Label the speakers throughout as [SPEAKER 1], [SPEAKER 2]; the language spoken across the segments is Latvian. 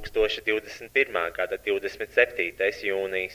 [SPEAKER 1] 2021. gada 27. jūnijas.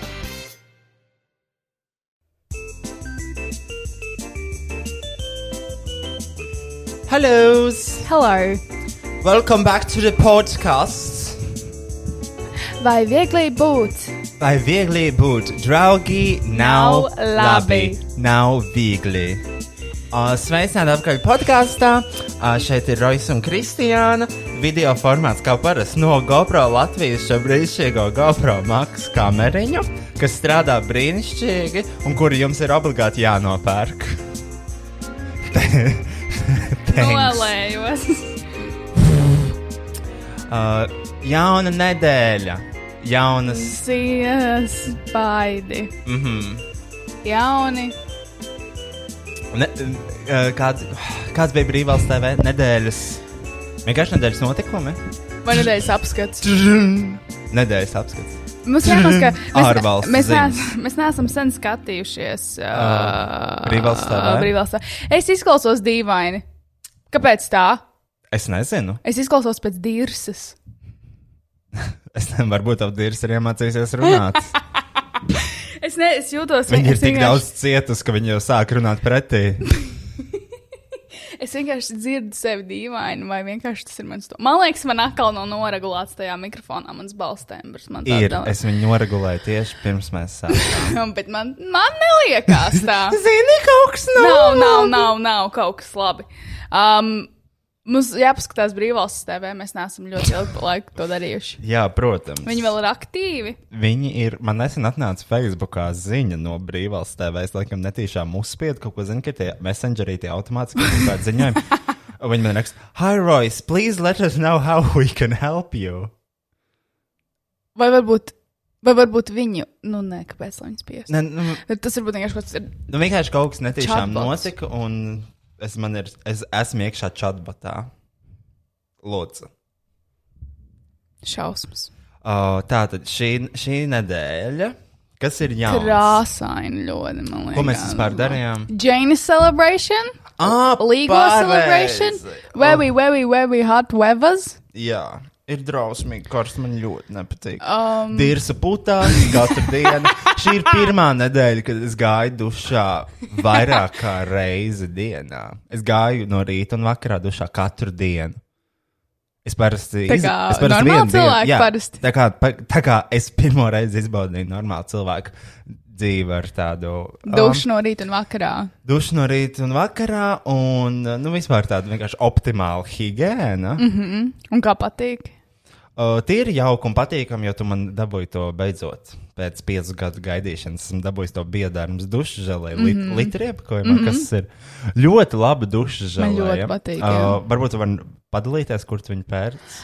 [SPEAKER 2] Hello!
[SPEAKER 3] Hello!
[SPEAKER 2] Welcome back to the podcast!
[SPEAKER 3] Vai viegli būt?
[SPEAKER 2] Lai viegli būtu, draugi, nav,
[SPEAKER 3] Nav labi.
[SPEAKER 2] Nav viegli. Uh, Sveicināti atpakaļ podkāstā. Uh, Šeit ir Rojas un Kristiāna. Video formāts kā parasti no GoPro Latvijas šo brīnišķīgo GoPro maksu kameriņu, kas strādā brīnišķīgi un kuru jums ir obligāti jānopērk. Thanks.
[SPEAKER 3] Nolējos!
[SPEAKER 2] Uh, jauna nedēļa, jaunas.
[SPEAKER 3] Siepaidi!
[SPEAKER 2] Mm -hmm.
[SPEAKER 3] Jauni!
[SPEAKER 2] Ne, eh, kāds, kāds bija brīvāls TV nedēļas? Vienkārši nedēļas notikumi.
[SPEAKER 3] Vai nedēļas apskats?
[SPEAKER 2] Nedēļas apskats.
[SPEAKER 3] Mums jānoskaidro,
[SPEAKER 2] Ārvalstu
[SPEAKER 3] mēs,
[SPEAKER 2] ziņas.
[SPEAKER 3] mēs, mēs neesam sen skatījušies.
[SPEAKER 2] Ā, brīvvalstā, vai?
[SPEAKER 3] Brīvvalstā. Es izklausos dīvaini. Kāpēc tā?
[SPEAKER 2] Es nezinu.
[SPEAKER 3] Es izklausos pēc dīrses.
[SPEAKER 2] Es nezinu, varbūt apdīrs ir iemācījusies runāt.
[SPEAKER 3] Es, ne, es jūtos,
[SPEAKER 2] Viņa ir
[SPEAKER 3] es
[SPEAKER 2] tik daudz cietusi, ka viņa jau sāk runāt pretī.
[SPEAKER 3] Es vienkārši dzirdu sevi dīvaini, vai vienkārši tas ir mans. To. Man liekas, man atkal nav noregulēts tajā mikrofonā mans balss tembrs. Man tā
[SPEAKER 2] Ir,
[SPEAKER 3] tā-
[SPEAKER 2] es viņu noregulēju tieši pirms mēs sākām.
[SPEAKER 3] Bet man, man neliekās tā.
[SPEAKER 2] Zini, kaut kas
[SPEAKER 3] nav, nav, nav, nav kaut kas labi. Um, mums jāpaskatās brīvvalsts TV. Mēs neesam ļoti ilgu laiku to darījuši.
[SPEAKER 2] Jā, protams.
[SPEAKER 3] Viņi vēl ir aktīvi.
[SPEAKER 2] Viņi ir, man nesen atnāca Facebookā ziņa no brīvvalsts TV. Es laikam netīšām uzspiedu kaut ko, zinu, ka tie messengeri tie automātiski kaut kādi ziņojumi. Viņi man raksta, Hi, Royce, please let us know how we can help you.
[SPEAKER 3] Vai varbūt, vai varbūt viņu, nu, nē, kāpēc lai viņas piespriežas?
[SPEAKER 2] Ne, nu,
[SPEAKER 3] Tas varbūt vienkārši kaut kas ir.
[SPEAKER 2] nu, vienkārši kaut kas netīšām
[SPEAKER 3] Chatbots.
[SPEAKER 2] notika, un es, man ir, es esmu iekšā chatbotā. Lūdzu.
[SPEAKER 3] Šausmas.
[SPEAKER 2] Uh, tā tad šī, šī nedēļa, kas ir jauns?
[SPEAKER 3] Krāsaini ļoti, man liekas.
[SPEAKER 2] Ko mēs
[SPEAKER 3] nu,
[SPEAKER 2] vispār darījām?
[SPEAKER 3] Jane celebration,
[SPEAKER 2] Ah,
[SPEAKER 3] Ligo
[SPEAKER 2] pareizi!
[SPEAKER 3] celebration, very, very, very hot weathers.
[SPEAKER 2] Jā, ir drausmīgi karsts. Man ļoti nepatīk. Um... Dirsa putā katru dienu. Šī ir pirmā nedēļa, kad es gāju dušā vairāk kā reizi dienā. Es gāju no rīta un vakarā dušā katru dienu. Es parasti
[SPEAKER 3] Tā
[SPEAKER 2] iz-
[SPEAKER 3] kā
[SPEAKER 2] es parasti
[SPEAKER 3] normāli
[SPEAKER 2] vienu dienu-
[SPEAKER 3] cilvēki
[SPEAKER 2] jā,
[SPEAKER 3] parasti.
[SPEAKER 2] Tā kā, pa- tā kā es pirmo reizi izbaudīju normālu cilvēku dzīvi ar tādu um,
[SPEAKER 3] Dušu no rīta un vakarā.
[SPEAKER 2] dušu no rīta un vakarā, un nu, vispār tāda vienkārši optimāla higiēna. Mm -hmm.
[SPEAKER 3] Mhm. Un kā patīk?
[SPEAKER 2] uh, tie ir jauki un patīkami, jo tu man dabūji to beidzot. Pēc piecu gadu gaidīšanas esmu dabūjis to biedārumu dušu žēlēju, mm
[SPEAKER 3] Mhm.
[SPEAKER 2] -hmm. litriepakojumu, mm -hmm. kas ir ļoti laba dušu žēlēja.
[SPEAKER 3] Man ļoti patīk, jā.
[SPEAKER 2] Uh, varbūt tu vari padalīties, kur tu viņu pērci.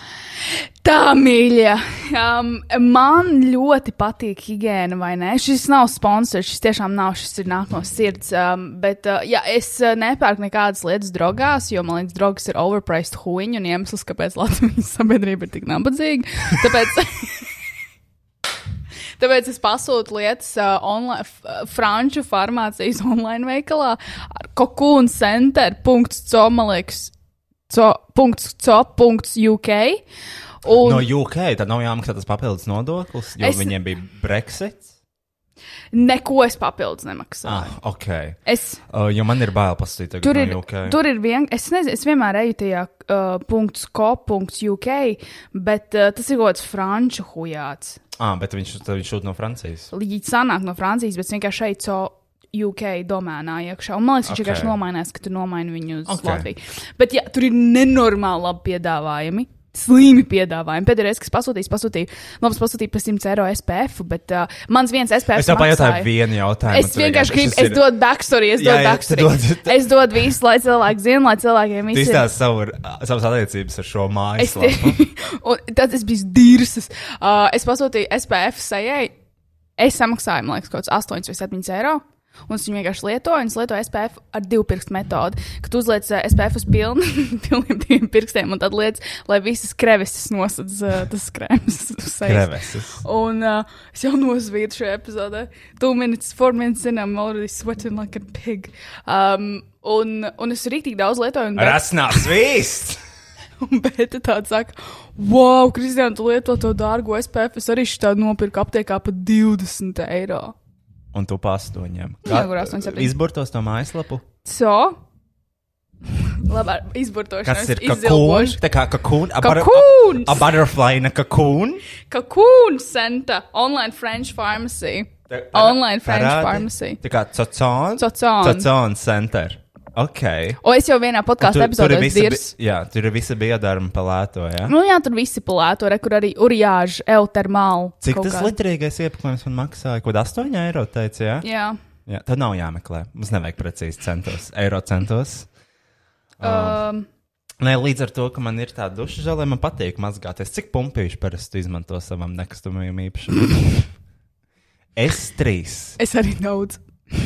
[SPEAKER 3] Tā mīļa. Um, man ļoti patīk higiēna, vai ne? Šis nav sponsors, šis tiešām nav, šis ir nāk no sirds. Um, bet uh, jā, es uh, nepērku nekādas lietas drogās, jo man liekas, drogas ir overpriced huīņa un iemesls, kāpēc Latvijas sabiedrība ir tik nabadzīga. Tāpēc. Tāpēc es pasūtu lietas uh, online, f- uh, franču farmācijas online veikalā ar kokūnu centru.co, man liekas, co.co.uk. Un,
[SPEAKER 2] No UK tad nav jāmaksā tas papildus nodoklis, jo
[SPEAKER 3] Es-
[SPEAKER 2] es... viņiem bija Brexit.
[SPEAKER 3] Neko es papildus nemaksāju.
[SPEAKER 2] Ah, ok.
[SPEAKER 3] Es,
[SPEAKER 2] Uh, jo man ir bail pasīt, ka
[SPEAKER 3] tur, ir,
[SPEAKER 2] no UK.
[SPEAKER 3] tur ir vien, es nezinu, es vienmēr eju tajā uh, .co.uk, bet uh, tas ir kaut kāds franču hujāts.
[SPEAKER 2] Ah, bet viņš, tad viņš šūt no Francijas.
[SPEAKER 3] Līdz sanāk no Francijas, bet es vienkārši šeit co. UK domēnā iekšā. Un, man liekas, viņš
[SPEAKER 2] Ok.
[SPEAKER 3] vienkārši nomainās, ka tu nomaini viņu uz
[SPEAKER 2] Ok.
[SPEAKER 3] okay. Latviju. Bet jā, tur ir nenormāli labi piedāvājumi. Slīmi piedāvājumi. Pēdējā reize, kas pasūtīju, pasūtīju, labi, pasūtīju par 100 eiro SPF, bet uh, mans viens SPF.
[SPEAKER 2] Es jau
[SPEAKER 3] maksāja-
[SPEAKER 2] pajautāju vienu jautājumu.
[SPEAKER 3] Es
[SPEAKER 2] un tu
[SPEAKER 3] vienkārši gribu,
[SPEAKER 2] šis
[SPEAKER 4] šis
[SPEAKER 3] es
[SPEAKER 4] ir-
[SPEAKER 3] dodu backstory, es
[SPEAKER 2] Jā,
[SPEAKER 3] dodu
[SPEAKER 2] jā,
[SPEAKER 3] backstory.
[SPEAKER 2] tu dod-
[SPEAKER 3] Es dodu visu, lai cilvēki zinātu, lai cilvēkiem
[SPEAKER 2] Tu
[SPEAKER 3] viss ir.
[SPEAKER 2] izstāsti savu, savas attiecības ar šo
[SPEAKER 3] Es
[SPEAKER 2] mājaslapu.
[SPEAKER 3] tie- un tad es biju dīrsas. Uh, es pasūtīju SPF sajai. Es samaksāju, man liekas, kaut kāds 8 vai 7 eiro. Un es viņu vienkārši lietoju, un es lietoju SPF ar divu pirkstu metodi. Kad tu uzliec eh, SPF uz pilnu, pilniem diviem pirkstiem, un tad liec, lai visas kreveses nosedz eh, tas krēms. uz sejas.
[SPEAKER 2] Kreveses.
[SPEAKER 3] Un uh, es jau nosvītu šajā epizodē. Two minutes, four minutes, and I'm already sweating like a pig. Um, un, un es rītīgi daudz lietoju. un bet-
[SPEAKER 2] Rasnās vīsts!
[SPEAKER 3] Un Bēta tāda saka, wow, Kristija, tu lieto to dārgo SPF. Es arī šādu nopirku aptiekā par 20 eiro.
[SPEAKER 2] Un tu pa astoņiem.
[SPEAKER 3] Jā, kur astoņi, septiņi.
[SPEAKER 2] Izburtos no mājaslapu.
[SPEAKER 3] So? Labā izburtošana.
[SPEAKER 2] Kas ir kakūns? Tā kā kakūns.
[SPEAKER 3] Cocoon!
[SPEAKER 2] A butterfly na kakūns.
[SPEAKER 3] Kakūna Santa online French pharmacy. Online French pharmacy.
[SPEAKER 2] Tā kā cocons.
[SPEAKER 3] Cocon.
[SPEAKER 2] Cocons center. Ok.
[SPEAKER 3] O, es jau vienā podkāstu epizodē
[SPEAKER 2] visi
[SPEAKER 3] dzirdēju.
[SPEAKER 2] bi- jā, tur ir visi biedarmi palēto, jā.
[SPEAKER 3] Nu, jā, tur visi palēto, re, kur arī urjāža, eutermāla.
[SPEAKER 2] Cik
[SPEAKER 3] kaut
[SPEAKER 2] tas
[SPEAKER 3] kā.
[SPEAKER 2] litrīgais iepakojums man maksāja? Kaut 8 eiro teica, jā?
[SPEAKER 3] Jā.
[SPEAKER 2] Jā, tad nav jāmeklē. Mums nevajag precīzi centos, eiro centos. Ah.
[SPEAKER 3] Um,
[SPEAKER 2] Nē, līdz ar to, ka man ir tāda duša žēl, man patīk mazgāties. Cik pumpīšu parasti izmanto savam nekustamajam īpašumam? es trīs.
[SPEAKER 3] es arī daudz.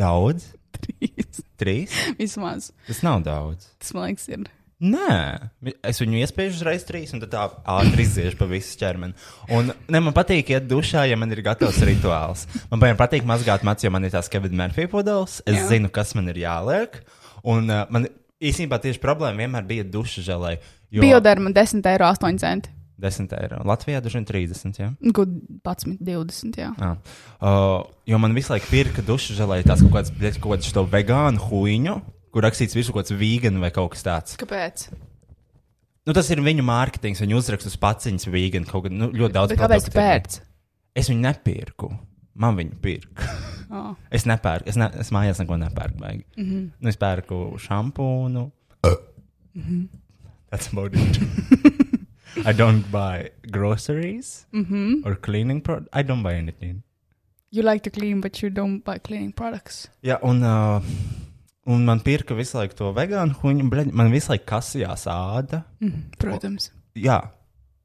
[SPEAKER 2] Daudz?
[SPEAKER 3] Trīs.
[SPEAKER 2] Trīs?
[SPEAKER 3] Vismaz.
[SPEAKER 2] Tas nav daudz.
[SPEAKER 3] Tas man liekas, ir.
[SPEAKER 2] Nē, es viņu iespiežu uzreiz trīs, un tad tā ātri iziešu pa visu ķermeni. Un ne, man patīk iet dušā, ja man ir gatavs rituāls. Man piemēram, patīk mazgāt matus, jo man ir tās Kevina Mārfija pudeles. Es Jā. zinu, kas man ir jāliek. Un uh, man īstenībā tieši problēma vienmēr bija duša žēlē.
[SPEAKER 3] Bioderma 10 eiro 8 centi.
[SPEAKER 2] 10 eiro. Latvijā dažiem 30. Ja?
[SPEAKER 3] Nu, Gud, 11, 20. Jā.
[SPEAKER 2] Ah. Uh, jo man visu laiku pirka dušu žēlēja tās kaut kādas, bļaļ, kaut kādas to vegānu huīņu, kur rakstīts visu kaut kāds vegan vai kaut kas tāds.
[SPEAKER 3] Kāpēc?
[SPEAKER 2] Nu, tas ir viņu mārketings, viņa uzrakst uz paciņas vegan kaut kāda nu, ļoti daudz.
[SPEAKER 3] Bet kāpēc tu
[SPEAKER 2] produktu ir.
[SPEAKER 3] pērc?
[SPEAKER 2] Es viņu nepirku. Man viņu pirka.
[SPEAKER 3] Oh. Mhm.
[SPEAKER 2] Es nepērku, es, ne, es mājās neko nepērku. Mm -hmm. nu, es pērku šampūnu. That's about it. I don't buy groceries mm
[SPEAKER 3] Mhm.
[SPEAKER 2] -hmm. or cleaning products. I don't buy anything.
[SPEAKER 3] You like to clean, but you don't buy cleaning products.
[SPEAKER 2] Jā, un, uh, un man pirka visu laiku to vegānu huņu, bet man visu laiku kasījās āda.
[SPEAKER 3] Mm. Protams.
[SPEAKER 2] Jā,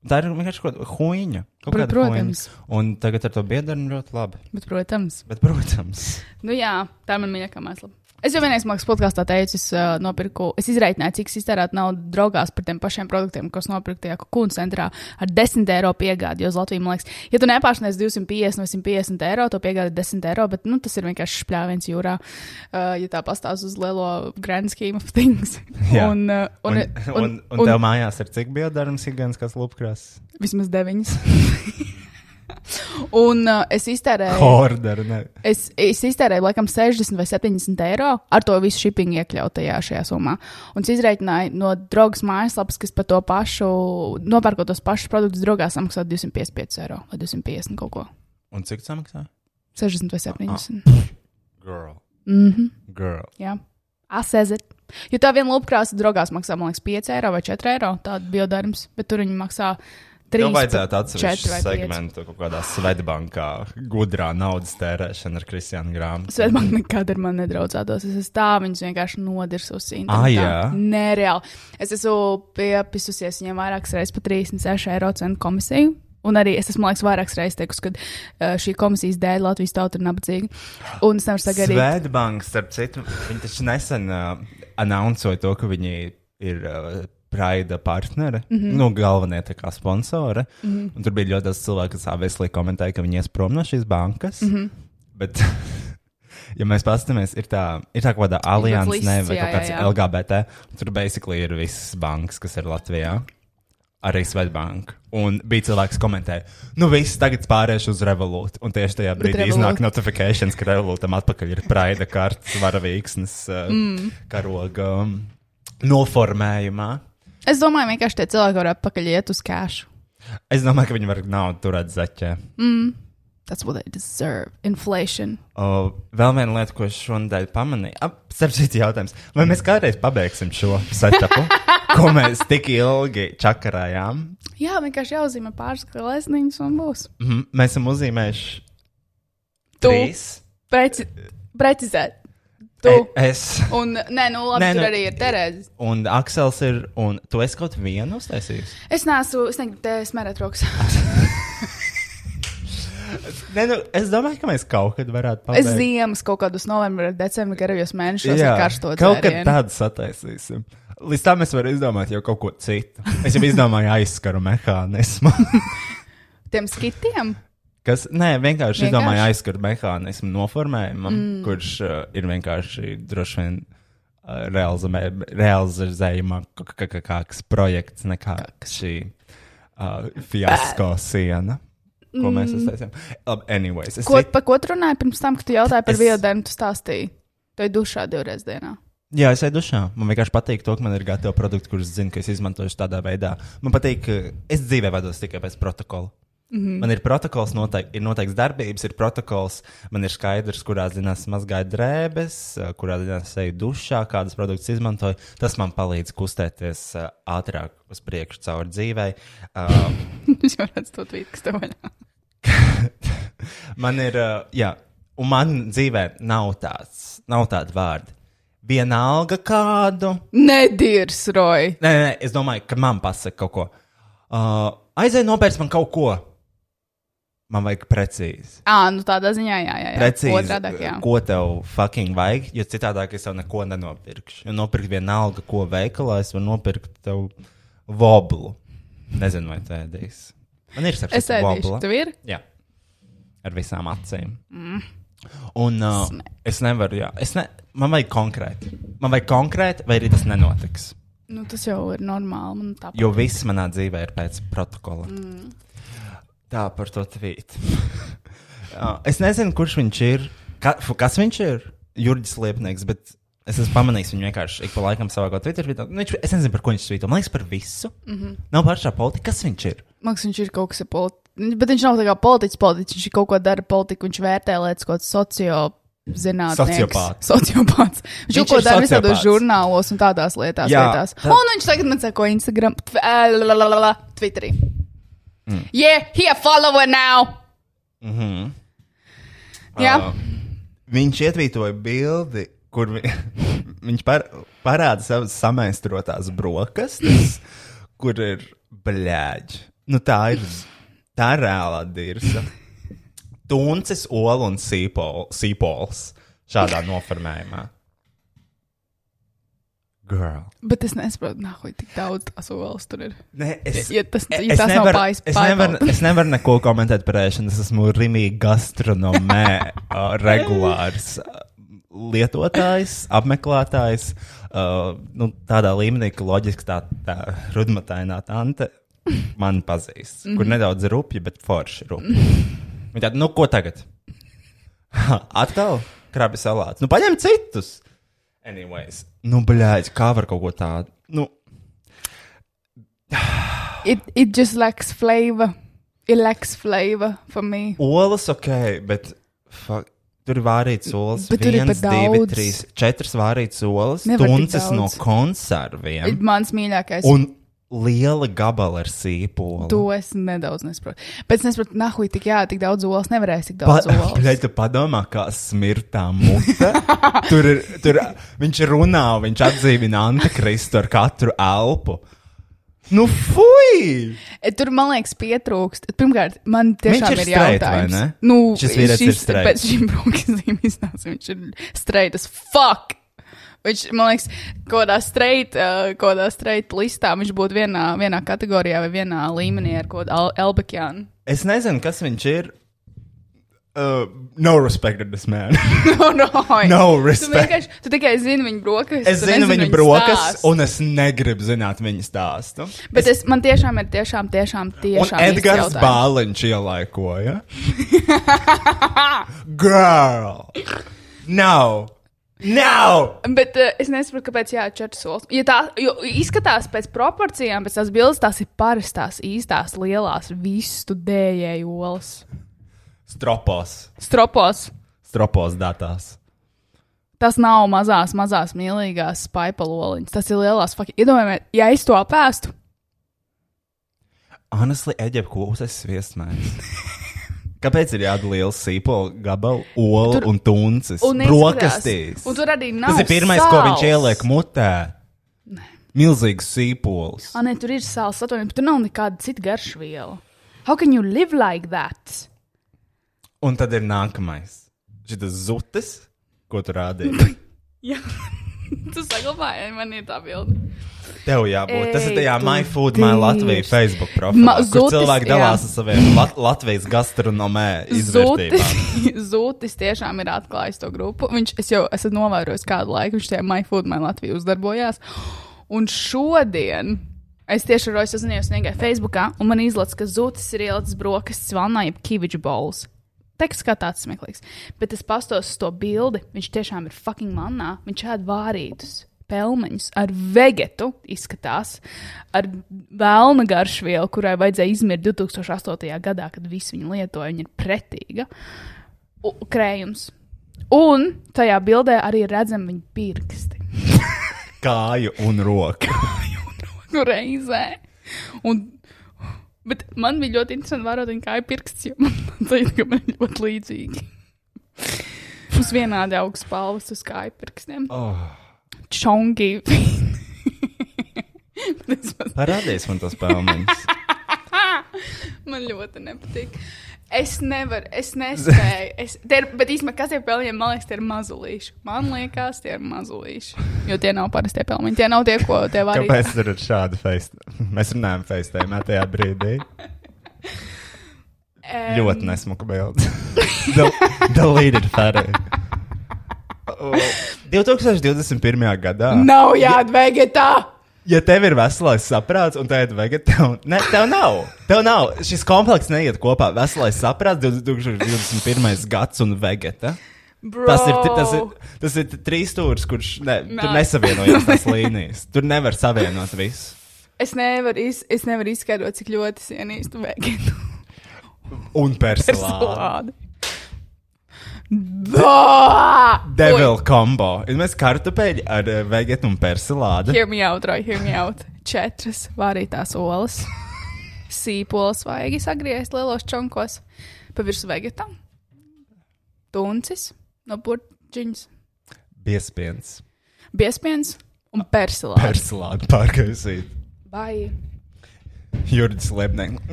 [SPEAKER 2] tā ir vienkārši kaut kāda huņa.
[SPEAKER 3] Pro- protams.
[SPEAKER 2] Un tagad ar to biedrinu ļoti labi.
[SPEAKER 3] Bet, protams.
[SPEAKER 2] Bet, protams,
[SPEAKER 3] Nu, jā, tā ir mana mīļākā māksla. Es jau vienreiz mākslas podkāstā teicu, es uh, nopirku, es izreikināju, cik es iztērētu naudu draugās par tiem pašiem produktiem, ko es nopirku tajā kukūnu centrā ar 10 eiro piegādi. Jo uz Latviju, man liekas, ja tu nepāršniec 250 vai 150 eiro, to piegādi ir 10 eiro, bet nu, tas ir vienkārši špļāviens jūrā, uh, ja tā pastāv uz lielo grand scheme of things.
[SPEAKER 2] Jā.
[SPEAKER 3] un, uh,
[SPEAKER 2] un,
[SPEAKER 3] un,
[SPEAKER 2] un, un, un tev mājās ir cik biedrins, ikdienas, kas lupkrās?
[SPEAKER 3] Vismaz deviņas. Un uh, es iztērēju.
[SPEAKER 2] Horderu. ne.
[SPEAKER 3] Es, es iztērēju laikam 60 vai 70 eiro ar to visu shipping iekļautajā šajā summā. Un es izreikināju no draugas mājaslapas, kas par to pašu, nopērkot tos pašus produktus, draugā samaksā 255 eiro vai 250 kaut ko.
[SPEAKER 2] Un cik tas maksā?
[SPEAKER 3] 60 vai 70.
[SPEAKER 2] Girl.
[SPEAKER 3] Mm -hmm.
[SPEAKER 2] Girl.
[SPEAKER 3] Jā, asēzēt. Jo tā viena lupkrāsa draugās maksā, man liekas, 5 eiro vai 4 eiro. Tāda bija darījums, bet tur viņi maksā 3
[SPEAKER 2] Tev vajadzētu atsevišķu
[SPEAKER 3] vai 5.
[SPEAKER 2] segmentu kaut kādā Svetbankā, gudrā naudas tērēšana ar Kristiānu Grāmatu.
[SPEAKER 3] Svetbanka nekad ar mani nedraudzētos. Es esmu tā, viņas vienkārši nodirsusi.
[SPEAKER 2] Ah, jā?
[SPEAKER 3] Nereāli. Es esmu piepisusies viņiem vairākas reizes par 36 eiro cenu komisiju. Un arī es esmu, man liekas, vairākas reizes teikusi, ka eh, šī komisijas dēļ Latvijas tauta ir nabadzīga. Un es nevaru sagaidīt.
[SPEAKER 2] Svetbanka, starp citu, viņi taču nesen uh, anoncēja to, ka viņi ir uh, Praida partneri, mm -hmm. nu, galvenie tā kā sponsori. Mm -hmm. Un tur bija ļoti daudz cilvēku, kas abeslīgi komentēja, ka viņi ies prom no šīs bankas. Mm -hmm. Bet, ja mēs paskatāmies, ir tā, ir tā kaut kāda alianses,
[SPEAKER 3] lists,
[SPEAKER 2] ne, vai
[SPEAKER 3] jā,
[SPEAKER 2] kaut
[SPEAKER 3] jā,
[SPEAKER 2] kāds
[SPEAKER 3] jā.
[SPEAKER 2] LGBT. Tur basically ir visas bankas, kas ir Latvijā. Arī Svetbanka. Un bija cilvēks, kas komentēja, nu, viss tagad pāriešu uz Revolūtu. Un tieši tajā brīdī
[SPEAKER 3] Revolut-
[SPEAKER 2] iznāk notifikācijas, ka Revolūtam atpakaļ ir praida kārtas, varavīksnes, mm. karoga um, noformējumā.
[SPEAKER 3] Es domāju, vienkārši tie cilvēki varētu pakaļ iet uz kēšu.
[SPEAKER 2] Es domāju, ka viņi var naudu turēt zaķē.
[SPEAKER 3] Mm. That's what they deserve. Inflation.
[SPEAKER 2] O, vēl viena lieta, ko es šonadēļ pamanīju, ap, starp citu jautājums, vai mēs kādreiz pabeigsim šo setupu, ko mēs tik ilgi čakarājām?
[SPEAKER 3] Jā, vienkārši jāuzzīmē pāris glezniņas un būs.
[SPEAKER 2] Mhm, Mēs esam uzzīmējuši
[SPEAKER 3] Tu.
[SPEAKER 2] trīs.
[SPEAKER 3] Preci precizēt. Tu.
[SPEAKER 2] E- Es
[SPEAKER 3] Un, nē, nu, labi,
[SPEAKER 2] Nē,
[SPEAKER 3] nē, tur
[SPEAKER 2] nu,
[SPEAKER 3] nu, arī ir Terēza.
[SPEAKER 2] un Aksels ir, un tu esi kaut vienu uztaisījis.
[SPEAKER 3] Es neesmu, es negribu te smērēt rokas.
[SPEAKER 2] Nē, nu, es domāju, ka mēs kaut kad varētu
[SPEAKER 3] es
[SPEAKER 2] pabeigt.
[SPEAKER 3] ziemas kaut kādus novembrī, decembrī garajos mēnešos
[SPEAKER 2] Jā,
[SPEAKER 3] ir karsto
[SPEAKER 2] kaut kad
[SPEAKER 3] dzērienu.
[SPEAKER 2] tādu sataisīsim. Līdz tam es varu izdomāt jau kaut ko citu. Es jau izdomāju aizskaru mehānismu.
[SPEAKER 3] Tiem skitiem?
[SPEAKER 2] Kas, nē, vienkārši, vienkārši
[SPEAKER 3] Vienkārši?
[SPEAKER 2] izdomāju aizskaru mehānismu noformējumam, mm. kurš uh, ir vienkārši droši vien uh, realizamē- realizējumāks projekts nekā šī uh, fiasko siena. Ko mēs uztaisījām? Labi, anyways, es
[SPEAKER 3] Mm. Ko,
[SPEAKER 2] cit-
[SPEAKER 3] pa ko tu runāji pirms tam, kad tu jautāji par
[SPEAKER 2] Es-
[SPEAKER 3] es... viedokļiem, tu stāstīji? Tu ej dušā divreiz dienā.
[SPEAKER 2] Jā, es eju dušā. Man vienkārši patīk to, ka man ir gatava produkta, kurus zinu, ka es izmantošu tādā veidā. Man patīk, ka es dzīvē vados tikai pēc protokola. Mm -hmm. Man ir protokols, noteik, ir noteikts darbības, ir protokols. Man ir skaidrs, kurā ziņā es mazgāju drēbes, eh, kurā ziņā es eju dušā, kādas produktus izmantoju. Tas man palīdz kustēties eh, ātrāk uz priekšu cauri dzīvei. Uh,
[SPEAKER 3] Jūs jau redzat, to tvītu, kas tev vaļā.
[SPEAKER 2] Man ir, uh, jā, un man dzīvē nav tāds, nav tāda vārda. Vienalga kādu.
[SPEAKER 3] Nedirs, Roy!
[SPEAKER 2] Nē, nē, nē, es domāju, ka man pasaka kaut ko. Uh, aizēj nopērts man kaut ko. Man vajag precīzi.
[SPEAKER 3] Ā, nu tādā ziņā, jā, jā. jā.
[SPEAKER 2] Precīzi,
[SPEAKER 3] Otrādāk, jā.
[SPEAKER 2] ko tev fucking vajag, jo citādi es tev neko nenopirkšu. Jo nopirkt vienalga, ko veikalā es varu nopirkt tev voblu. Nezinu, vai tā ēdīs. Man ir
[SPEAKER 3] Es
[SPEAKER 2] saprotams,
[SPEAKER 3] ēdīšu, tu ir?
[SPEAKER 2] Jā, ar visām acīm. Mm. Un uh, es nevaru, jā, es ne, man vajag konkrēti. Man vajag konkrēti, vai arī tas nenotiks.
[SPEAKER 3] Nu, tas jau ir normāli, man tā.
[SPEAKER 2] Jo viss manā dzīvē ir pēc protokola. Mm. Tā par to tvītu. Uh, es nezinu, kurš viņš ir. Ka, fu, kas viņš ir? Jurģis Liepnieks, bet es esmu pamanījis viņu vienkārši ik pa laikam savā Twitter vietā. Nu, viņš- es nezinu, par ko viņš svīto. Man liekas, par visu. Mm
[SPEAKER 3] Mhm.
[SPEAKER 2] -hmm. Nav pašā politika, kas viņš ir.
[SPEAKER 3] Man liekas, viņš ir kaut kas tāds. Bet viņš nav tā kā politiķis, politiķis. Viņš ir kaut ko dara politiku, viņš vērtē lietas, ko sociāli.
[SPEAKER 2] Sociopāts.
[SPEAKER 3] Sociopāts. Viņš
[SPEAKER 2] Viņš
[SPEAKER 3] jau ko
[SPEAKER 2] ir
[SPEAKER 3] dara visādos
[SPEAKER 2] sociopāts.
[SPEAKER 3] žurnālos un tādās lietās.
[SPEAKER 2] Jā,
[SPEAKER 3] lietās.
[SPEAKER 2] tā-
[SPEAKER 3] Un viņš tagad man sako Instagram, tv- ā, lalalala, Twitterī. Mm. Yeah, he a follower now! Mm -hmm. Jā,
[SPEAKER 2] Mhm. Ā, Viņš ietvītoja bildi, kur vi, viņš par, parāda savas samaistrotās brokastis, kur ir blēģi. Nu, tā ir tā ir reālā dirza. Tuncis, olu un sīpol- sīpols šādā noformējumā. Girl.
[SPEAKER 3] bet es nesaprotu, nahuj, tik daudz tās olas tur ir.
[SPEAKER 2] Nē, es, e,
[SPEAKER 3] Ja tas- ja
[SPEAKER 2] es
[SPEAKER 3] tās nav
[SPEAKER 2] nevaru,
[SPEAKER 3] pāris-
[SPEAKER 2] es,
[SPEAKER 3] pāri
[SPEAKER 2] nevaru,
[SPEAKER 3] peldu.
[SPEAKER 2] es nevaru neko komentēt par ēšanu. Es esmu Rimīgi gastronomē uh, regulārs uh, lietotājs, apmeklētājs. Uh, nu, tādā līmenī, ka loģiski tā, tā
[SPEAKER 3] Mhm.
[SPEAKER 2] rudmatainā tante man pazīst, mm -hmm. kur nedaudz rupja, bet forši rupja. Viņa tāda, nu, ko tagad? Atkal krabi salāts. Nu, paņem citus. Anyways, nu, blēģi, kā var kaut ko tādu? Nu,
[SPEAKER 3] It, it just lacks flavor. It lacks flavor for me.
[SPEAKER 2] olas ok, bet fuck, tur ir vārīts olas.
[SPEAKER 3] Bet tur ir
[SPEAKER 2] Viens,
[SPEAKER 3] pa
[SPEAKER 2] divi,
[SPEAKER 3] daudz.
[SPEAKER 2] trīs, četras vārīts olas.
[SPEAKER 3] Nevar tik
[SPEAKER 2] Tunces no
[SPEAKER 3] daudz.
[SPEAKER 2] konserviem.
[SPEAKER 3] It mans mīļākais.
[SPEAKER 2] Un liela gabala ar sīpolu.
[SPEAKER 3] To es nedaudz nesaprotu. Pēc tam saprotu, nahuj, tik jā, tik daudz olas nevarēs tik daudz olas.
[SPEAKER 2] Bļaļ, tu padomā, kā smirtā mute. tur ir, tur, viņš runā, viņš atdzīvina antikristu ar katru elpu. Nu, fui!
[SPEAKER 3] E, Tur man liekas, pietrūkst. Pirmkārt, man tiešām
[SPEAKER 2] ir
[SPEAKER 3] ir,
[SPEAKER 2] straight,
[SPEAKER 3] jautājums.
[SPEAKER 2] vai ne?
[SPEAKER 3] Nu,
[SPEAKER 2] Šis vīrietis ir straight.
[SPEAKER 3] Pēc šīm brokastīm iznāca, viņš ir straight as fuck. Viņš, man liekas, kādā straight, uh, kādā straight listā viņš būtu vienā, vienā kategorijā vai vienā līmenī ar kādu Al- Elbekjānu.
[SPEAKER 2] Es nezinu, kas viņš ir. Uh, no respect to this man.
[SPEAKER 3] No, no,
[SPEAKER 2] No
[SPEAKER 3] Tu
[SPEAKER 2] respect.
[SPEAKER 3] vienkārši, tu tikai zini viņa brokastis.
[SPEAKER 2] es zinu viņa brokas, un es negribu zināt viņa stāstu.
[SPEAKER 3] Bet es, man tiešām ir tiešām, tiešām,
[SPEAKER 2] Un
[SPEAKER 3] tiešām. īsts
[SPEAKER 2] Edgars
[SPEAKER 3] jautājums.
[SPEAKER 2] Bāliņš ielaikoja. Girl! No! No!
[SPEAKER 3] Bet uh, es nesaprotu, kāpēc jā, četras solis. Ja tā jo izskatās pēc proporcijām, pēc tās bildes, tās ir parastās, īstās, lielās, visu dējēju olas.
[SPEAKER 2] Stropos,
[SPEAKER 3] Stropos.
[SPEAKER 2] stropos datās.
[SPEAKER 3] Tas nav mazās, mazās, mīlīgās spaipaloliņas. Tas ir lielās, fuck, iedomājamies, ja es to apēstu.
[SPEAKER 2] Honestly, Eģipte, ko uzsācis viesmēs? Kāpēc ir jādara liels sīpols, gabals, olu un tuncis?
[SPEAKER 3] Un
[SPEAKER 2] Brokastīs.
[SPEAKER 3] neizskatās. Un tur arī nav.
[SPEAKER 2] Tas ir pirmais,
[SPEAKER 3] sāls.
[SPEAKER 2] ko viņš ieliek mutē. Milzīgs sīpols.
[SPEAKER 3] Ah, nē, tur ir sāls, atvainojiet, bet tur nav nekāda cita garšviela. How can you live like that?
[SPEAKER 2] Un tad ir nākamais. Šis zutis, ko tu rādīji.
[SPEAKER 3] Jā, tu saglabāji, man ir tā bilde.
[SPEAKER 2] Tev jābūt. Tas ir tajā
[SPEAKER 3] Ei, tu
[SPEAKER 2] My Food, My
[SPEAKER 3] dīvs.
[SPEAKER 2] Latvija Facebook profilā.
[SPEAKER 3] Ma-
[SPEAKER 2] Kur
[SPEAKER 3] zutis, jā.
[SPEAKER 2] cilvēki dalās ar saviem lat Latvijas gastronomē
[SPEAKER 3] Zūtis,
[SPEAKER 2] izvērtībām.
[SPEAKER 3] Zūtis tiešām ir atklājis to grupu. Viņš, es jau esmu novērojis kādu laiku, viņš tajā MyFood, man Latvijā uzdarbojās. Un šodien es tieši ar Roju sazinājos vienīgai Facebookā, un man izlaiž, ka Zūtis ir ielicis brokastis vanā, jeb kiviģu bols. Teksts kā tāds smieklīgs. Bet es pastos uz to bildi, viņš tiešām ir fucking manā, viņš ēd vārītus. Pelmeņus ar vegetu izskatās, ar vēlnu garšvielu, kurai vajadzēja izmirt 2008. gadā, kad visi viņu lietoja. Viņa ir pretīga u- krējums. Un tajā bildē arī redzam viņa pirksti.
[SPEAKER 2] Kāju un roku.
[SPEAKER 3] Nu, reizē. Un, bet man bija ļoti interesanti vērot viņa kāju pirksts, jo man liekas, ka man ir ļoti līdzīgi. Uz vienādi augsts palvas uz kāju pirkstiem.
[SPEAKER 2] Oh.
[SPEAKER 3] Čongi. Tas
[SPEAKER 2] Parādīs man tos pelmeņus.
[SPEAKER 3] Man ļoti nepatīk. Es nevaru, es nespēju. Es, tie ir, bet īstenībā, kas ir pelnījumi, man liekas, tie ir mazulīši. Man liekas, tie ir mazulīši. Jo tie nav parastie pelnījumi. Tie nav tie, ko te var
[SPEAKER 2] Kāpēc tur ir šāda feistēma? Mēs runājam feistēmā tajā brīdī. Ļoti nesmuka bilde. Del- Deleted photo. Oh. 2021. gadā.
[SPEAKER 3] Nav jāatvegetā!
[SPEAKER 2] Ja tev ir veselais saprāts, un tev ir vegetāns, ne, tev nav. Tev nav. Šis komplekss neiet kopā. Veselais saprāts, 2021. gads un vegeta. Tas ir, tas ir, tas ir trīs stūris, kurš ne, tur
[SPEAKER 3] Nē.
[SPEAKER 2] nesavienojas tās Nu, līnijas. Tur nevar savienot visu.
[SPEAKER 3] Es nevaru, iz, es nevaru izskaidrot, cik ļoti es ienīstu vegānu
[SPEAKER 2] Un personāla.
[SPEAKER 3] salādu. Bā!
[SPEAKER 2] Devil combo. Ir mēs kartupeļi ar eh, vegetu un
[SPEAKER 3] Oi,
[SPEAKER 2] personālu.
[SPEAKER 3] Hear me out, Roy, hear me out. Četras varītās olas, sīpols vajag sagriezt lielos čonkos, pa virsmu vegetam, tuncis no burbuļģiņas,
[SPEAKER 2] Biespiens.
[SPEAKER 3] biespiens un persilāts.
[SPEAKER 2] Personālu pārkaisīt.
[SPEAKER 3] Vai
[SPEAKER 2] Jurģis Lebnēks.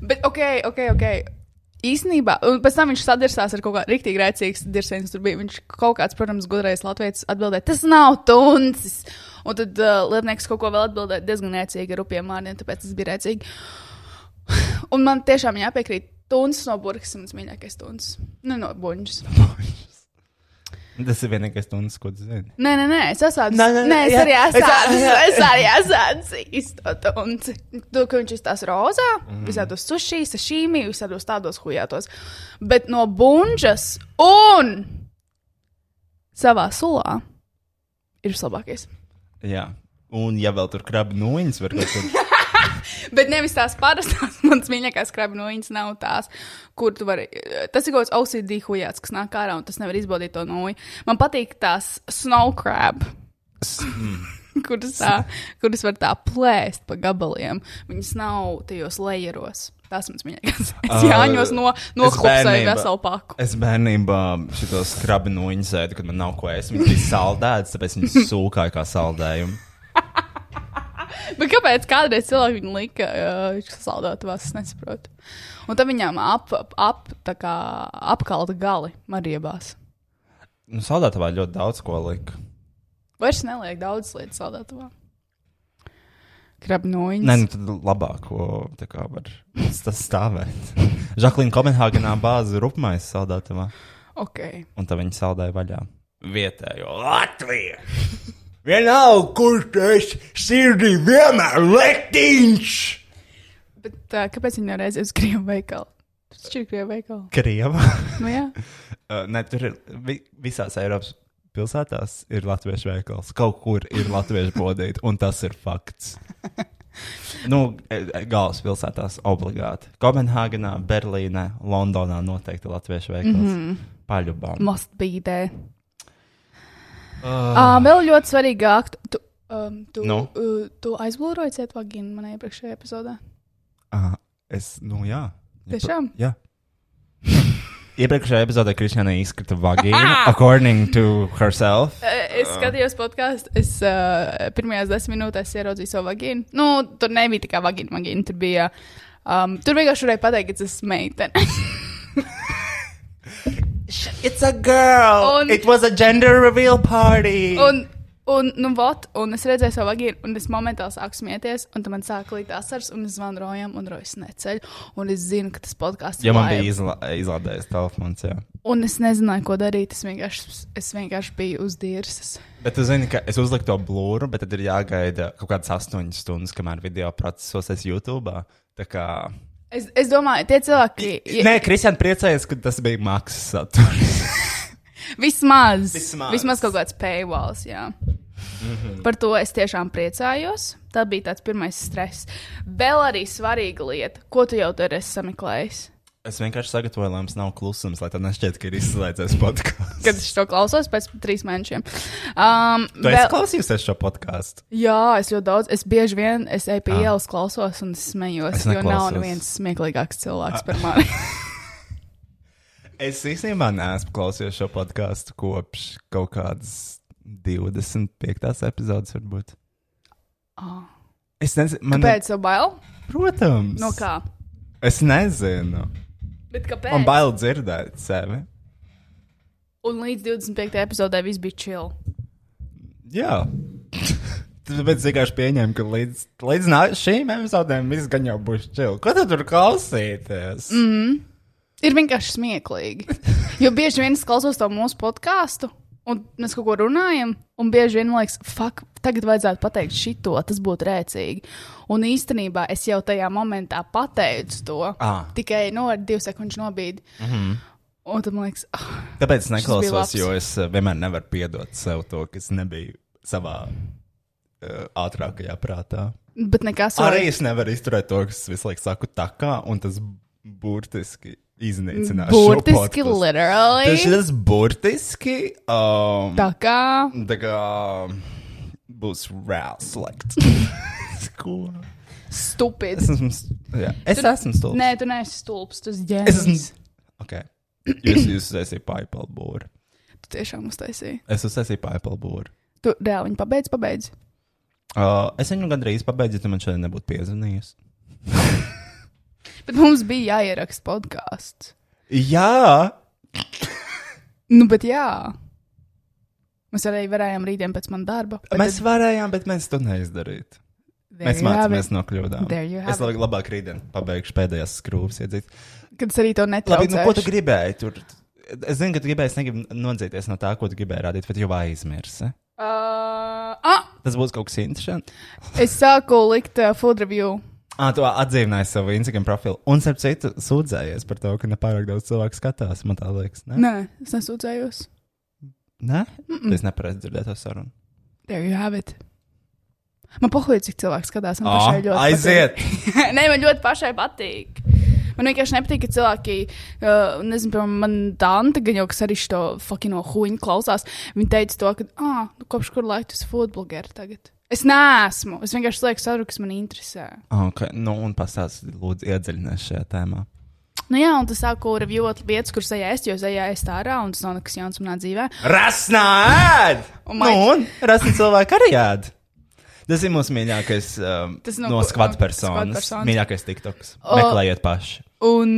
[SPEAKER 3] Bet, ok, ok, ok. Īsnībā, un pēc tam viņš sadirsās ar kaut kādu rīktīgi rēcīgu dirzienu. Tur bija viņš kaut kāds, protams, gudrais latviečs atbildēja, tas nav tuncis. Un tad uh, Lietnieks kaut ko vēl atbildēja diezgan rēcīgi ar rupjiem vārdiem, tāpēc tas bija rēcīgi. un man tiešām jāpiekrīt, tuncis no burkas ir mans mīļākais tuncis. Nu, no buņģis.
[SPEAKER 2] Tas ir vienīgais stundas, ko tu zini.
[SPEAKER 3] Nē, nē, nē, es esmu.
[SPEAKER 2] Nē, nē,
[SPEAKER 3] Nē, es
[SPEAKER 2] jā.
[SPEAKER 3] arī
[SPEAKER 2] Es-
[SPEAKER 3] esmu.
[SPEAKER 2] jā.
[SPEAKER 3] Es arī esmu īstenībā. Un to, ka viņš izstāsta rozā, mm. visādos sushi, sashīmī, visādos tādos hujātos. Bet no bunžas un savā sulā ir vislabākais.
[SPEAKER 2] Jā. Un, ja vēl tur krabi nūjiņas var kaut kur.
[SPEAKER 3] Bet nevis tās parastās, manas mīļākās skrabinojas nav tās, kur tu vari. Tas ir kaut kāds OCD hujāts, kas nāk ārā un tas nevar izbaudīt to noju. Man patīk tās snow crab. Hmm. kuras, tā, kuras var tā plēst pa gabaliem. Viņas nav tajos lejeros. Tās mums mīļākās. Es jāņos no, no
[SPEAKER 2] Es
[SPEAKER 3] kopsēju
[SPEAKER 2] bērnībā-
[SPEAKER 3] veselu paku.
[SPEAKER 2] Es bērnībā šitos krabi nūjiņas ēdu, kad man nav ko ēst. Viņas bija saldētas, tāpēc viņas sūkāja kā saldējumu.
[SPEAKER 3] Bet kāpēc kādreiz cilvēki viņu lika uh, saldētavās, es nesaprotu. Un tad viņām ap, ap, tā kā apkalta gali mariebās.
[SPEAKER 2] Nu, saldētavā ļoti daudz ko lika.
[SPEAKER 3] Vairs neliek daudz lietas saldētavā. Krabnojiņas.
[SPEAKER 2] Nē, nu tad labāko tā kā var s- tas stāvēt. Žaklīna Kopenhāgenā bāzi rupmais saldētavā.
[SPEAKER 3] Ok.
[SPEAKER 2] Un tad viņi saldēja vaļā. Vietējo Latviju! Vienalga, kurš tas sirdī vienmēr letiņš!
[SPEAKER 3] Bet uh, kāpēc viņi nereiz uz Krievu veikalu? Tas ir Krievu veikalu.
[SPEAKER 2] Krieva.
[SPEAKER 3] Nu jā.
[SPEAKER 2] Uh, ne, tur ir vi, visās Eiropas pilsētās ir latviešu veikals. Kaut kur ir latviešu bodīte, un tas ir fakts. Nu, e- e- galvaspilsētās obligāti. Kopenhāgenā, Berlīnē, Londonā noteikti ir latviešu veikals.
[SPEAKER 3] Mhm.
[SPEAKER 2] Mm -hmm. Paļubām.
[SPEAKER 3] Must be there. Uh, vēl ļoti svarīgi, ka tu, um, tu,
[SPEAKER 2] Ah. Nu?
[SPEAKER 3] uh, tu aizbūvēji cietvaginu manā iepriekšējā epizodē.
[SPEAKER 2] Uh, es, nu, jā.
[SPEAKER 3] Tiešām?
[SPEAKER 2] Jā. Iepriekšējā epizodē Kristiāna izkrita vagīnu, according to herself.
[SPEAKER 3] E, Eh, Es
[SPEAKER 2] Ah.
[SPEAKER 3] skatījos podkāstu, es uh, pirmajās desmit minūtēs ieraudzīju savu vagīnu. Nu, tur nebija tikai vagīna, vagīna. Tur bija. Um, tur vienkārši varēja pateikt, ka tas ir meitene.
[SPEAKER 2] It's a girl!
[SPEAKER 3] Un-
[SPEAKER 2] It was a gender reveal party!
[SPEAKER 3] un, un, nu, vot, un es redzēju savu vagīnu, un es momentāli sāku smieties, un tad man sāk līt asars, un es zvanu rojam, un rojas neceļ. Un es zinu, ka tas podkāsts
[SPEAKER 2] Ja man bija izla izlādējis telefons, jā.
[SPEAKER 3] Un es nezināju, ko darīt. Es vienkārši, es vienkārši biju uz dīrsas.
[SPEAKER 2] Bet tu zini, ka es uzliku to blūru, bet tad ir jāgaida kaut kādas astoņas stundas, kamēr video procesosies YouTube. Tā kā.
[SPEAKER 3] Es, es domāju, tie cilvēki
[SPEAKER 2] Ja. Nē, Kristian priecājies, ka tas bija maksas saturs.
[SPEAKER 3] vismaz,
[SPEAKER 2] Vismaz. Mhm.
[SPEAKER 3] vismaz kaut kāds paywalls. Jā. Par to es tiešām priecājos. Tā bija tāds pirmais stress. Vēl arī svarīga lieta, ko tu jau tur esi sameklējis.
[SPEAKER 2] es vienkārši sagatavoju, lai mums nav klusums, lai tā nešķiet, ka ir izslēdzies podkāsts.
[SPEAKER 3] Kad es to klausos pēc trīs mēnešiem. Um,
[SPEAKER 2] Tu esi klausījusies šo podkāstu.
[SPEAKER 3] jā, es ļoti daudz, es bieži vien es eju pie ielas, klausos un es smējos.
[SPEAKER 2] Ah. Es
[SPEAKER 3] jo nav
[SPEAKER 2] neklausos. Ah.
[SPEAKER 3] neviens smieklīgāks cilvēks par mani.
[SPEAKER 2] Es īstenībā neesmu klausījies šo podkāstu kopš kaut kādas 25. epizodes, varbūt.
[SPEAKER 3] Ah.
[SPEAKER 2] Es nezinu, man
[SPEAKER 3] Kāpēc tev bail?
[SPEAKER 2] ir. Protams.
[SPEAKER 3] No kā?
[SPEAKER 2] Es nezinu.
[SPEAKER 3] Bet kāpēc?
[SPEAKER 2] Man bail dzirdēt sevi.
[SPEAKER 3] Un līdz 25. epizodē viss bija chill.
[SPEAKER 2] Jā. Tāpēc es vienkārši pieņēmu, ka līdz, līdz nā- šīm epizodēm viss gan jau būs čili. Ko tu tur klausīties? Mm.
[SPEAKER 3] Ir vienkārši smieklīgi. Jo bieži vien es klausos to mūsu podkāstu, un mēs kaut ko runājam, un bieži vien man liekas, fuck, tagad vajadzētu pateikt šito, tas būtu rēcīgi. Un īstenībā es jau tajā momentā pateicu to.
[SPEAKER 2] Ah.
[SPEAKER 3] Tikai no ar divu sekundžu nobīdi. Mm -hmm.
[SPEAKER 2] Mhm.
[SPEAKER 3] Un tad man liekas, ah,
[SPEAKER 2] Tāpēc es
[SPEAKER 3] bija labs.
[SPEAKER 2] neklausos, jo es eh, vienmēr nevaru piedot sev to, kas nebija savā uh, ātrākajā prātā.
[SPEAKER 3] bet nekas
[SPEAKER 2] Arī es nevaru izturēt to, kas visu laiku saku tā kā, un tas burtiski iznīcinās. šo
[SPEAKER 3] Burtiski,
[SPEAKER 2] podcastu. Tas
[SPEAKER 3] literally.
[SPEAKER 2] ir burtiski. Um,
[SPEAKER 3] Tā kā.
[SPEAKER 2] Tā kā um, būs rāles slēgts. Ko?
[SPEAKER 3] Stupid.
[SPEAKER 2] Es esmu. st- Jā, es
[SPEAKER 3] Tu-
[SPEAKER 2] esmu stulbs.
[SPEAKER 3] Nē, tu neesi stulbs, tu esi
[SPEAKER 2] Es esmu.
[SPEAKER 3] ģērbs.
[SPEAKER 2] Ok. Jūs, jūs uztaisījāt paipal būru.
[SPEAKER 3] Tu tiešām uztaisīji.
[SPEAKER 2] Es uztaisīju paipal būru.
[SPEAKER 3] Tu reāli viņu pabeidz, pabeidz.
[SPEAKER 2] Uh, es viņu gandrīz pabeidzu, ja tu man šodien nebūtu piezvanījis.
[SPEAKER 3] Bet mums bija jāieraksta podkāsts.
[SPEAKER 2] Jā!
[SPEAKER 3] Nu, bet jā. Mēs arī varējām rītdien pēc manas darba. bet
[SPEAKER 2] Mēs
[SPEAKER 3] tad-
[SPEAKER 2] varējām, bet mēs to neizdarījām.
[SPEAKER 3] There
[SPEAKER 2] Mēs
[SPEAKER 3] you have
[SPEAKER 2] mācāmies
[SPEAKER 3] it.
[SPEAKER 2] no kļūdām.
[SPEAKER 3] There you have
[SPEAKER 2] Es labi, labāk rītdien pabeigšu pēdējās skrūves iedzīt.
[SPEAKER 3] Kad es arī to
[SPEAKER 2] Labi, nu,
[SPEAKER 3] netraucēju.
[SPEAKER 2] ko tu gribēji? Tur Es zinu, ka tu gribēji, es negribu nodzīties no tā, ko tu gribēji rādīt, bet jau aizmirsi.
[SPEAKER 3] Uh, ah,
[SPEAKER 2] Tas būs kaut kas interesants.
[SPEAKER 3] es sāku likt uh, food review.
[SPEAKER 2] Ah, tu atzīmēji savu Instagram profilu. Un, starp citu, sūdzējies par to, ka ne pārāk daudz cilvēku skatās. Man tā liekas, ne?
[SPEAKER 3] Nē, es nesūdzējos.
[SPEAKER 2] Nē, tas nepareizi dzirdēt to sarunu.
[SPEAKER 3] There you have it. Man pohūja, cik cilvēks skatās. Man
[SPEAKER 2] Ah,
[SPEAKER 3] pašai ļoti
[SPEAKER 2] aiziet!
[SPEAKER 3] patīk. Nē, man ļoti pašai patīk. Man vienkārši nepatīk, ka cilvēki, uh, nezinu, piemēram, man Dante, gan jau kas arī šo fucking huņu klausās, viņa teica to, ka, ah, nu, kopš kur laika tu esi foodblogeri tagad? Es neesmu. Es vienkārši lieku saru, kas man interesē.
[SPEAKER 2] Ok, nu un pastāstiet, lūdzu, iedziļināties šajā tēmā.
[SPEAKER 3] Nu jā, un tu sāku reviewot lietas, kuras ejā es, jo es ejā es tā ārā, un tas nav nekas jauns manā dzīvē.
[SPEAKER 2] Rasnā ēd!
[SPEAKER 3] Oh
[SPEAKER 2] nu,
[SPEAKER 3] my-
[SPEAKER 2] un rasnā cilvēka arī ēd. Tas ir mūsu mīļākais um,
[SPEAKER 3] Tas no
[SPEAKER 2] no, no
[SPEAKER 3] ko-
[SPEAKER 2] skvatu
[SPEAKER 3] no
[SPEAKER 2] personas.
[SPEAKER 3] skvatpersonas.
[SPEAKER 2] Mīļākais tiktoks.
[SPEAKER 3] O-
[SPEAKER 2] Meklējiet paši.
[SPEAKER 3] Un,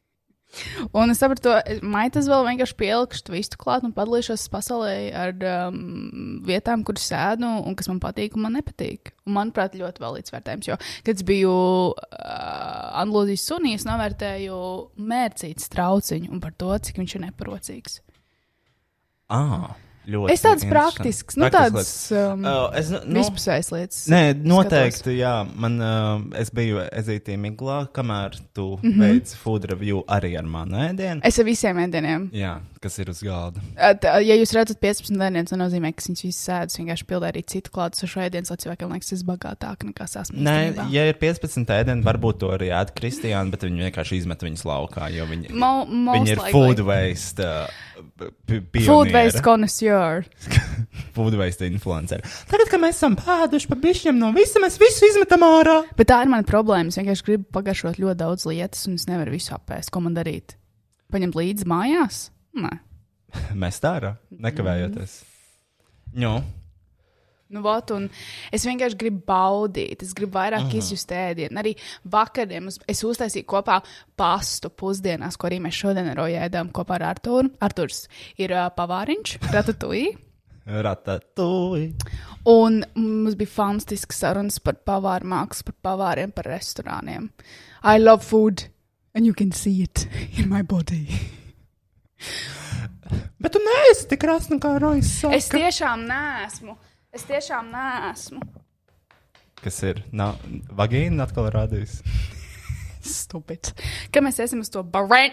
[SPEAKER 3] un es sapratu, maitas vēl vienkārši pielikšu to visu klāt un padalīšos pasaulē ar um, vietām, kur sēdu un kas man patīk un man nepatīk. Un, manuprāt, ļoti vēl līdzvērtējums, jo, kad es biju uh, Anglijas sunī, es novērtēju mērcīt strauciņu un par to, cik viņš ir neparocīgs.
[SPEAKER 2] Ah, ļoti.
[SPEAKER 3] Es tāds
[SPEAKER 2] interesanti.
[SPEAKER 3] praktisks, nu
[SPEAKER 2] Praktisks
[SPEAKER 3] tāds
[SPEAKER 2] lietas.
[SPEAKER 3] um,
[SPEAKER 2] Uh, es, nu, nu,
[SPEAKER 3] vispusējs lietas.
[SPEAKER 2] Nē, noteikti, jā. Man, uh, es biju ezītī Miglā, kamēr tu
[SPEAKER 3] Mhm.
[SPEAKER 2] mm -hmm. veici food review arī ar manu ēdienu.
[SPEAKER 3] Es ar visiem ēdieniem.
[SPEAKER 2] Jā, kas ir uz galda.
[SPEAKER 3] At, uh, ja jūs redzat 15 dienas, tas nozīmē, ka viņas visas sēdes vienkārši pildīja arī citu klātesošu ēdienu, lai cilvēkiem liekas, tas bagātāk nekā sasprāst.
[SPEAKER 2] Nē, ja ir 15 ēdienu, varbūt to arī ēd Kristiāna, bet viņi vienkārši izmet viņus laukā, jo viņi,
[SPEAKER 3] Mo- most
[SPEAKER 2] viņi ir
[SPEAKER 3] likely.
[SPEAKER 2] food waste. Uh, p- pionieri.
[SPEAKER 3] Food waste connoisseur.
[SPEAKER 2] food waste influenceri. Tagad, kad mēs esam pēduši pa bišķiem no visa, mēs visu izmetam ārā.
[SPEAKER 3] Bet tā ir mana problēma. Es vienkārši gribu pagaršot ļoti daudz lietas, un es nevaru visu apēst. Ko man darīt? Paņemt līdzi mājās? Nē.
[SPEAKER 2] Mēs tā ārā, nekavējoties. Nu,
[SPEAKER 3] Nu, vot, un es vienkārši gribu baudīt, es gribu vairāk izjust ēdienu. Arī vakarā es uztaisīju kopā pastu pusdienās, ko arī mēs šodien ar Roju ēdām kopā ar Artūru. Artūrs ir uh, pavāriņš, ratatūji.
[SPEAKER 2] ratatūji.
[SPEAKER 3] Un mums bija fantastisks sarunas par pavāru mākslu, par pavāriem, par restorāniem. I love food, and you can see it in my body.
[SPEAKER 2] Bet tu neesi tik krāsna kā Rojas.
[SPEAKER 3] Es tiešām neesmu. Es tiešām neesmu.
[SPEAKER 2] Kas ir? Nav, vagīna atkal rādījis.
[SPEAKER 3] Stupid. Kad mēs iesim uz to barēnu,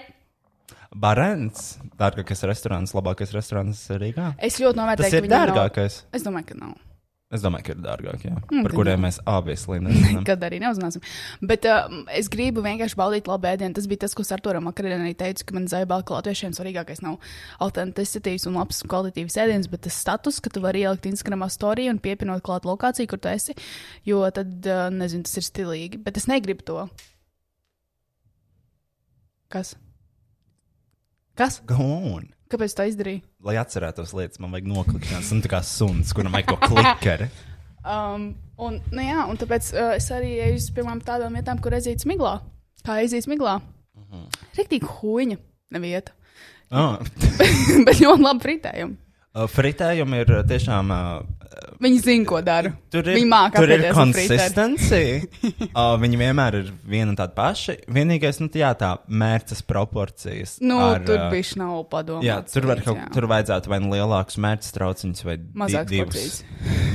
[SPEAKER 2] Barents, dārgākais restorāns, labākais restorāns Rīgā.
[SPEAKER 3] es ļoti novērtēju,
[SPEAKER 2] Tas ir
[SPEAKER 3] viņam nav-
[SPEAKER 2] dārgākais.
[SPEAKER 3] Es domāju, ka nav. Nu,
[SPEAKER 2] Es domāju, ka ir dārgāk, jā. Mm,
[SPEAKER 3] tad
[SPEAKER 2] par kuriem mēs abi slimnam.
[SPEAKER 3] Kad arī neuzzināsim. Bet um, es gribu vienkārši baudīt labu ēdienu. Tas bija tas, ko Sartoram vakarā arī teicu, ka man zaibāk latviešiem svarīgākais nav autenticitātes un labs kvalitīvs ēdiens, bet tas status, ka tu vari ielikt Instagram storī un piepinot klāt lokāciju, kur tu esi, jo tad, uh, nezinu, tas ir stilīgi. Bet es negribu to. Kas? Kas?
[SPEAKER 2] Gaun!
[SPEAKER 3] Kāpēc tā izdarīja?
[SPEAKER 2] Lai atcerētos lietas, man vajag noklikšķināt. Esmu tā kā suns, kuram vajag kaut ko klikeri.
[SPEAKER 3] Um, un, nu jā, un tāpēc uh, es arī eju uz piemēram, tādām vietām, kur aiziet smiglā. Kā aiziet smiglā? Uh
[SPEAKER 2] Mhm.
[SPEAKER 3] -huh. Riktīgi huņa nevieta,
[SPEAKER 2] Ah,
[SPEAKER 3] bet ļoti labi fritējumi.
[SPEAKER 2] fritējumi ir tiešām. ah,
[SPEAKER 3] Viņi zina, ko dara.
[SPEAKER 2] Tur ir,
[SPEAKER 3] Viņi māca,
[SPEAKER 2] tur ir konsistencija. uh, viņi vienmēr ir viena un tāda paša. Vienīgais, nu, jā, tā mērķis proporcijas.
[SPEAKER 3] Nu,
[SPEAKER 2] ar,
[SPEAKER 3] ar, tur
[SPEAKER 2] ā,
[SPEAKER 3] bija šāda padomā.
[SPEAKER 2] Jā, tur, var, kaut, tur vajadzētu vai nu lielākus mērķus, trauciņus vai di-
[SPEAKER 3] Mazākas
[SPEAKER 2] divus.
[SPEAKER 3] porcijas.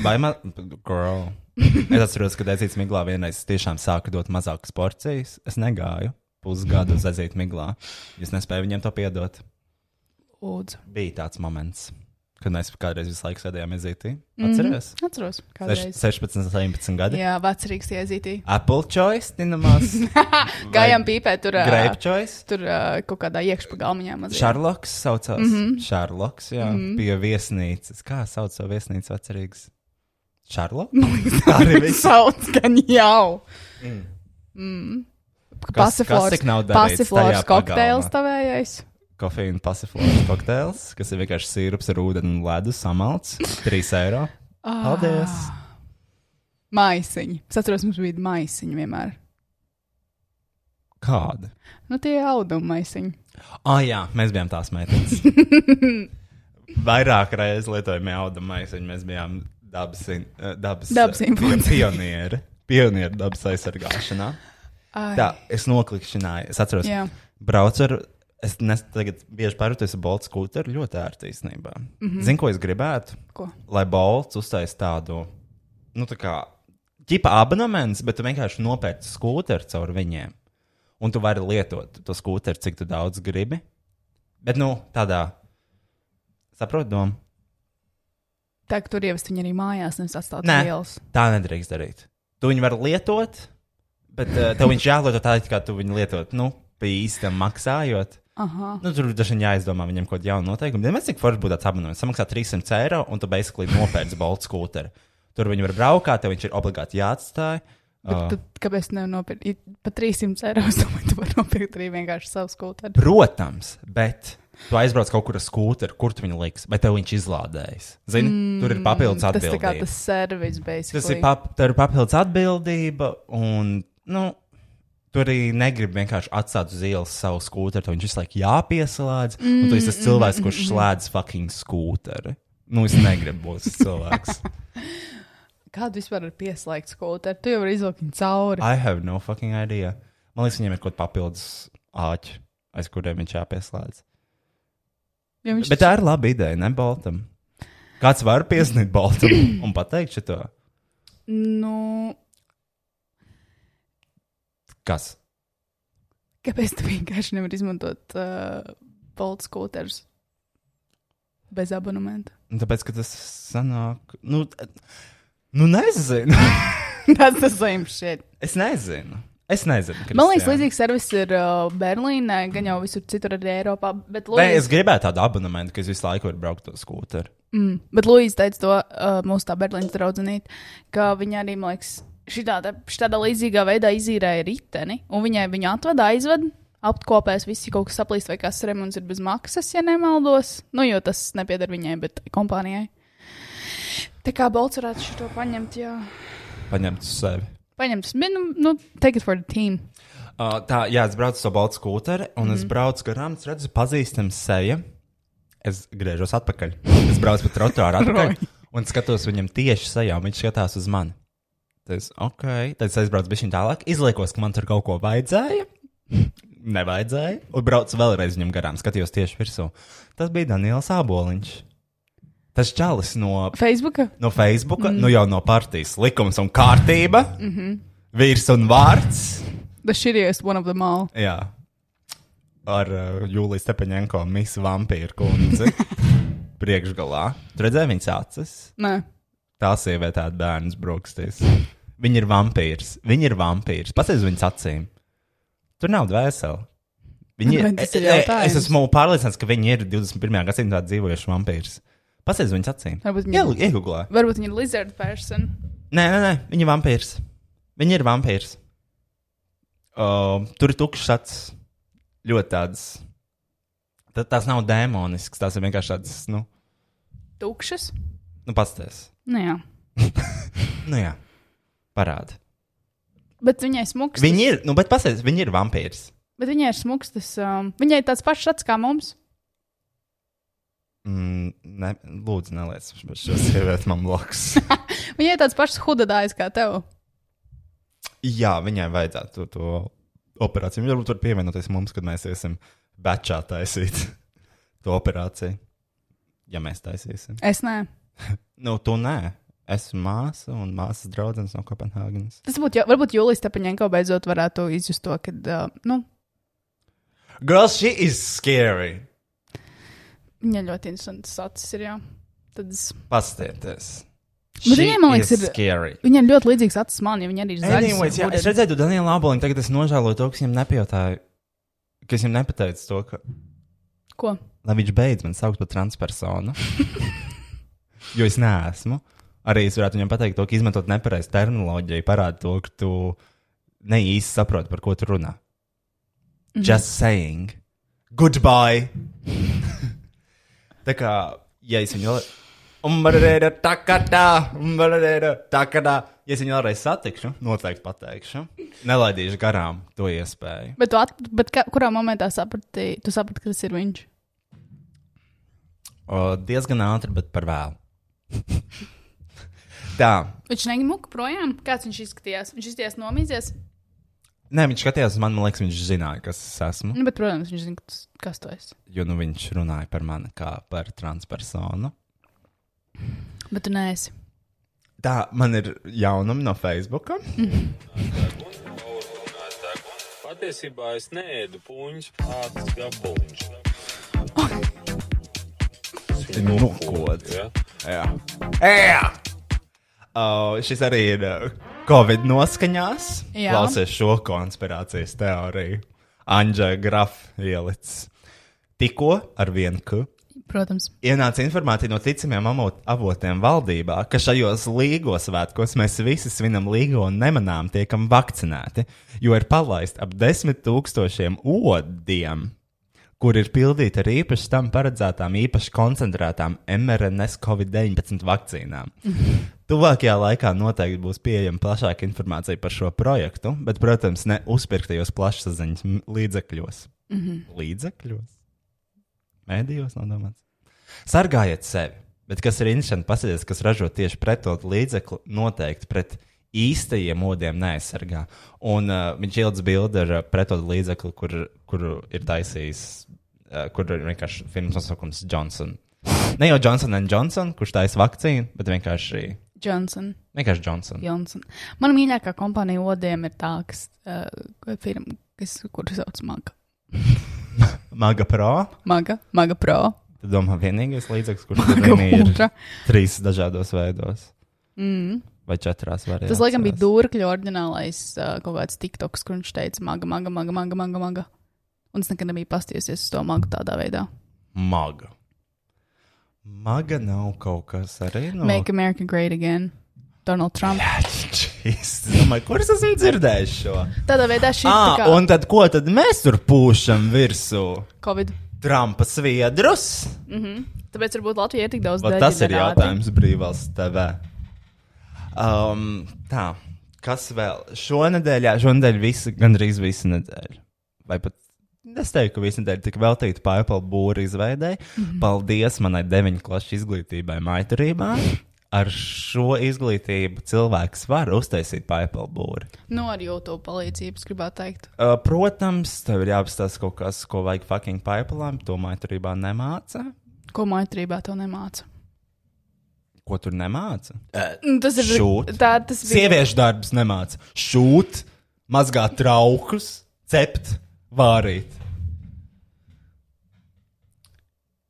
[SPEAKER 2] Vai ma... Girl. Es atceros, ka Dēzītas Miglā vienreiz tiešām sāka dot mazākas porcijas. Es negāju pusgadu uz Dēzītas Miglā. Es nespēju viņiem to piedot.
[SPEAKER 3] Lūdzu.
[SPEAKER 2] Bija tāds moments, kad mēs kādreiz visu laiku sēdējām izītī.
[SPEAKER 3] Mhm.
[SPEAKER 2] Atceries? Mm
[SPEAKER 3] Atceros,
[SPEAKER 2] -hmm.
[SPEAKER 3] kādreiz.
[SPEAKER 2] 16, 17 gadi.
[SPEAKER 3] Jā, vecrīgs iezītī.
[SPEAKER 2] Apple choice, cinemās,
[SPEAKER 3] Gājām pīpē, tur, ā,
[SPEAKER 2] grape choice.
[SPEAKER 3] tur ā, kaut kādā iekšpagalmiņā mazliet.
[SPEAKER 2] Šarloks saucās. Mm
[SPEAKER 3] Mhm.
[SPEAKER 2] -hmm. Šarloks, jā, mm -hmm. pie viesnīcas. Kā sauc savu viesnīcu vecerīgs? Šarloks? Tā arī
[SPEAKER 3] Viņš
[SPEAKER 2] viss. Mm.
[SPEAKER 3] sauc, gan jau. Mm.
[SPEAKER 2] Kas- kas tik nav
[SPEAKER 3] Pasiflors,
[SPEAKER 2] darīts tajā
[SPEAKER 3] pasiflors kokteils
[SPEAKER 2] pagalmā?
[SPEAKER 3] tavējais.
[SPEAKER 2] Kofeīna pasiflors kokteils, kas ir vienkārši sīrups ar ūdeni un ledu samalts. 3 eiro. Paldies!
[SPEAKER 3] Ah. Maisiņi. Es atceros, mums bija maisiņi vienmēr.
[SPEAKER 2] Kāda?
[SPEAKER 3] Nu, tie auduma maisiņi.
[SPEAKER 2] Ah, jā, mēs bijām tās meitenes. Vairāk reizes lietojami audumais, un mēs bijām dabas, in- eh, dabas,
[SPEAKER 3] Dabas
[SPEAKER 2] eh,
[SPEAKER 3] influenceri.
[SPEAKER 2] pionieri. Pionieri dabas aizsargāšanā.
[SPEAKER 3] Ai.
[SPEAKER 2] Tā, es noklikšķināju. Es atceros,
[SPEAKER 3] Jā.
[SPEAKER 2] braucu ar Es nes, tagad bieži pārvietoju ar Bolts kūteri ļoti ērti īstenībā. Mm
[SPEAKER 3] Mhm.
[SPEAKER 2] -hmm. Zinu, ko es gribētu?
[SPEAKER 3] Ko?
[SPEAKER 2] Lai Bolts uztais tādu, nu tā kā, ģipa abonements, bet tu vienkārši nopērci skūteri caur viņiem. Un tu vari lietot to skūteri, cik tu daudz gribi. Bet, nu, tādā, saprot domu?
[SPEAKER 3] Tā kā tur ievest viņu arī mājās, nevis atstāt
[SPEAKER 2] Nē,
[SPEAKER 3] ielas.
[SPEAKER 2] tā nedrīkst darīt. Tu viņu vari lietot, bet uh, tev viņš jālieto tā, it kā tu viņu lietot, nu, pie īsta maksājot.
[SPEAKER 3] Aha.
[SPEAKER 2] Nu, tur dažiem jāizdomā viņam kaut kāda jauna noteikuma. Vienmēr cik forši būtu tāds abonements. Samaksā 300 eiro un tu basically nopērci Bolts skūteri. Tur viņi var braukāt, tev viņš ir obligāti jāatstāj.
[SPEAKER 3] Bet
[SPEAKER 2] Uh,
[SPEAKER 3] tad, kāpēc nevar nopirkt? Ir Par 300 eiro es domāju, tu vari nopirkt arī vienkārši savu skūteri.
[SPEAKER 2] protams, bet tu aizbrauc kaut kur ar skūteri, kur tu viņu liks, vai tev viņš izlādējas. Zini, mm, tur ir papildus
[SPEAKER 3] Tas tā kā
[SPEAKER 2] atbildība.
[SPEAKER 3] tas servis beigas.
[SPEAKER 2] Tas ir, pap, tā ir papildus atbildība, un nu, tu arī negribi vienkārši atstāt uz ielas savu skūteri. tev Viņš visu laiku jāpieslēdz, un tu esi tas cilvēks, kurš
[SPEAKER 3] Mm.
[SPEAKER 2] slēdz fucking skūteri. Nu, es negribu būt tas cilvēks.
[SPEAKER 3] Kādu vispār ir pieslēgt skūteri? Tu jau vari izvilkt viņu cauri.
[SPEAKER 2] I have no fucking idea. Man liekas, viņiem ir kaut kāda papildus āķa, aiz kuriem viņš jāpieslēdz.
[SPEAKER 3] Ja viņš
[SPEAKER 2] Bet tā ir laba ideja, ne Baltam. Kāds var piesniegt Baltam un pateikt šo?
[SPEAKER 3] Nu,
[SPEAKER 2] Kas?
[SPEAKER 3] kāpēc tu vienkārši nevar izmantot uh, Bolts skūterus bez abonementa?
[SPEAKER 2] Nu, Tāpēc, ka tas sanāk. Nu, t- nu nezinu.
[SPEAKER 3] Tas tas zem šeit.
[SPEAKER 2] Es nezinu. Es nezinu. Kristian.
[SPEAKER 3] Man liekas, līdzīgs servis ir uh, Berlīnē, gan jau visur citur arī Eiropā. Bet
[SPEAKER 2] Nē,
[SPEAKER 3] Lūdzu,
[SPEAKER 2] es gribēju tādu abonementu, ka es visu laiku varu braukt ar skūteri.
[SPEAKER 3] Mm, bet Lūija teica to uh, mūsu tā Berlīnas draudzenīte, ka viņa arī, man liekas, šitā te- šitādā līdzīgā veidā izīrēja riteni, un viņai viņu atveda, aizveda. Apkopēs visi kaut kas saplīst, vai kas remonts ir bez maksas, ja nemaldos. Nu, jo tas nepieder viņai, bet kompānijai. Tā kā Bolts varētu šo paņemt, jā.
[SPEAKER 2] Paņemt uz sevi.
[SPEAKER 3] Paņemt, bet, nu, nu, take it for the team.
[SPEAKER 2] Uh, tā, jā, es braucu ar baltu skūteri, un mm. es braucu garām, es redzu, pazīstams seja. Es griežos atpakaļ. Es braucu pa trotuāru atpakaļ, un skatos viņam tieši sejā, un viņš skatās uz mani. Tas ok, tad es aizbraucu bišķiņ tālāk, izliekos, ka man tur kaut ko vajadzēja. Nevajadzēja, un braucu vēlreiz viņam garām, skatījos tieši virsū. Tas bija Daniels Aboliņš. Tas čalis no
[SPEAKER 3] Facebookā?
[SPEAKER 2] no Facebook, mm. nu jau no partijas likums un kārtība, mm -hmm. vīrs un vārds.
[SPEAKER 3] Mhm. The shittiest one of them all.
[SPEAKER 2] Jā. Ar uh, Jūliju Stepaņēnko, Miss Vampīru kundzi. Priekšgalā. Tu redzēji viņas acis?
[SPEAKER 3] Nē.
[SPEAKER 2] Tā sieviete, tāda bērns brokstīs. Viņa ir vampīrs. Viņa ir vampīrs. Paskaties uz viņas acīm. Tur nav dvēseli. Viņa
[SPEAKER 3] Vai
[SPEAKER 2] ir.
[SPEAKER 3] tas ir
[SPEAKER 2] e- e- es
[SPEAKER 3] jautājums?
[SPEAKER 2] esmu pārliecināts, ka viņa ir 21. gadsimta dzīvojuša vampīrs. Paskaties uz viņas acīm.
[SPEAKER 3] Varbūt viņa-
[SPEAKER 2] Ielu- Iegooglē.
[SPEAKER 3] Varbūt viņa ir lizard person.
[SPEAKER 2] Nē, nē, nē viņa ir vampīrs. Viņa ir vampīrs. Uh, tur ir tukšs acis. Ļoti tāds. Tā, tās nav demonisks, tās ir vienkārši tādas, nu,
[SPEAKER 3] Tukšas?
[SPEAKER 2] nu pasties.
[SPEAKER 3] Nu, jā.
[SPEAKER 2] Nu, jā, parādi.
[SPEAKER 3] Bet viņai smūgs.
[SPEAKER 2] Viņi ir, nu, bet pasties, viņi ir vampīrs.
[SPEAKER 3] Bet viņai ir smūgs. Um, viņai ir tāds pašs acis kā mums.
[SPEAKER 2] Mm, ne, lūdzu, neliec šo sievieti man blakus.
[SPEAKER 3] Viņai ir tāds pašs hudadājs kā tev.
[SPEAKER 2] jā, viņai vajadzētu to, to operāciju. Viņa varbūt var pievienoties mums, kad mēs iesim bečā taisīt to operāciju. Ja mēs taisīsim.
[SPEAKER 3] Es nē.
[SPEAKER 2] Nu, tu nē. Esmu māsa un māsas draugs no Kopenhāgenes.
[SPEAKER 3] Tas būtu, jau- varbūt Jūlijas Stepaņēnko beidzot varētu izjust to, ka uh, nu,
[SPEAKER 2] Girl, she is scary.
[SPEAKER 3] viņai ļoti interesants acis ir. Jā. Tad es...
[SPEAKER 2] Pastieties.
[SPEAKER 3] Bet viņai, man liekas, ir-
[SPEAKER 2] scary.
[SPEAKER 3] Viņai ir ļoti līdzīgs acis man, ja viņa arī ir zaļa.
[SPEAKER 2] Anyways, jā, es redzēju, tu Daniela Aboliņu, tagad es nožēloju to, ka es viņam nepajautāju, ka es viņam nepateicu to, ka,
[SPEAKER 3] Ko?
[SPEAKER 2] lai viņš beidz man saukt par transpersonu. jo es neesmu. Arī es varētu viņam pateikt to, ka izmantot nepareizu terminoloģiju parāda to, ka tu ne īsti saproti, par ko tu runā. Mm -hmm. Just saying. Goodbye! Tā kā, ja es viņu vēlreiz. Umbarēra, takatā, umbarēra, takatā. Ja es viņu vēlreiz satikšu, noteikti pateikšu. Nelaidīšu garām to iespēju.
[SPEAKER 3] Bet, tu at... Bet kā, kurā momentā saprati, tu saprati, ka tas ir viņš?
[SPEAKER 2] O, diezgan ātri, bet par vēlu. Tā,
[SPEAKER 3] Viņš neņem muku projām. Kāds viņš izskatījās? Viņš izskatījās nomīzies.
[SPEAKER 2] Nē, viņš skatījās uz mani, man liekas, viņš zināja, kas es esmu.
[SPEAKER 3] Nu, bet, protams, viņš zina, kas- kas tu esi.
[SPEAKER 2] Jo nu, viņš runāja par mani kā par transpersonu.
[SPEAKER 3] Bet tu neesi.
[SPEAKER 2] Tā, man ir jaunumi no Nu, Facebook.
[SPEAKER 5] Patiesībā es neēdu puņus, pārtas gabaliņš.
[SPEAKER 2] Nokods.
[SPEAKER 5] Ja?
[SPEAKER 2] Jā. Jā! Uh, šis arī ir uh, Covid noskaņās.
[SPEAKER 3] Jā.
[SPEAKER 2] Klausies šo konspirācijas teoriju. Anģela Grafa ielicis. Tikko ar vienu ku
[SPEAKER 3] Protams.
[SPEAKER 2] ienāca informācija no ticamiem amot- avotiem valdībā, ka šajos līgos svētkos mēs visi svinam līgo un nemanām tiekam vakcinēti, jo ir palaist ap desmit tūkstošiem odiem, kur ir pildīti ar īpaši tam paredzētām, īpaši koncentrētām mRNS COVID-19 vakcīnām. Tuvākajā laikā noteikti būs pieejama plašāka informācija par šo projektu, bet, protams, ne uzpirktajos plašsaziņas m- līdzekļos. Mm
[SPEAKER 3] Mhm.
[SPEAKER 2] -hmm. Līdzekļos? Mēdījos nav domāts. Sargājiet sevi, bet kas ir interesanti, pasties, kas ražo tieši pretot līdzekli, noteikti pret īstajiem modiem neaizsargā. Un uh, viņš ielicis bildi ar uh, pretot līdzekli, kur, kur ir taisījis, uh, kur ir vienkārši firmas nosaukums Johnson. Ne jau Johnson and Johnson, kurš taisa vakcīnu, bet vienkārši,
[SPEAKER 3] Johnson.
[SPEAKER 2] vienkārši Johnson.
[SPEAKER 3] Johnson. Mana mīļākā kompānija Odiem ir tā, kas, uh, firma, kas kuru sauc Maga.
[SPEAKER 2] Maga Pro.
[SPEAKER 3] Maga, Maga Pro.
[SPEAKER 2] Tad domā, vienīgais līdzeklis, kurš
[SPEAKER 3] Maga
[SPEAKER 2] viņam ir
[SPEAKER 3] Ultra.
[SPEAKER 2] trīs dažādos veidos
[SPEAKER 3] Mm.
[SPEAKER 2] vai četrās variantās.
[SPEAKER 3] Tas, laikam, bija Dārkļa orģinālais uh, kaut kāds tiktoks, kur viņš teica, maga, maga, maga, maga, maga. maga. Un es nekad nebiju pastījusies uz to magu tādā veidā.
[SPEAKER 2] Maga. Maga nav kaut kas arī
[SPEAKER 3] No.
[SPEAKER 2] no
[SPEAKER 3] Make America Great Again. Donald Trump. Yeah.
[SPEAKER 2] Jezus, Domāju, kur es esmu dzirdējis šo?
[SPEAKER 3] Tādā veidā šī ir
[SPEAKER 2] Ah,
[SPEAKER 3] kā
[SPEAKER 2] un tad ko tad mēs tur pūšam virsū?
[SPEAKER 3] Covid. Mhm.
[SPEAKER 2] Trumpa sviedrus?
[SPEAKER 3] Tāpēc varbūt Latvija ir tik daudz
[SPEAKER 2] Va, tas ir
[SPEAKER 3] deģenerāti.
[SPEAKER 2] jautājums brīvās TV. Um, tā, kas vēl? Šonadēļ, jā, šonadēļ visi, gandrīz visa nedēļa. Vai pat es teiktu, ka visa nedēļa tika veltīta Pāvila būra izveidai. Mm -hmm. Paldies manai deviņu klašu izglītībai, maiturībā. Ar šo izglītību cilvēks var uztaisīt Pāvila būru.
[SPEAKER 3] Nu, ar YouTube palīdzību, es gribētu teikt.
[SPEAKER 2] Uh, protams, tev ir jāapstāsta kaut kas, ko vajag fucking pipeline, to maiturībā nemāca.
[SPEAKER 3] Ko maitrībā to nemāca?
[SPEAKER 2] Ko tur nemāca?
[SPEAKER 3] Nu, Tas ir
[SPEAKER 2] Shoot.
[SPEAKER 3] tā, tas bija.
[SPEAKER 2] Sieviešu darbs nemāca. Šūt, mazgāt traukus, cept, vārīt.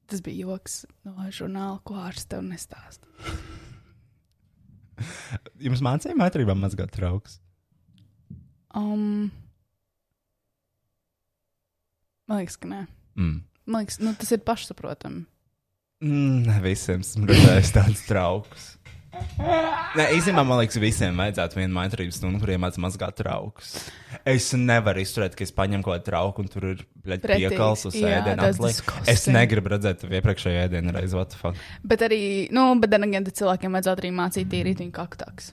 [SPEAKER 3] Tas bija joks no žurnāla, ko ārsts tev nestāsta.
[SPEAKER 2] Jums mācīja mātrībā mazgāt traukus?
[SPEAKER 3] Um, man liekas, ka nē.
[SPEAKER 2] Mm.
[SPEAKER 3] Man liekas, nu, tas ir pašsaprotami.
[SPEAKER 2] Mm, ne visiem esmu redzējis tādus traukus. Nē, īstenībā man liekas, visiem vajadzētu vienu mātrības stundu, kuriem mācīt mazgāt traukus. Es nevaru izturēt, ka es paņemu kaut kādu trauku un tur ir bļaļ,
[SPEAKER 3] Pretīgs,
[SPEAKER 2] piekals uz
[SPEAKER 3] jā,
[SPEAKER 2] ēdienu.
[SPEAKER 3] tas
[SPEAKER 2] atliek.
[SPEAKER 3] disgusting.
[SPEAKER 2] Es negribu redzēt tev iepriekšējā ēdienā reizi, what the fuck.
[SPEAKER 3] Bet arī, nu, bet then again, tad cilvēkiem vajadzētu arī mācīt tīrīt viņu kaktaks.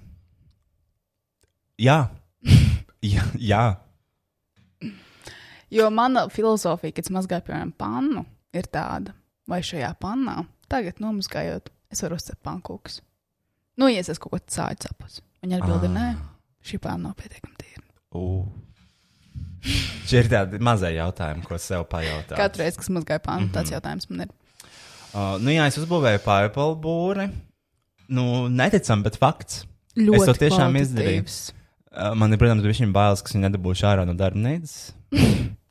[SPEAKER 2] Jā, jā. jā.
[SPEAKER 3] Jo mana filozofija, kad es mazgāju, piemēram, pannu, ir tāda, vai šajā pannā, tagad nomazgājot, es varu uzcelt pankūkus. Nu, ja es esmu kaut ko cāļu sapus. Viņa atbild ir nē, šī panna nav pietiekami tīra.
[SPEAKER 2] Ū. Šie ir tādi mazie jautājumi, ko sev pajautāt.
[SPEAKER 3] Katru reizi, kad es mazgāju pannu, tāds jautājums man ir.
[SPEAKER 2] Uh, nu, jā, es uzbūvēju pāri būri. Nu, neticam, bet fakts.
[SPEAKER 3] Ļoti
[SPEAKER 2] es to tiešām izdarīju.
[SPEAKER 3] kvalitatīvs.
[SPEAKER 2] Uh, man ir, protams, bija šim bailes, kas viņu nedabūšu ārā no darbnīcas.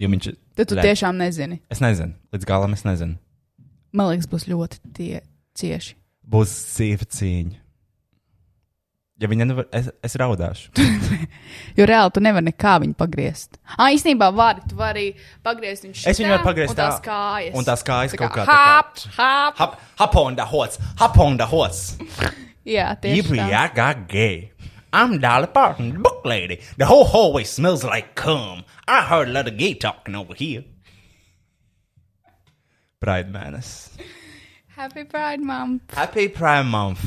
[SPEAKER 2] Jo viņš ir.
[SPEAKER 3] Tad tu
[SPEAKER 2] Re.
[SPEAKER 3] tiešām nezini.
[SPEAKER 2] Es nezinu, līdz galam es nezinu.
[SPEAKER 3] Man liekas, būs ļoti tie, cieši.
[SPEAKER 2] Būs sīva cīņa. Ja viņi nevar, es, es raudāšu.
[SPEAKER 3] Jo reāli tu nevari nekā viņu pagriezt. Ah, īstenībā var. Tu vari pagriezt viņu šeit.
[SPEAKER 2] Es viņu varu pagriezt
[SPEAKER 3] un tās
[SPEAKER 2] tā,
[SPEAKER 3] kājas.
[SPEAKER 2] un tās kājas kaut kā tā
[SPEAKER 3] Hap,
[SPEAKER 2] kā-
[SPEAKER 3] hap. hap.
[SPEAKER 2] Hap, hap on the horse, hap on the horse.
[SPEAKER 3] Jā, tieši tā.
[SPEAKER 2] Yippee, I got gay. I'm Dolly Parton, the book lady. The whole hallway smells like cum. I heard a lot of gay talking over here. Pride Manas.
[SPEAKER 3] Happy Pride Month.
[SPEAKER 2] Happy Pride Month.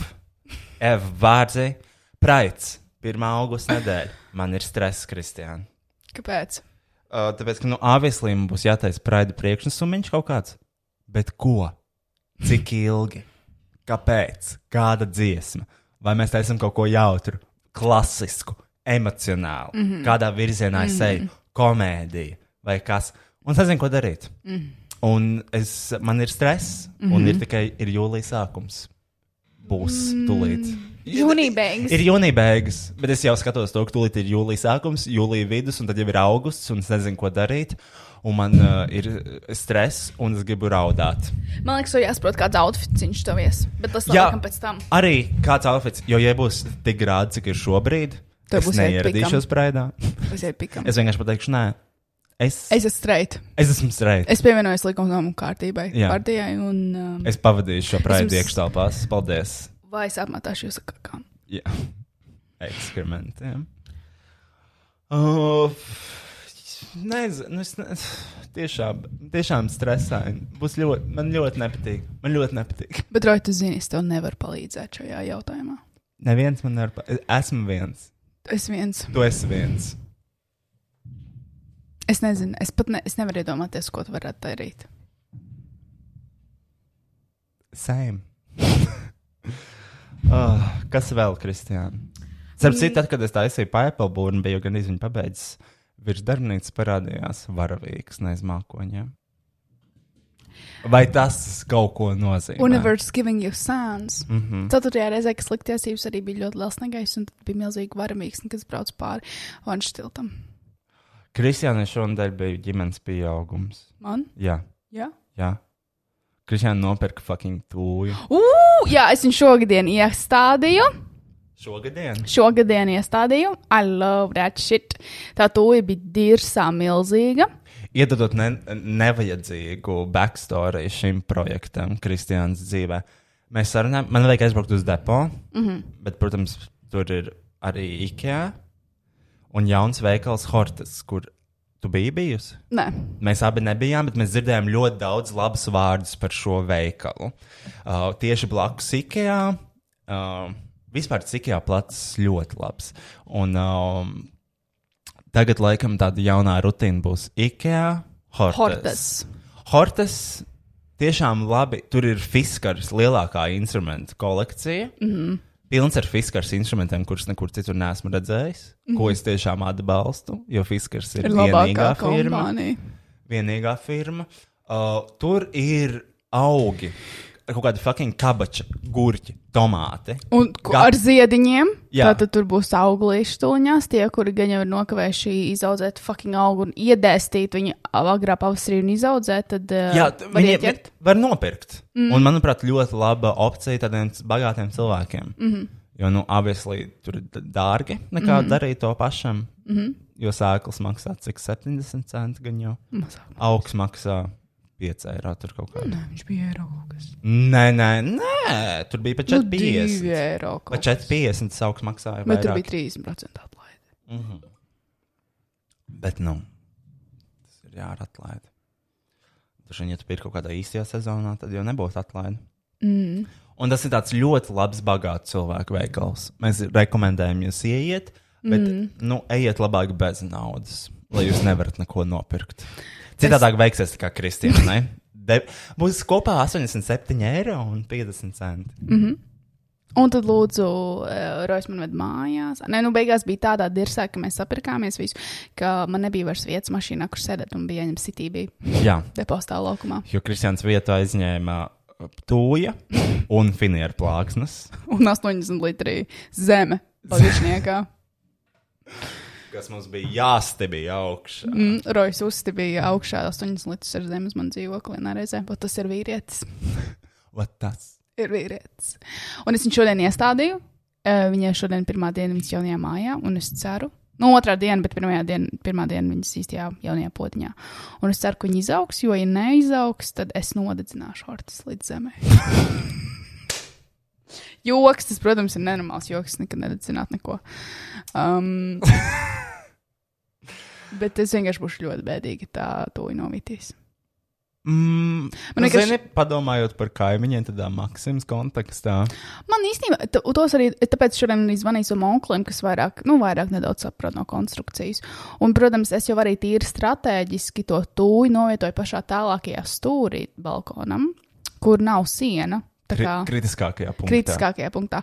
[SPEAKER 2] Ev vārdzi. Praids. 1. augusta nedēļa. Man ir stress, Kristiāna.
[SPEAKER 3] Kāpēc?
[SPEAKER 2] Uh, tāpēc, ka, nu, obviously man būs jātaisa Pride priekšnesumiņš kaut kāds. Bet ko? Cik ilgi? Kāpēc? Kāda dziesma? Vai mēs taisam kaut ko jautru, klasisku, emocionāli, mm -hmm. kādā virzienā es eju, komēdija vai kas. Un es nezinu, ko darīt. Mm -hmm. Un es, man ir stress, mm -hmm. un ir tikai ir jūlijas sākums. Būs tūlīt.
[SPEAKER 3] Jūnija beigas.
[SPEAKER 2] Ir jūnija beigas, bet es jau skatos to, ka tūlīt ir jūlijas sākums, jūlija vidus, un tad jau ir augusts, un es nezinu, ko darīt. Un man uh, ir stress, un es gribu raudāt.
[SPEAKER 3] Man liekas, to jāsaprot, kāds outfits viņš tev ies. Bet tas
[SPEAKER 2] Jā.
[SPEAKER 3] laikam pēc tam.
[SPEAKER 2] Arī kāds outfits, jo, ja būs tik grādi, cik ir šobrīd,
[SPEAKER 3] Tev
[SPEAKER 2] tad es
[SPEAKER 3] būs jāiet
[SPEAKER 2] neieradīšos praidā.
[SPEAKER 3] Es eju pikam.
[SPEAKER 2] Es vienkārši pateikšu, nē, es, es,
[SPEAKER 3] Es esmu straight.
[SPEAKER 2] es esmu streit. Es,
[SPEAKER 3] Es pievienojos likumdomu kārtībai,
[SPEAKER 2] Jā.
[SPEAKER 3] partijai, un um, es...
[SPEAKER 2] es pavadīšu šo praidu
[SPEAKER 3] Esmu s-
[SPEAKER 2] iekštelpās. Paldies!
[SPEAKER 3] vai es apmetāšu jūs kā kā.
[SPEAKER 2] Jā, eksperimentiem. Uh, nezinu, nu es ne, tiešām, tiešām stresaini. Būs ļoti, man ļoti nepatīk. Man ļoti nepatīk.
[SPEAKER 3] Bet, Roja, tu zini, es tev nevaru palīdzēt šajā jautājumā.
[SPEAKER 2] Neviens man nevar. pa- Esmu viens.
[SPEAKER 3] Es viens.
[SPEAKER 2] Tu esi viens.
[SPEAKER 3] Es nezinu, es pat ne, es nevaru iedomāties, ko tu varētu darīt.
[SPEAKER 2] Same. uh, kas vēl, Kristija? Starp citu, tad, kad es taisīju pāri būrnu, biju gan izņēmis pabeidzis. Virs darbnīcas parādījās varavīgs neiz mākoņiem. Vai tas kaut ko nozīmē?
[SPEAKER 3] Universe giving you sons. Mm
[SPEAKER 2] Mm-hmm.
[SPEAKER 3] -hmm. Ceturtajā reizē, kas lika tiesības, arī bija ļoti liels negaiss, un tad bija milzīgi varamīgs, kas brauc pāri vanštiltam.
[SPEAKER 2] Kristijāna šonadēļ bija ģimenes pieaugums.
[SPEAKER 3] Man?
[SPEAKER 2] Jā,
[SPEAKER 3] Jā.
[SPEAKER 2] jā. Kristijāna nopirka fucking tūju.
[SPEAKER 3] Ugh, jā, es viņu šogadien iestādīju.
[SPEAKER 2] Šogadien?
[SPEAKER 3] Šogadien iestādīju. I love that shit. Tā tūja bija dirsā milzīga.
[SPEAKER 2] Iedodot ne, nevajadzīgu backstory šim projektam, Kristijāns dzīvē. Mēs sarunājamies, man vajag aizbraukt uz depo, mm -hmm.
[SPEAKER 3] Mhm.
[SPEAKER 2] bet, protams, tur ir arī IKEA un jauns veikals Hortas, kur tu biji bijusi.
[SPEAKER 3] Nē,
[SPEAKER 2] Mēs abi nebijām, bet mēs dzirdējām ļoti daudz labus vārdus par šo veikalu. Uh, tieši blakus Ikejā. Uh, vispār Cikijā plats ļoti labs. Un, um, tagad laikam tāda jaunā rutīna būs Ikejā. Hortes.
[SPEAKER 3] Hortas.
[SPEAKER 2] Hortes tiešām labi. Tur ir Fiskars lielākā instrumentu kolekcija. Mm -hmm. Pilns ar Fiskars instrumentiem, kurus nekur citur neesmu redzējis. Mm -hmm. Ko es tiešām atbalstu, jo Fiskars ir,
[SPEAKER 3] Mhm. ir
[SPEAKER 2] ir
[SPEAKER 3] labākā
[SPEAKER 2] vienīgā firma
[SPEAKER 3] kompānija.
[SPEAKER 2] vienīgā firma. Uh, tur ir augi, kaut kāda fucking kabača, gurķi, tomāti.
[SPEAKER 3] Un ko-
[SPEAKER 2] Gat-
[SPEAKER 3] ar ziediņiem.
[SPEAKER 2] Jā.
[SPEAKER 3] Tātad tur būs auglīši tuņās. Tie, kuri gan jau ir nokavējuši izaudzēt fucking augu un iedēstīt viņu agrā pavasarī un izaudzēt, tad uh,
[SPEAKER 2] Jā, t-
[SPEAKER 3] var Mhm.
[SPEAKER 2] viņi
[SPEAKER 3] ieķert.
[SPEAKER 2] vi- var nopirkt. Mm. Un, manuprāt, ļoti laba opcija tādiem s- bagātiem cilvēkiem. Mm
[SPEAKER 3] Mhm.
[SPEAKER 2] -hmm. Jo, nu, obviously, tur ir d- dārgi nekā mm -hmm. darīt to pašam. Mm
[SPEAKER 3] Mhm.
[SPEAKER 2] -hmm. Jo sēklas maksā cik 70 centi, gan jau
[SPEAKER 3] Mazāk.
[SPEAKER 2] augs maksā 5 eiro. Tur kaut kā. Mm.
[SPEAKER 3] Nē, Viņš bija eiro kaut kas.
[SPEAKER 2] Nē, nē, nē, tur bija pat
[SPEAKER 3] Nu,
[SPEAKER 2] 4,50.
[SPEAKER 3] divi eiro
[SPEAKER 2] Vai
[SPEAKER 3] kaut kas.
[SPEAKER 2] 4,50 tas augs maksāja?
[SPEAKER 3] Bet tur
[SPEAKER 2] vairāk.
[SPEAKER 3] bija 30% atlaide.
[SPEAKER 2] Mhm. Bet, nu, tas ir jāatlaid. Tur jau tur ir kaut kādā īstajā sezonā, tad jau nebūs atlaide.
[SPEAKER 3] Mm.
[SPEAKER 2] Un tas ir tāds ļoti labs, bagāts cilvēku veikals. Mēs rekomendējam jums ieiet, bet, mm. nu, ejiet labāk bez naudas, lai jūs nevarat neko nopirkt. Citādāk veiksies tā kā Kristīna. De, būs kopā 87 eiro un 50 centi.
[SPEAKER 3] Mhm. Un tad, lūdzu, eh, Rojas man veda mājās. Nē, nu, beigās bija tādā dirzā, ka mēs sapirkāmies visu, ka man nebija vairs vietas mašīnā, kur sēdēt un bija jāņem sitība
[SPEAKER 2] Jā,
[SPEAKER 3] depostā laukumā.
[SPEAKER 2] jo Kristians vietu aizņēma uh, tūja un finieru plāksnes.
[SPEAKER 3] un 80 litri zeme pagriezniekā.
[SPEAKER 2] kas mums bija jāstebīja augšā.
[SPEAKER 3] Mm, Rojas uzstibīja augšā 80 litrus ar zemi uz manu dzīvokli vienā reizē. Vat Tas ir vīrietis.
[SPEAKER 2] Vat Tas
[SPEAKER 3] Ir vīrietis. Un es viņu šodien iestādīju. Eh, Viņai šodien pirmā diena viņas jaunajā mājā, un es ceru. Nu, otrā diena, bet pirmā diena, pirmā diena viņas īstajā jaunajā potiņā. Un es ceru, ka viņi izaugs, jo, ja neizaugs, tad es nodedzināšu hortus līdz zemē. joks, tas, protams, ir nenormāls joks. Es nekad nededzinātu neko. Um, bet es vienkārši būšu ļoti bēdīgi, tā to novitīs.
[SPEAKER 2] mm,
[SPEAKER 3] Man
[SPEAKER 6] nu,
[SPEAKER 2] man
[SPEAKER 3] liekas-
[SPEAKER 2] liekas, ka padomājot par kaimiņiem, tādā Maksimas kontekstā.
[SPEAKER 3] Man īstenībā, t- tos arī, tāpēc šodien arī zvanīju savam onklim, kas vairāk, nu, vairāk nedaudz saprot no konstrukcijas. Un, protams, es jau arī tīri strateģiski to tūju novietoju pašā tālākajā stūrī balkonam, kur nav siena. tā kā
[SPEAKER 6] kritiskākajā punktā.
[SPEAKER 3] kritiskākajā punktā.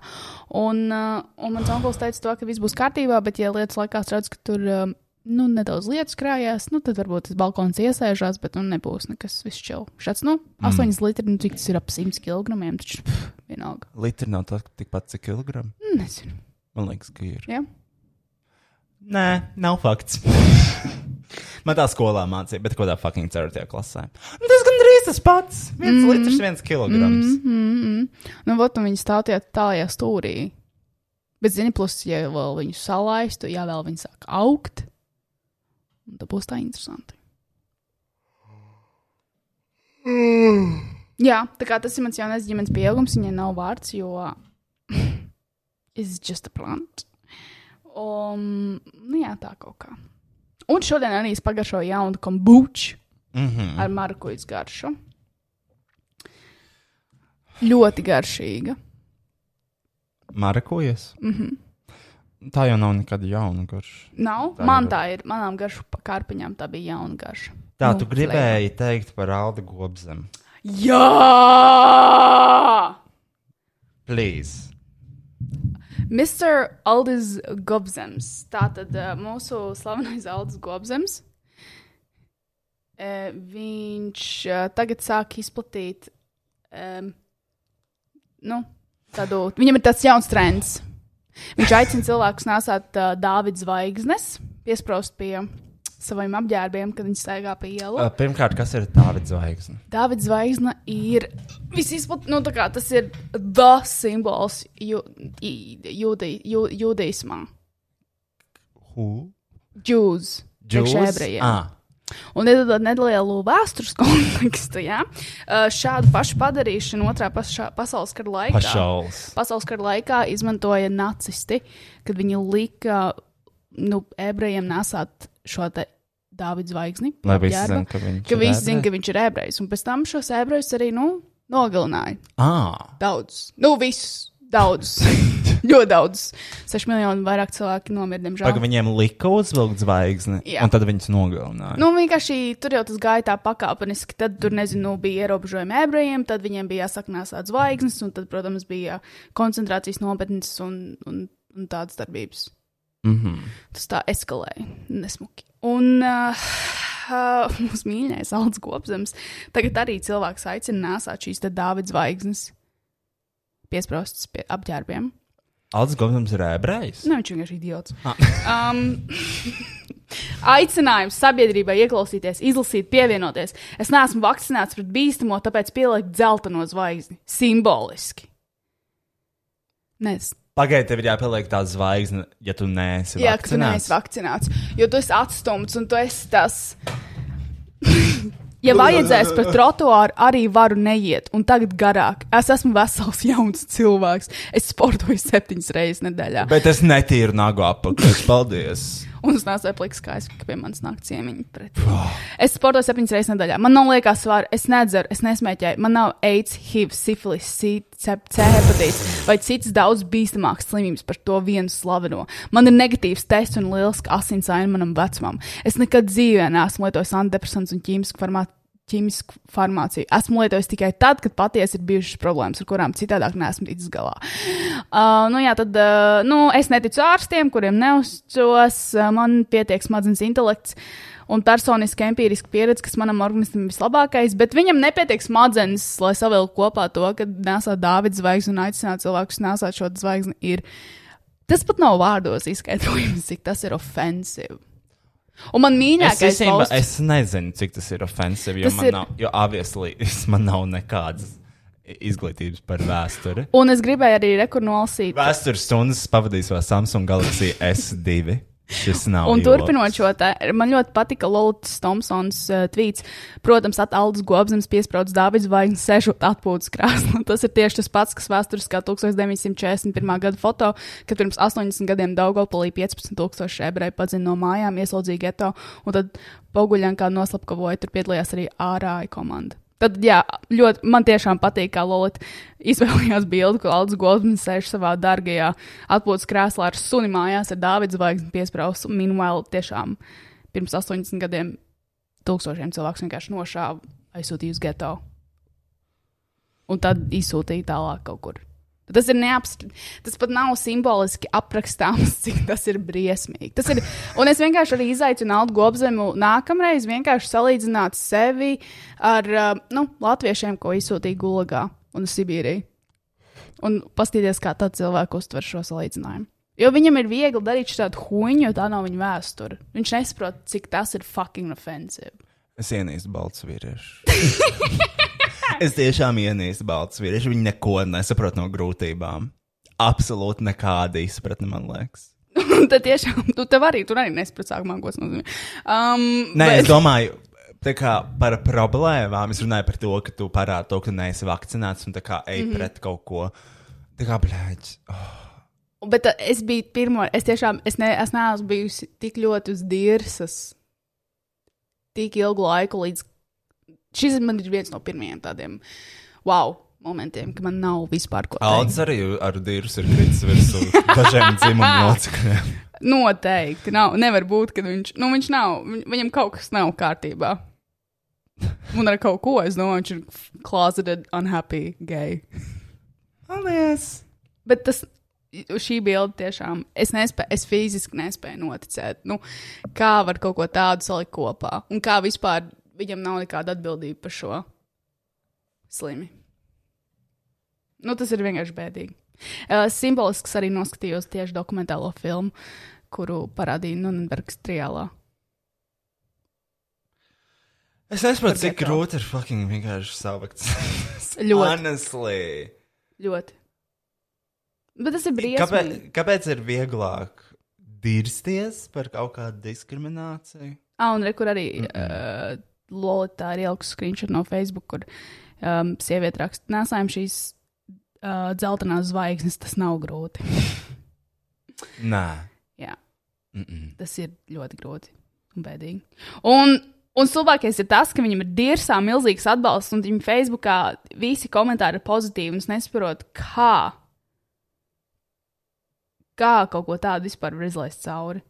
[SPEAKER 3] Un, uh, un mans onkls teica, to, ka viss būs kārtībā, bet, ja lietas laikā es redzu, ka tur um, nu, nedaudz lietas krājās, nu, tad varbūt tas balkons iesēžās, bet nu, nebūs nekas viss čil. Šāds, nu, 8 mm. litri, nu, cik tas ir ap 100 kg, taču pff, vienalga.
[SPEAKER 6] Litri nav tā- tikpat cik kilogramu.
[SPEAKER 3] Nezinu.
[SPEAKER 6] Man liekas, ka ir.
[SPEAKER 3] Ja?
[SPEAKER 6] Nē, nav fakts. Man tā skolā mācīja, bet kādā fucking ceturtajā klasē. Nu, tas gandrīz tas pats. Viens mm. litrs, viens kilograms. Mm.
[SPEAKER 3] Nu, vot, un viņi stāv tajā tālajā stūrī. Bet, zini, plus, ja vēl viņu salaistu, ja vēl viņi sāk augt, un tad būs tā interesanti. Jā, tā kā tas ir mans jaunais ģimenes pieaugums, viņai nav vārds, jo it's just a plant. Um, nu jā, tā kaut kā. Un šodien arī es pagaršoju jaunu kombuču
[SPEAKER 2] Mhm.
[SPEAKER 3] mm -hmm. ar markuļu garšu. Ļoti garšīga.
[SPEAKER 6] Marakujas. Mm
[SPEAKER 3] Mhm.
[SPEAKER 6] -hmm. Tā jau nav nekad jauna garša.
[SPEAKER 3] Nav. Tā Man tā ir. Manām garšu pa- kārpiņām tā bija jauna garša.
[SPEAKER 6] Tā
[SPEAKER 3] Nu,
[SPEAKER 6] nu, tu gribēji lai... teikt par Aldu Gobzemu.
[SPEAKER 3] Jā!
[SPEAKER 6] Please.
[SPEAKER 3] Mr. Aldis Gobzems. Tātad eh, mūsu slavenais Aldis Gobzems. Eh, Viņš eh, tagad sāk izplatīt em, nu, tādu. Viņam ir tāds jauns trends. Viņš aicina cilvēkus nesāt uh, Dāvidas zvaigznes, piesprāst pie saviem apģērbiem, kad viņi staigā pa ielu.
[SPEAKER 6] Uh, Pirmkārt, kas ir Dārvids Zvaigznes?
[SPEAKER 3] Dāvidas zvaigzne ir visizplatītākā, nu, tā kā tas ir the simbols jū, i- jūdei- jū, jūdeismā.
[SPEAKER 6] Who?
[SPEAKER 3] Jews. priekš ebrejiem.
[SPEAKER 6] Ah,
[SPEAKER 3] Un iedodot nelielu vēstures kontekstu, ja? uh, šādu pašu padarīšanu otrā pašā, pasaules kara laikā.
[SPEAKER 6] pašals.
[SPEAKER 3] Pasaules kara laikā izmantoja nacisti, kad viņi lika nu, ebrejiem nesāt šo te Dāvidas zvaigzni.
[SPEAKER 6] Lai visi
[SPEAKER 3] apģērba,
[SPEAKER 6] zina, ka viņš
[SPEAKER 3] ka
[SPEAKER 6] ir
[SPEAKER 3] visi zina,
[SPEAKER 6] ebrejs.
[SPEAKER 3] ka viņš ir ebrejs. Un pēc tam šos ebrejus arī nu, nogalināja.
[SPEAKER 6] Ah,
[SPEAKER 3] Daudz. Nu, visus. Daudz. ļoti daudz. 6 miljoni vairāk cilvēki nomira, diemžēl.
[SPEAKER 6] pagaid, viņiem lika uzvilkt zvaigzni,
[SPEAKER 3] Jā.
[SPEAKER 6] un tad viņus nogalināja.
[SPEAKER 3] Nu, vienkārši tur jau tas gāja tā pakāpeniski. Tad tur, nezinu, nu, bija ierobežojumi ebrejiem, tad viņiem bija jāsaknās tādas zvaigznes, un tad, protams, bija koncentrācijas nopietnas un, un, un tādas darbības.
[SPEAKER 6] Mm -hmm.
[SPEAKER 3] Tas tā eskalēja nesmuki. Un uh, uh, mūsu mīļākais Alans Gobsams tagad arī cilvēks aicina nesāt šīs Dāvidas zvaigznes piesprostas pie apģērbiem.
[SPEAKER 6] Alds Govnams ir ebrejs.
[SPEAKER 3] Nē, Nu, viņš vienkārši ir idiots.
[SPEAKER 2] Ah.
[SPEAKER 3] Um, aicinājums sabiedrībai ieklausīties, izlasīt, pievienoties. Es neesmu vakcinēts pret bīstamo, tāpēc pielikt zeltaino zvaigzni. Simboliski. Nē, es
[SPEAKER 6] Pagaidiet, tev ir jāpieliek tā zvaigzne, ja tu neesi
[SPEAKER 3] Jā, ka tu
[SPEAKER 6] vakcinēts.
[SPEAKER 3] neesi vakcinēts, jo tu esi atstumts un tu esi tas. ja vajadzēs par trotuāru, arī varu neiet, un tagad garāk. Es esmu vesels, jauns cilvēks. Es sportoju septiņas reizes nedēļā.
[SPEAKER 6] Bet es netīru nagu apakšā. Paldies!
[SPEAKER 3] Un es nesu apliks, kā es pie manis nāk ciemiņi. Pret. Es sportoju septiņas reizes nedēļā. Man nav liekas svāra, es nedzeru, es nesmēķēju. Man nav AIDS, HIV, sifilis, C, C C hepatīts vai citas daudz bīstamākas slimības par to vienu slaveno. Man ir negatīvs tests un liels asins aina manam vecumam. Es nekad dzīvē neesmu lietojis antidepresants un ķīmisku farmāciju. Ķīmisku farmāciju. Esmu lietojis tikai tad, kad patiesi ir bijušas problēmas, ar kurām citādāk neesmu ticis galā. Uh, nu, jā, tad uh, nu, es neticu ārstiem, kuriem neusticos. Uh, man pietiek smadzenes intelekts un personiska empiriska pieredze, kas manam organismam ir vislabākais, bet viņam nepietiek smadzenes, lai savilktu kopā to, ka nesā Dāvidas zvaigzni un aicināt cilvēkus nesāt šo zvaigzni. Ir. Tas pat nav vārdos izskaidrojums, cik tas ir ofensīvi. Un man
[SPEAKER 6] Es,
[SPEAKER 3] mīļākais
[SPEAKER 6] īstenībā,
[SPEAKER 3] valsts-
[SPEAKER 6] es nezinu, cik tas ir ofensīvi, jo,
[SPEAKER 3] Tas
[SPEAKER 6] man
[SPEAKER 3] ir-
[SPEAKER 6] nav- jo obviously man nav nekādas izglītības par vēsturi.
[SPEAKER 3] Un es gribēju arī rekur nolasīt.
[SPEAKER 6] Vēstures stundas pavadīs vēl Samsung Galaxy S2. Šis nav.
[SPEAKER 3] Un
[SPEAKER 6] ielops.
[SPEAKER 3] turpinot šo te, man ļoti patika Lorijas Thompsons uh, tvīts. Protams, ataldas gobsams piesprādzis Dāvidas zvaigznes sešot atpūtas krāsnā. Tas ir tieši tas pats, kas vēsturiskā 1941. gada foto, kad pirms 80 gadiem Daugopolī 15,000 ebreju padzina no mājām, ieslodzīja geto, un tad Poguļankā noslapkavoja, tur piedalījās arī ārāja komanda. Tad, jā, ļoti man tiešām patīk, kā Lorija izvēlējās bildi, kur Aldis Goldmans sēž savā dārgajā atpūtas krēslā ar suni mājās, ar Dāvidas zvaigzni piesprāstu. Minimāli tiešām pirms 80 gadiem tūkstošiem cilvēku vienkārši nošāva aizsūtījusi geto. un tad izsūtīja tālāk kaut kur. Tas ir neapstrādāts. Tas pat nav simboliski aprakstāms, cik tas ir briesmīgi. Tas ir, un es vienkārši arī izaicinu Aldu Gobzemu nākamreiz vienkārši salīdzināt sevi ar uh, nu, latviešiem, ko izsūtīja Gulagā un Sibīrijā. Un paskatīties, kā tā cilvēka uztver šo salīdzinājumu. Jo viņam ir viegli darīt šādu huņu, jo tā nav viņa vēsture. Viņš nesaprot, cik tas ir fucking offensive.
[SPEAKER 2] Es ienīstu balts vīriešu. es tiešām ienīstu balts vīriešu. Viņi neko nesaprot no grūtībām. Absolūti nekāda izpratne, man liekas.
[SPEAKER 3] Tad tiešām, tu tev arī tur arī nesaproti sākumā, ko tas nozīmē. Um,
[SPEAKER 2] Nē, es domāju. Tā kā par problēmām es runāju par to, ka tu parādi to, ka tu neesi vakcinēts un tā kā ej mm -hmm. pret kaut ko. Tā kā blēķis. Oh,
[SPEAKER 3] Bet uh, es biju pirmo, es tiešām es ne, es neesmu bijusi tik ļoti uz dirzas, tik ilgu laiku līdz. Šis man ir viens no pirmajiem tādiem wow momentiem, ka man nav vispār ko teikt.
[SPEAKER 2] Alds arī ar dīrus ir kritis virsū dažiem dzimumu locekļiem.
[SPEAKER 3] Noteikti. Nav, nevar būt, ka viņš, nu, viņš nav, viņ- viņam kaut kas nav kārtībā. Un ar kaut ko es domāju, viņš ir closeted, unhappy, gay.
[SPEAKER 2] Paldies!
[SPEAKER 3] Bet tas, šī bilde tiešām, es, nespē, es fiziski nespēju noticēt, nu, kā var kaut ko tādu salikt kopā. Un kā vispār viņam nav nekāda atbildība par šo slimi. Nu, tas ir vienkārši bēdīgi. Uh, simbolisks arī noskatījos tieši dokumentālo filmu, kuru parādīja Nunbergas trijālā.
[SPEAKER 2] Es nesaprotu, cik
[SPEAKER 3] geto.
[SPEAKER 2] grūti ir fucking vienkārši savakts.
[SPEAKER 3] Ļoti.
[SPEAKER 2] Honestly.
[SPEAKER 3] Ļoti. Bet tas ir
[SPEAKER 2] Kāpēc,
[SPEAKER 3] briesmīgi.
[SPEAKER 2] kāpēc ir vieglāk dirzties par kaut kādu diskrimināciju?
[SPEAKER 3] Ah, un re, kur arī mm -mm. uh, Lolita ir ielikusi screenshot no Facebook, kur um, sieviete raksta, nesājam šīs uh, dzeltenās zvaigznes, tas nav grūti.
[SPEAKER 2] Nē,
[SPEAKER 3] Jā,
[SPEAKER 2] mm -mm.
[SPEAKER 3] tas ir ļoti grūti un bēdīgi. Un, un slabākais ir tas, ka viņam ir dirzā milzīgs atbalsts, un viņa Facebookā visi komentāri ir pozitīvi, un es nesaprotu, kā. Kā kaut ko tādu vispār var izlaist cauri?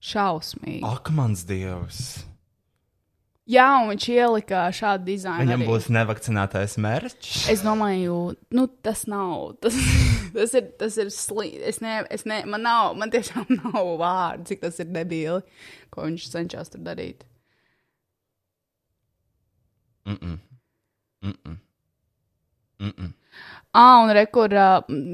[SPEAKER 3] Šausmīgi.
[SPEAKER 2] ak, mans dievs.
[SPEAKER 3] Jā, un viņš ielika šādu dizainu.
[SPEAKER 2] Viņam
[SPEAKER 3] arī.
[SPEAKER 2] būs nevakcinētais mērķis.
[SPEAKER 3] Es domāju, nu, tas nav. Tas, tas ir, tas ir slikti. Es ne, es ne, man nav, man tiešām nav vārdu, cik tas ir debīli, ko viņš cenšas tur darīt. Ah, un rekur,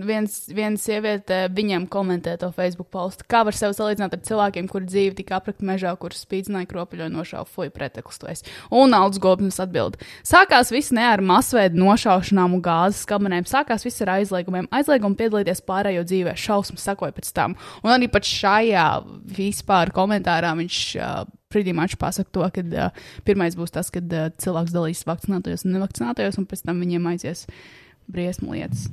[SPEAKER 3] viens, viens sieviete viņam komentē to Facebook postu. Kā var sevi salīdzināt ar cilvēkiem, kuri dzīvi tika aprakt mežā, kur spīdzināja kropiļo nošauju fuju pretekstojas? Un Alds Gobnis atbild. Sākās viss ne ar masveidu nošaušanām un gāzes kamerēm, sākās viss ar aizliegumiem. Aizliegumu piedalīties pārējo dzīvē, šausmas sakoja pēc tam. Un arī pat šajā vispār komentārā viņš. Uh, Pridīmāčs pasaka to, ka uh, pirmais būs tas, kad uh, cilvēks dalīs vakcinētajos un nevakcinētajos, un pēc tam viņiem aizies briesmu lietas.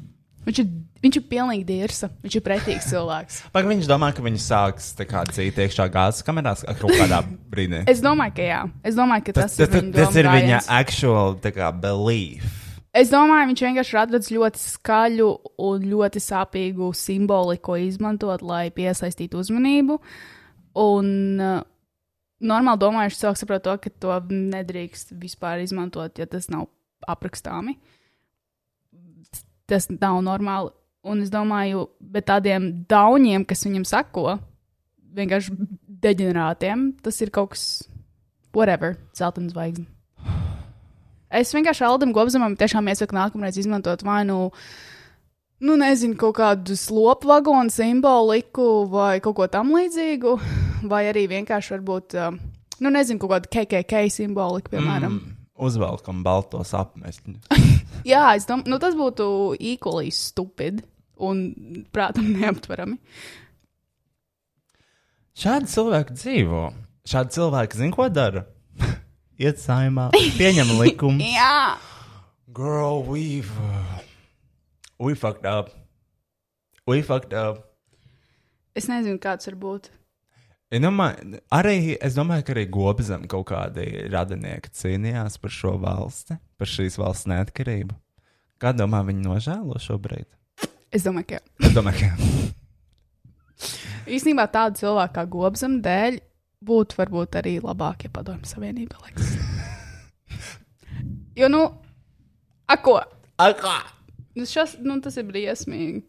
[SPEAKER 3] Viņš ir, viņš ir pilnīgi dirsa. Viņš ir pretīgs cilvēks.
[SPEAKER 2] Vai viņš domā, ka viņi sāks tā kā dzīt iekšā gāzes kamerās ar kaut kādā brīdī?
[SPEAKER 3] Es domāju, ka jā. Es domāju, ka tas,
[SPEAKER 2] tas,
[SPEAKER 3] ir,
[SPEAKER 2] tas, tas ir viņa
[SPEAKER 3] viņa.
[SPEAKER 2] actual tā kā, belief.
[SPEAKER 3] Es domāju, viņš vienkārši atradas ļoti skaļu un ļoti sāpīgu simboliku, ko izmantot, lai piesaistītu uzmanību. Un uh, normāli domājuši cilvēki saprot to, ka to nedrīkst vispār izmantot, ja tas nav aprakstāmi. Tas nav normāli. Un es domāju, bet tādiem dauniem, kas viņam sako, vienkārši deģenerātiem, tas ir kaut kas, whatever, zeltains zvaigznes. Es vienkārši Aldam Gobzemam tiešām iesaku nākamreiz izmantot vai nu, nu nezinu, kaut kādu slopu vagonu simboliku vai kaut ko tam līdzīgu, vai arī vienkārši varbūt, um, nu nezinu, kaut kādu KKK simboliku, piemēram. Mm.
[SPEAKER 2] Uzvelkam baltos apmestņus.
[SPEAKER 3] Jā, es domāju, nu, tas būtu equally stupid un, prātam, neaptverami.
[SPEAKER 2] Šādi cilvēki dzīvo. Šādi cilvēki zina, ko dara. Iet saimā, pieņem likumu.
[SPEAKER 3] Jā,
[SPEAKER 2] Girl, we've uh, we fucked up. We fucked up.
[SPEAKER 3] es nezinu, kāds var būt.
[SPEAKER 2] Es domāju, arī, es domāju, ka arī Gobzam kaut kādi radinieki cīnījās par šo valsti, par šīs valsts neatkarību. Kā domā, viņi nožēlo šobrīd?
[SPEAKER 3] Es domāju, ka jā.
[SPEAKER 2] Es domāju, ka
[SPEAKER 3] īstenībā tāda cilvēka kā Gobsam dēļ būtu varbūt arī labāk, ja padomju savienība liekas. Jo, nu, ak, ko?
[SPEAKER 1] Akā!
[SPEAKER 3] Nu, šas, nu, tas ir briesmīgi.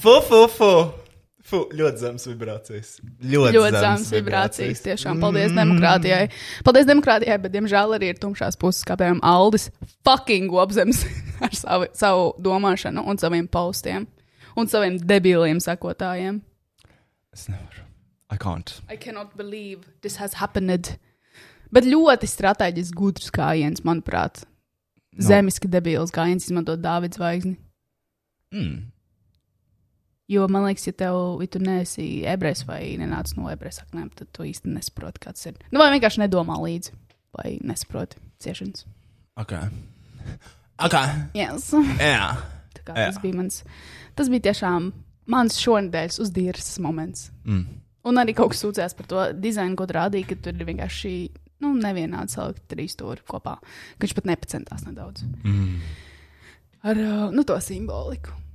[SPEAKER 2] Fu, fu, fu! Fu, ļoti zemes vibrācijas.
[SPEAKER 1] Ļoti,
[SPEAKER 3] Ļoti zemes vibrācijas. Tiešām paldies demokrātijai. Paldies demokrātijai, bet, diemžēl, arī ir tumšās puses, kā piemēram Aldis fucking apzems ar savu, savu domāšanu un saviem postiem un saviem debiliem sakotājiem.
[SPEAKER 2] Es nevaru. I can't.
[SPEAKER 3] I cannot believe this has happened. Bet ļoti strateģiski gudrs gājiens, manuprāt. No. Zemiski debils gājiens izmantot Dāvidas zvaigzni.
[SPEAKER 2] Mm.
[SPEAKER 3] Jo man liekas, ja tev ja tu neesi ebrejs vai nenāc no ebreju saknēm, tad tu īsti nesaproti, kas ir. Nu, vai vienkārši nedomā līdzi, vai nesaproti ciešanas.
[SPEAKER 2] Ok. Ok.
[SPEAKER 3] Yes.
[SPEAKER 2] Jā.
[SPEAKER 3] Tā kā,
[SPEAKER 2] Jā.
[SPEAKER 3] tas, bija mans, tas bija tiešām mans šonadēļas uzdīras moments.
[SPEAKER 2] Mm.
[SPEAKER 3] Un arī kaut kas sūdzējās par to dizainu, ko tu rādīji, ka tur ir vienkārši nu, nevienādi salikt trīs stūri kopā. ka Viņš pat nepacentās nedaudz
[SPEAKER 2] Mm.
[SPEAKER 3] ar uh, nu, to simboliku.
[SPEAKER 2] Mhm.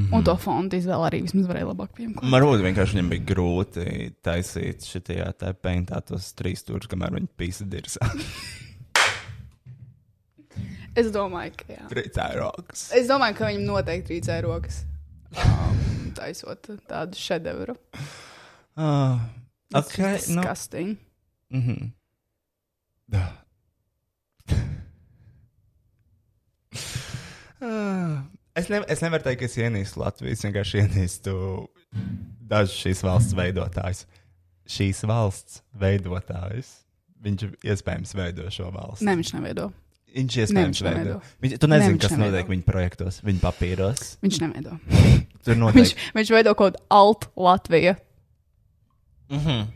[SPEAKER 3] Mm -hmm. Un to fontu izvēle arī vismaz varēja labāk piemeklēt.
[SPEAKER 2] Varbūt vienkārši viņam bija grūti taisīt šitajā tā peintā tos trīs stūrus, kamēr viņi pīsa dirzā.
[SPEAKER 3] Es domāju, ka jā.
[SPEAKER 2] Trīcāja rokas.
[SPEAKER 3] Es domāju, ka viņam noteikti trīcēja rokas. Um, taisot tādu šedevru.
[SPEAKER 2] Ah. Ok, nu.
[SPEAKER 3] Kas tas?
[SPEAKER 2] Mhm. Da. Ah, es, ne, es nevaru teikt, ka es ienīstu Latviju. Es vienkārši ienīstu dažus šīs valsts veidotājus. Šīs valsts veidotājus. Viņš iespējams veido šo valsts.
[SPEAKER 3] Nē, viņš neveido.
[SPEAKER 2] viņš
[SPEAKER 3] ne,
[SPEAKER 2] iespējams
[SPEAKER 3] viņš
[SPEAKER 2] ne, veido.
[SPEAKER 3] neveido.
[SPEAKER 2] Viņš, tu nezini,
[SPEAKER 3] Ne,
[SPEAKER 2] ne,
[SPEAKER 3] viņš
[SPEAKER 2] kas
[SPEAKER 3] neveido.
[SPEAKER 2] notiek viņa projektos, viņa papīros.
[SPEAKER 3] Viņš neveido.
[SPEAKER 2] Tur
[SPEAKER 3] Viņš,
[SPEAKER 2] notiek.
[SPEAKER 3] viņš veido kaut kādu alt Latviju.
[SPEAKER 2] Mm -hmm.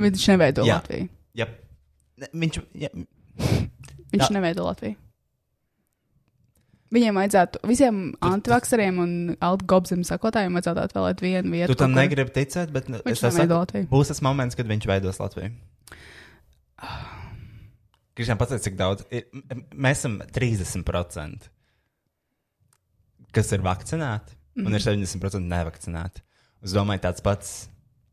[SPEAKER 3] Viņš neveido
[SPEAKER 2] Jā.
[SPEAKER 3] jā. Latviju.
[SPEAKER 2] yep. Viņš. Jā.
[SPEAKER 3] Viņš
[SPEAKER 2] Jā.
[SPEAKER 3] jā. neveido Latviju. Viņiem vajadzētu, visiem antivakseriem un altgobsim sakotājiem vajadzētu atvēlēt vienu vietu.
[SPEAKER 2] Tu tam
[SPEAKER 3] kaut kur.
[SPEAKER 2] negribi ticēt, bet nu, es
[SPEAKER 3] Viņš
[SPEAKER 2] tev saku,
[SPEAKER 3] neveido Latviju.
[SPEAKER 2] Būs tas moments, kad viņš veidos Latviju. Kristian, pateic, cik daudz? Ir, m- m- mēs esam 30%, kas ir vakcinēti, un
[SPEAKER 3] Mhm.
[SPEAKER 2] ir 70% nevakcinēti. Es domāju, tāds pats.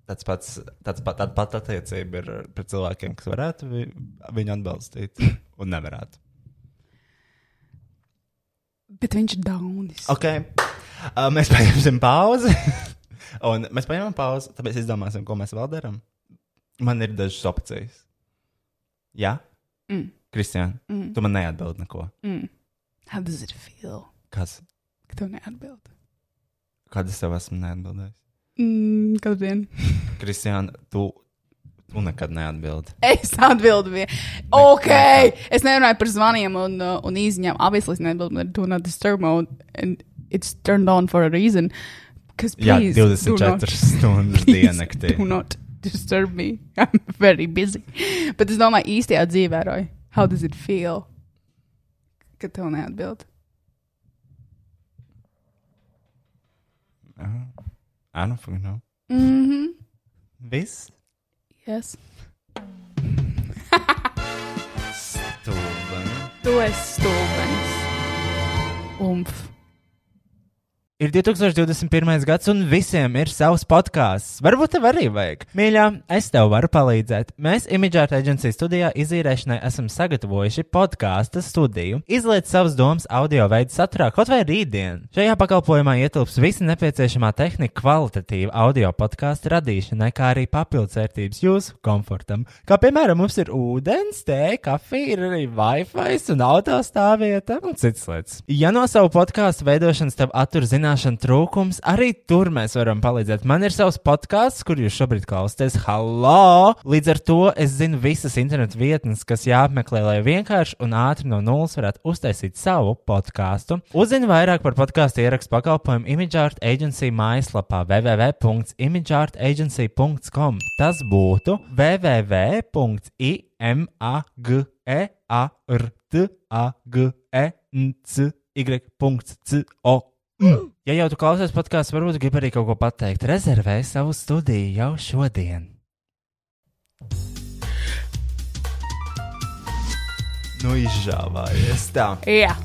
[SPEAKER 2] Tāds pats, tāds pat, tāda pat attiecība ir pret cilvēkiem, kas varētu vi- viņu atbalstīt un nevarētu.
[SPEAKER 3] Bet viņš ir daunis.
[SPEAKER 2] Ok, uh, mēs paņemsim pauzi. un mēs paņemam pauzi, tāpēc izdomāsim, ko mēs vēl darām. Man ir dažas opcijas. Jā,
[SPEAKER 3] Mm.
[SPEAKER 2] Kristija, mm. tu man neatbild neko.
[SPEAKER 3] Mm. How does it feel?
[SPEAKER 2] Kas?
[SPEAKER 3] Ka tev neatbild.
[SPEAKER 2] Kad es tev esmu neatbildējis?
[SPEAKER 3] Mm, katru dienu.
[SPEAKER 2] Kristija, tu, tu nekad neatbildi.
[SPEAKER 3] Es atbildu vienā. Ok. Es nerunāju par zvaniem un, uh, un īziņām. Obviously, es neatbildu ar do not disturb mode. And it's turned on for a reason. Kas
[SPEAKER 2] Jā,
[SPEAKER 3] please, do
[SPEAKER 2] 24
[SPEAKER 3] not-
[SPEAKER 2] stundas
[SPEAKER 3] Please
[SPEAKER 2] diennaktī.
[SPEAKER 3] Do not disturb me. I'm very busy. Bet es domāju, īstajā dzīvē, Roy, how does it feel? Kad tev neatbild.
[SPEAKER 2] I don't fucking know.
[SPEAKER 3] Mm -hmm.
[SPEAKER 2] Viss?
[SPEAKER 3] Yes.
[SPEAKER 2] Stulbi.
[SPEAKER 3] Tu esi stulbens. Umf.
[SPEAKER 2] Ir 2021. gads, un visiem ir savs podkāsts. Varbūt tev arī vajag. Mīļā, es tev varu palīdzēt. Mēs Imagēta aģentūras studijā izīrēšanai esam sagatavojuši podkāstu studiju. Izliet savas domas audio veidu saturā, kaut vai rītdien. Šajā pakalpojumā ietilps visa nepieciešamā tehnika kvalitatīva audio podkāstu radīšanai, kā arī papildvērtības jūsu komfortam. Kā piemēram, mums ir ūdens, tēja, kafija, ir arī Wi-Fi un autostāvvieta un citas lietas. Ja no savu podkāstu veidošanas tev attur zināšanu trūkums, arī tur mēs varam palīdzēt. Man ir savs podkāsts, kur jūs šobrīd klausāties. Halo! Līdz ar to es zinu visas internetu vietnes, kas jāapmeklē, lai vienkārši un ātri no nulles varētu uztaisīt savu podkāstu. Uzzini vairāk par podkāstu ierakstu pakalpojumu Imageart Agency mājaslapā www.imageartagency.com. Tas būtu E www.imageartagency.com. Ja jau tu klausies podkāstu, varbūt gribi arī kaut ko pateikt. Rezervē savu studiju jau šodien. Nu, izžāvājies tā.
[SPEAKER 3] Jā.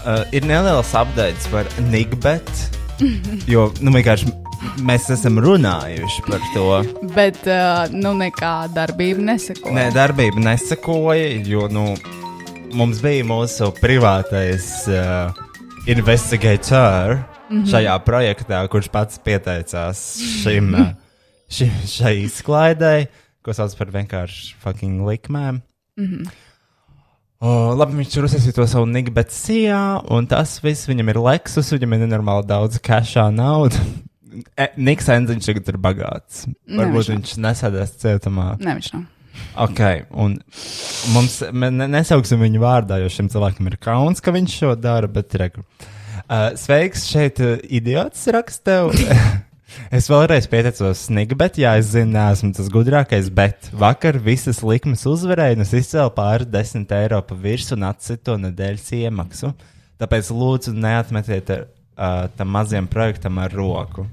[SPEAKER 2] Uh, ir neliels updates par Nigbet. Jo, nu, vienkārši mēs esam runājuši par to.
[SPEAKER 3] Bet, uh, nu, nekā darbība neseko.
[SPEAKER 2] Nē, darbība nesakoja, jo nu, mums bija mūsu privātais uh, investigator mm -hmm. šajā projektā, kurš pats pieteicās šim, uh, šim, šai izklaidei, ko sauc par vienkārši fucking likmēm. Mm -hmm. O, labi, viņš tur uzsāca to savu niku, bet sijā, un tas viss viņam ir leksus, viņam ir nenormāli daudz cashā naudu. E, Niks Enziņš tagad ir bagāts.
[SPEAKER 3] viņš
[SPEAKER 2] Varbūt
[SPEAKER 3] nav.
[SPEAKER 2] viņš nesēdēs cietumā.
[SPEAKER 3] Nē, viņš nav.
[SPEAKER 2] Ok, un mums mēs ne- nesauksim viņu vārdā, jo šim cilvēkam ir kauns, ka viņš šo dara, bet reku. Uh, sveiks, šeit uh, idiots rakstev. es vēlreiz pieteicos snigu, bet jā, es zinu, neesmu tas gudrākais, bet vakar visas likmes uzvarēju, un es izcēlu pāri 10 eiro pa virsmu un atcitu to nedēļas iemaksu. Tāpēc lūdzu neatmetiet ar, uh, tam mazajam projektam ar roku.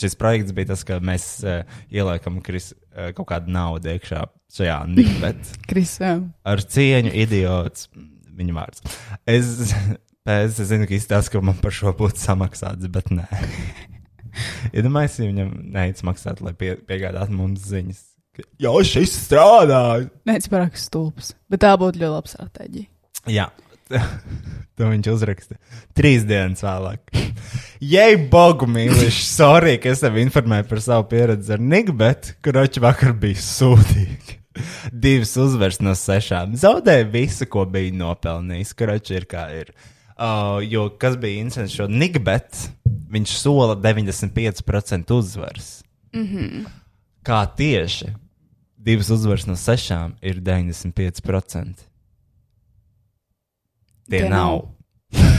[SPEAKER 2] Šis projekts bija tas, ka mēs uh, ieliekam kris, uh, kaut kādu naudu iekšā šajā nibetā
[SPEAKER 3] Kris, uh,
[SPEAKER 2] ar cieņu idiots. Viņa vārds. Es, pēc, es zinu, ka izstāsta, ka man par šo būtu samaksāts, bet nē. Iedomājieties, ja viņam neicis maksāt, lai pie, piegādātu mums ziņas. ka, Jā, šis strādā!
[SPEAKER 3] nē, tas pārāk stulbs. Bet tā būtu ļoti laba stratēģija.
[SPEAKER 2] Jā, to viņš uzraksta. Trīs dienas vēlāk. Jei, Bogu mīlīši, sorry, ka es tev informēju par savu pieredzi ar Niku, bet kroķi vakar bija sūdīgi. Divas uzvaras no sešām. Zaudēju visu, ko biju nopelnījis. Kroķi ir kā ir. Uh, jo kas bija incidents šo Niku, bet viņš sola 95% uzvaras. Mm -hmm. Kā tieši divas uzvaras no sešām ir 95%? Tie
[SPEAKER 3] Tie
[SPEAKER 2] nav.
[SPEAKER 3] nav.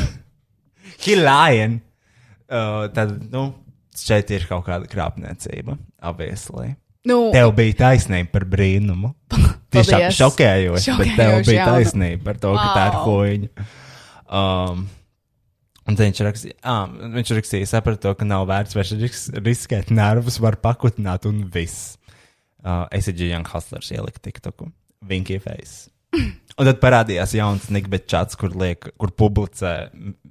[SPEAKER 2] He lying. Uh, tad, nu, šeit ir kaut kāda krāpniecība, obviously.
[SPEAKER 3] Nu,
[SPEAKER 2] Tev bija taisnība par brīnumu. Tiešām
[SPEAKER 3] Paldies.
[SPEAKER 2] šokējoši, bet tev
[SPEAKER 3] Šokējoši,
[SPEAKER 2] bija
[SPEAKER 3] jā.
[SPEAKER 2] taisnība par to, ka tā ir
[SPEAKER 3] Wow.
[SPEAKER 2] hoņa. Um, un tad viņš rakstīja, ah, viņš rakstīja, sapratu, to, ka nav vērts vairs ris riskēt nervus, var pakutināt un viss. Uh, es esmu Jānis Haslers, ielika TikToku, Vinkie Face. Un tad parādījās jauns Nikbet čats, kur, liek, kur publicē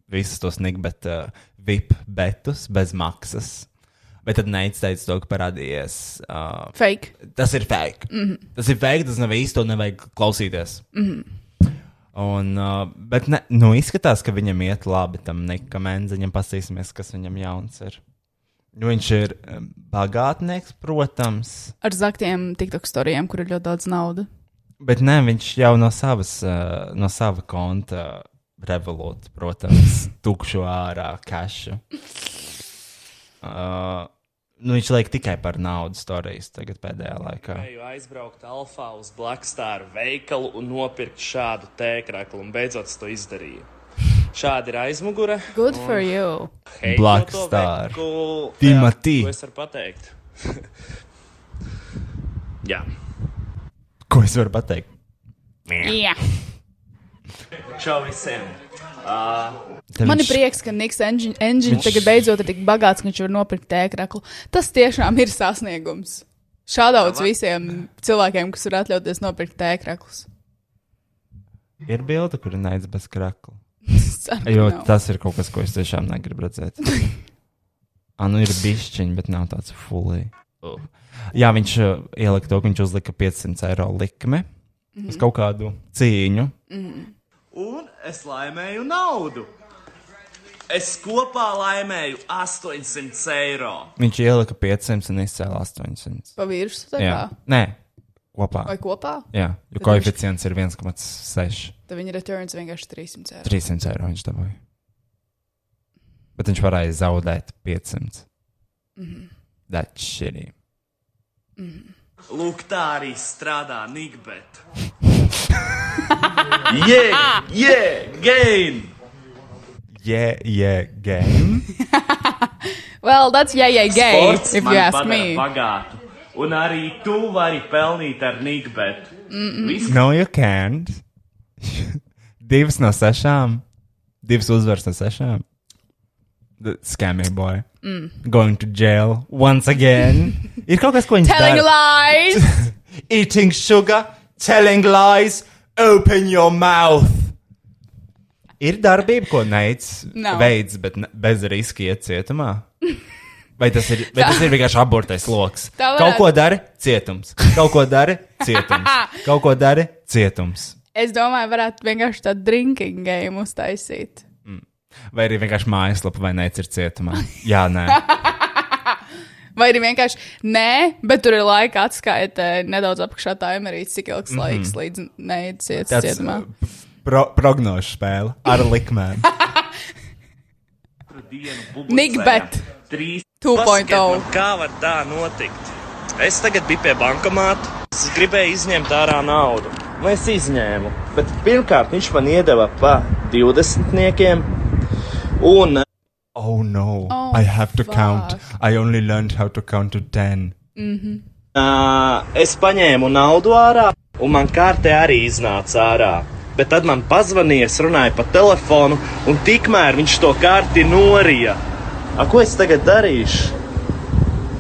[SPEAKER 2] visus tos Nikbet uh, VIP betus bez maksas. Bet tad neizteica to, ka parādījies uh,
[SPEAKER 3] fake.
[SPEAKER 2] tas ir fake. Mm -hmm. Tas ir fake, tas nav īsti, to nevajag klausīties. Mm -hmm. Un, uh, bet ne, nu, izskatās, ka viņam iet labi tam nekam enziņam, pasīsimies, kas viņam jauns ir. Nu, Viņš ir um, bagātnieks, protams,
[SPEAKER 3] Ar zaktiem TikTok storijiem, kur ir ļoti daudz naudas.
[SPEAKER 2] bet ne, viņš jau no, savas, uh, no sava konta revolūta, protams, tukšu ārā kešu. Uh, nu, viņš liek tikai par naudu stāstus tagad pēdējā laikā.
[SPEAKER 7] Gribēju aizbraukt Alfa uz Blackstar veikalu un nopirkt šādu tēkraklu, un beidzot es to izdarīju. Šādi ir aizmugure.
[SPEAKER 3] Good for you.
[SPEAKER 7] Hei,
[SPEAKER 2] Black
[SPEAKER 7] no to
[SPEAKER 2] Star.
[SPEAKER 7] veiku-
[SPEAKER 2] Timothy.
[SPEAKER 7] Jā, Ko es varu pateikt? Jā.
[SPEAKER 2] Ko es varu pateikt?
[SPEAKER 3] Yeah.
[SPEAKER 7] Čau visiem!
[SPEAKER 2] Tad
[SPEAKER 3] Man ir
[SPEAKER 2] viņš-
[SPEAKER 3] prieks, ka Niks Engine, engine viņš... tagad beidzot ir tik bagāts, ka viņš var nopirkt tēkraklu. Tas tiešām ir sasniegums. Šādauts visiem cilvēkiem, kas var atļauties nopirkt tēkraklus.
[SPEAKER 2] Ir bilde, kur ir naids bez krakla.
[SPEAKER 3] Es ceru, ka
[SPEAKER 2] Jo
[SPEAKER 3] nav.
[SPEAKER 2] tas ir kaut kas, ko es tiešām negribu redzēt. Anu ir bišķiņa, bet nav tāds fulī.
[SPEAKER 3] Oh.
[SPEAKER 2] Jā, viņš uh, ielika to, ka viņš uzlika 500 eiro likme uz
[SPEAKER 3] Mhm.
[SPEAKER 2] kaut kādu cīņu.
[SPEAKER 7] Mm. un es laimēju naudu. Es kopā laimēju 800 eiro.
[SPEAKER 2] Viņš ielika 500 un izcēla 800.
[SPEAKER 3] Pa virsmu tā kā.
[SPEAKER 2] Jā, nē, kopā.
[SPEAKER 3] Vai kopā?
[SPEAKER 2] Jā, jo
[SPEAKER 3] Tad viņš-
[SPEAKER 2] koeficients ir 1,6.
[SPEAKER 3] Tad viņa returns vienkārši 300 eiro.
[SPEAKER 2] 300 eiro viņš dabūja. Bet viņš varēja zaudēt 500. That's shitty.
[SPEAKER 7] Lūk, tā arī strādā Nigbet. Yeah, yeah, gain!
[SPEAKER 2] Yeah, yeah, game.
[SPEAKER 3] Well, that's yeah, yeah, gay,
[SPEAKER 7] Sports
[SPEAKER 3] Sports if
[SPEAKER 7] man
[SPEAKER 3] you ask
[SPEAKER 7] padara
[SPEAKER 3] me.
[SPEAKER 7] Bagātu. Un arī tu vari pelnīt ar Nigbet. Viss
[SPEAKER 2] no, you can't. divas no sešām. Divas uzvaras no sešām. The scammy boy. Mm. Going to jail once again. Ir kaut kas, ko viņš
[SPEAKER 3] Telling
[SPEAKER 2] dara.
[SPEAKER 3] lies!
[SPEAKER 2] Eating sugar, telling lies, open your mouth. Ir darbība, ko neic
[SPEAKER 3] Nav.
[SPEAKER 2] veids, bet ne, bez riska iet cietumā. Vai tas ir, vai tas ir vienkārši abortais lokus?
[SPEAKER 3] Tā varētu.
[SPEAKER 2] Kaut ko dari, cietums. Kaut ko dari, cietums. Kaut ko dari, cietums.
[SPEAKER 3] Es domāju, varētu vienkārši tādu drinking game uztaisīt.
[SPEAKER 2] Vai arī vienkārši mājaslapa vai nē, ir cietumā. Jā, nē.
[SPEAKER 3] Vai arī vienkārši nē, bet tur ir laika atskaite nedaudz apakšā taimerīts, cik ilgs laiks līdz neieciet
[SPEAKER 2] Tāds
[SPEAKER 3] cietumā.
[SPEAKER 2] uh, pro prognožu spēle ar likmēm.
[SPEAKER 3] Nikbet! 2.0.
[SPEAKER 7] Pasakiet man, nu, Kā var tā notikt? Es tagad biju pie bankomāta. Es gribēju izņemt ārā naudu. Nu, es izņēmu. Bet pirmkārt, viņš man iedeva pa 20 niekiem. Un
[SPEAKER 2] Oh no,
[SPEAKER 3] Oh,
[SPEAKER 2] I have to
[SPEAKER 3] fuck.
[SPEAKER 2] count. I only learned how to count to 10.
[SPEAKER 7] Ā, es paņēmu naudu ārā, un man kārtē arī iznāca ārā. Bet tad man pazvanīja, es runāju pa telefonu, un tikmēr viņš to kārti norija. A, ko es tagad darīšu?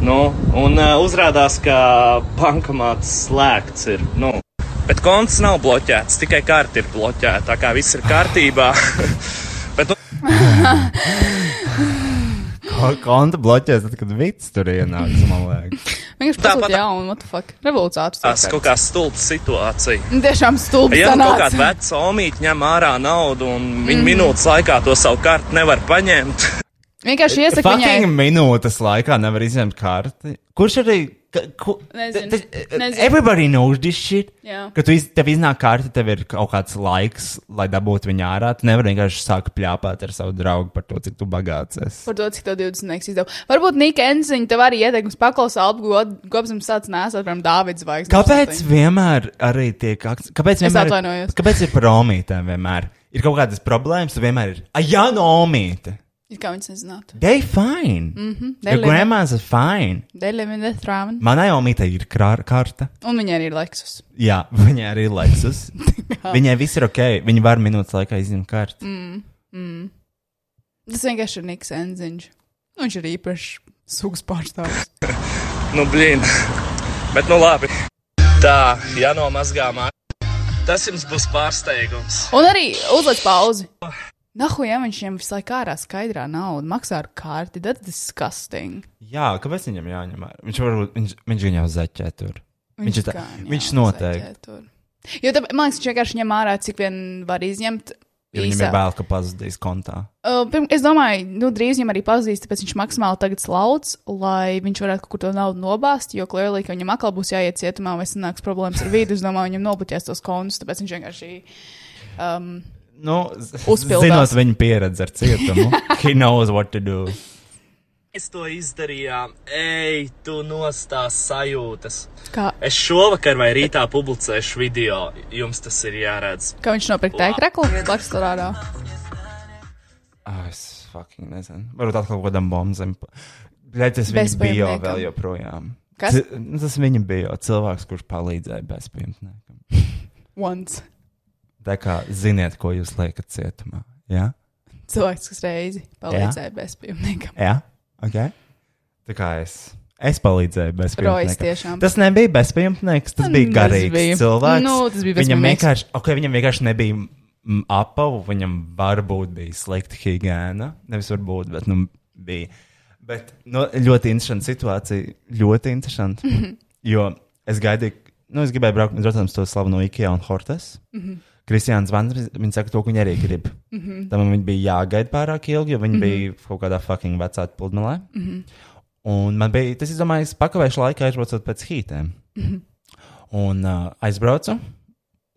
[SPEAKER 7] Nu, un uh, uzrādās, ka bankomāts slēgts ir. Nu. Bet konts nav bloķēts, tikai kārta ir bloķēta. Tā kā viss ir kārtībā. Bet, nu,
[SPEAKER 2] Ko- Konta bloķēs, tad, kad vits tur ienāks, man liekas.
[SPEAKER 3] Vienkārši
[SPEAKER 7] Tāpat-
[SPEAKER 3] pasūta jaunu, what the fuck? Revolūcāts.
[SPEAKER 7] tas ir kaut kā stulba situācija.
[SPEAKER 3] Tiešām stulbi.
[SPEAKER 7] Ja nu kaut
[SPEAKER 3] sanāca.
[SPEAKER 7] kāda veca omīte ņem ārā naudu un viņa mm. minūtes laikā to savu kartu nevar paņemt,
[SPEAKER 3] Vienkārši iesaku
[SPEAKER 2] Fucking
[SPEAKER 3] viņai.
[SPEAKER 2] minūtes laikā nevar izņemt karti. Kurš arī. ka- Ku,
[SPEAKER 3] Nezinu.
[SPEAKER 2] t- t-
[SPEAKER 3] Nezinu.
[SPEAKER 2] Everybody knows this shit.
[SPEAKER 3] Jā.
[SPEAKER 2] Kad tu iz, tev iznāk karti, tev ir kaut kāds laiks, lai dabūtu viņu ārā. Tu nevari vienkārši sākt pļāpāt ar savu draugu par to, cik tu bagāts esi.
[SPEAKER 3] Par to, cik tev 20 nieks izdeva. Varbūt Nika Enziņa tev arī ieteikums paklausa albu gobsam sāc nesat, piemēram, Dāvids zvaigznes.
[SPEAKER 2] Kāpēc vienmēr arī tiek akcents? Kāpēc
[SPEAKER 3] Es
[SPEAKER 2] vienmēr?
[SPEAKER 3] atvainojos.
[SPEAKER 2] Kāpēc ir par omītēm vienmēr? Ir kaut kādas problēmas, tu vienmēr ir. Ah, jā, no omīte!
[SPEAKER 3] Ir kā viņas nezinātu.
[SPEAKER 2] They fine! Mm -hmm. Their
[SPEAKER 3] They're
[SPEAKER 2] grandmas are fine!
[SPEAKER 3] Dēļ viņa detrāma.
[SPEAKER 2] Manai omītei ir krā- karta.
[SPEAKER 3] Un viņai arī ir Lexus.
[SPEAKER 2] Jā, viņai arī ir Lexus. Viņai viss ir ok. Viņa var minūtes laikā izņemt karti. Mm.
[SPEAKER 3] Tas vienkārši ir Niks Enziņš. Nu, viņš ir īpašs sugas pārstāvis.
[SPEAKER 7] nu, blīn. Bet, nu, labi. Tā, ja nomazgā mākslu, tas jums būs pārsteigums.
[SPEAKER 3] Un arī uzliek pauzi. Nahu, ja viņš viņam visu laiku ārā skaidrā naudu maksā ar karti, tad tas ir disgusting.
[SPEAKER 2] Jā, kāpēc viņam jāņem vērā? Viņš varbūt viņš, viņš viņu jau zaķē tur. Viņš, ir tā,
[SPEAKER 3] kā ņem,
[SPEAKER 2] viņš noteikti.
[SPEAKER 3] zaķē tur. Jo, tā, man liekas, viņš vienkārši ņem ārā, cik vien var izņemt.
[SPEAKER 2] Ja viņam
[SPEAKER 3] īsā-
[SPEAKER 2] ir bail, ka pazudīs kontā.
[SPEAKER 3] Uh, pirm- Es domāju, nu, drīz viņam arī pazudīs, tāpēc viņš maksimāli tagad slauc, lai viņš varētu kaut kur to naudu nobāzt. Jo, klērlī, ka viņam atkal būs jāiet cietumā, vai sanāks problēmas ar vīdu. Es domāju, viņam nobuļķēs tos kontus, tāpēc viņš vienkārši. Um,
[SPEAKER 2] Nu,
[SPEAKER 3] Uzpildās.
[SPEAKER 2] Uzpildās. Zinot viņa pieredzi ar cietumu, he knows what to do.
[SPEAKER 7] Mēs to izdarījām, ej, tu nostās sajūtas.
[SPEAKER 3] kā,
[SPEAKER 7] Es šovakar vai rītā publicēšu video, jums tas ir jāredz.
[SPEAKER 3] kā viņš nopirka tēkraklu Blackstarā.
[SPEAKER 2] Ah, es fucking nezinu. Varbūt atkal kaut kādam bombam. Lai tas
[SPEAKER 3] Bez
[SPEAKER 2] viņa bio
[SPEAKER 3] pirmniekam.
[SPEAKER 2] vēl joprojām.
[SPEAKER 3] Kas?
[SPEAKER 2] Ci- nu, Tas viņa bio cilvēks, kurš palīdzēja bezpajumtniekam.
[SPEAKER 3] Once.
[SPEAKER 2] Tā kā ziniet, ko jūs liekat cietumā. Jā?
[SPEAKER 3] Cilvēks, kas reizi palīdzēja bezpajumtniekam.
[SPEAKER 2] Jā? Ok. Tā kā es. Es palīdzēju
[SPEAKER 3] Rojas
[SPEAKER 2] bezpajumtniekam.
[SPEAKER 3] tiešām.
[SPEAKER 2] Tas nebija bezpajumtnieks,
[SPEAKER 3] Nu,
[SPEAKER 2] tas bija garīgs
[SPEAKER 3] bija.
[SPEAKER 2] cilvēks.
[SPEAKER 3] Nu, tas bija
[SPEAKER 2] viņam
[SPEAKER 3] bezpajumtnieks.
[SPEAKER 2] vienkārši, okay, viņam vienkārši nebija mm, apavu, viņam varbūt bija slikta higiēna. Nevis varbūt, bet nu bija. Bet nu, ļoti interesanta situācija. Ļoti interesanta. Mm
[SPEAKER 3] Mhm.
[SPEAKER 2] -hmm. Jo es gaidīju, nu, es gribēju braukt, protams, to slavenu Ikea un Hortes. Mm
[SPEAKER 3] Mhm.
[SPEAKER 2] -hmm. Kristiāns Vandes, viņa saka, to, ko viņa arī grib. Mm -hmm. Tam man viņa bija jāgaida pārāk ilgi, jo viņa mm
[SPEAKER 3] Mhm.
[SPEAKER 2] -hmm. bija kaut kādā fucking vecā pludmalē. Mm -hmm. Un man bija, tas, es domāju, es pakavēšu laiku, aizbraucot pēc hītēm. Mm -hmm. Un uh, aizbraucu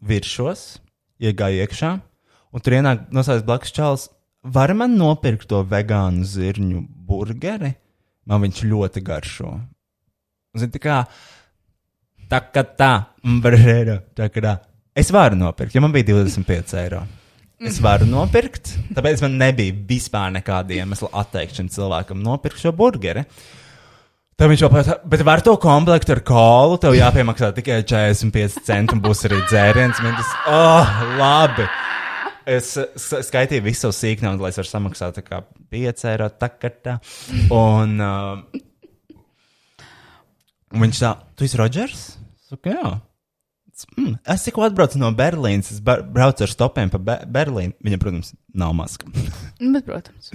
[SPEAKER 2] virsos, iegāju iekšā, un tur ienāk nosaucās blakus čels. Var man nopirkt to vegānu zirņu burgeri? Man viņš ļoti garšo. Zini, tā kā tā, ka tā, brīvā, Mm, tā kā tā. Es varu nopirkt, ja man bija 25 eiro. Es varu nopirkt, tāpēc man nebija vispār nekāda iemesla atteikt šim cilvēkam nopirkt šo burgeri. Tad viņš jau pajautā, bet var to komplektu ar kolu? Tev jāpiemaksā tikai 45 centi, un būs arī dzēriens. Man tas, oh, labi! Es eh, s- skaitīju visu savu sīknaudu, lai es varu samaksāt tā kā 5 eiro. Tā, kā tā. Un, uh, un viņš tā, tu esi Rodžers? Saka, jā.
[SPEAKER 6] Mm.
[SPEAKER 2] Es tikko atbraucu no Berlīnas, es bar- braucu ar stopiem pa Be Berlīnu. Viņam, protams, nav maska.
[SPEAKER 3] Nu, Bet, protams,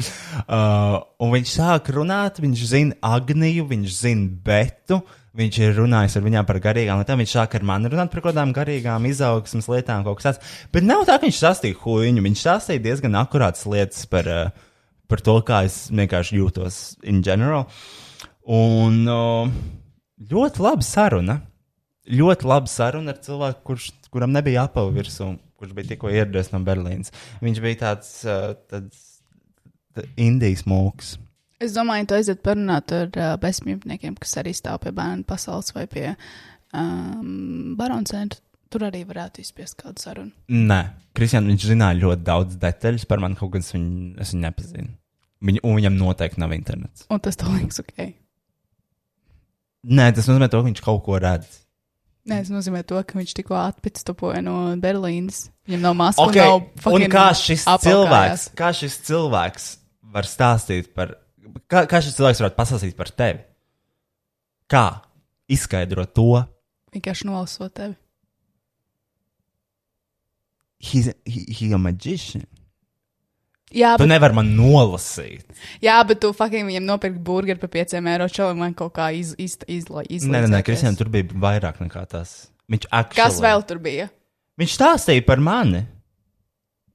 [SPEAKER 2] Uh, un viņš sāk runāt, viņš zina Agniju, viņš zina Betu. Viņš ir runājis ar viņiem par garīgām lietām. Viņš sāk ar mani runāt par kaut kādām garīgām izaugsmas lietām, kaut kas tāds. Bet nav tā, ka viņš sastīja huīņu. Viņš sastīja diezgan akurātas lietas par, uh, par to, kā es vienkārši jūtos in general. Un uh, ļoti laba saruna. Ļoti laba saruna ar cilvēku, kurš, kuram nebija apava virsū, kurš bija tikko ieradies no Berlīnas. Viņš bija tāds, uh, tāds t- Indijas mūks.
[SPEAKER 3] es domāju, to aiziet parunāt ar uh, bezmītniekiem, kas arī stāv pie bērnu pasaules vai pie um, baronu centra. Tur arī varētu izspiest kādu sarunu.
[SPEAKER 2] Nē, Kristian, viņš zināja ļoti daudz detaļas par mani, kaut gan es viņu, es viņu nepazinu. Viņu, un viņam noteikti nav internets.
[SPEAKER 3] Un tas tev liekas ok.
[SPEAKER 2] Nē, tas nozīmē, to, ka viņš kaut ko redz.
[SPEAKER 3] Nē, tas nozīmē to, ka viņš tikko atpitstopoja no Berlīnas. Viņam nav maskas.
[SPEAKER 2] Okay.
[SPEAKER 3] nav
[SPEAKER 2] Un
[SPEAKER 3] fucking
[SPEAKER 2] kā šis, cilvēks,
[SPEAKER 3] apakājās.
[SPEAKER 2] kā šis cilvēks var stāstīt par, kā, kā šis cilvēks varētu pastāstīt par tevi? Kā izskaidrot to?
[SPEAKER 3] Vienkārši nolasot tevi.
[SPEAKER 2] He's, he, he a magician.
[SPEAKER 3] Jā,
[SPEAKER 2] Tu
[SPEAKER 3] bet,
[SPEAKER 2] nevari man nolasīt.
[SPEAKER 3] jā, bet tu fucking viņam nopirki burgeru par 5 eiro. Čelim man kaut kā iz, iz, izlo, izlaiž.
[SPEAKER 2] Nē, nē, nē Kristian, tur bija vairāk nekā tas. Viņš aktīvi.
[SPEAKER 3] Kas vēl tur bija?
[SPEAKER 2] Viņš stāstīja par mani.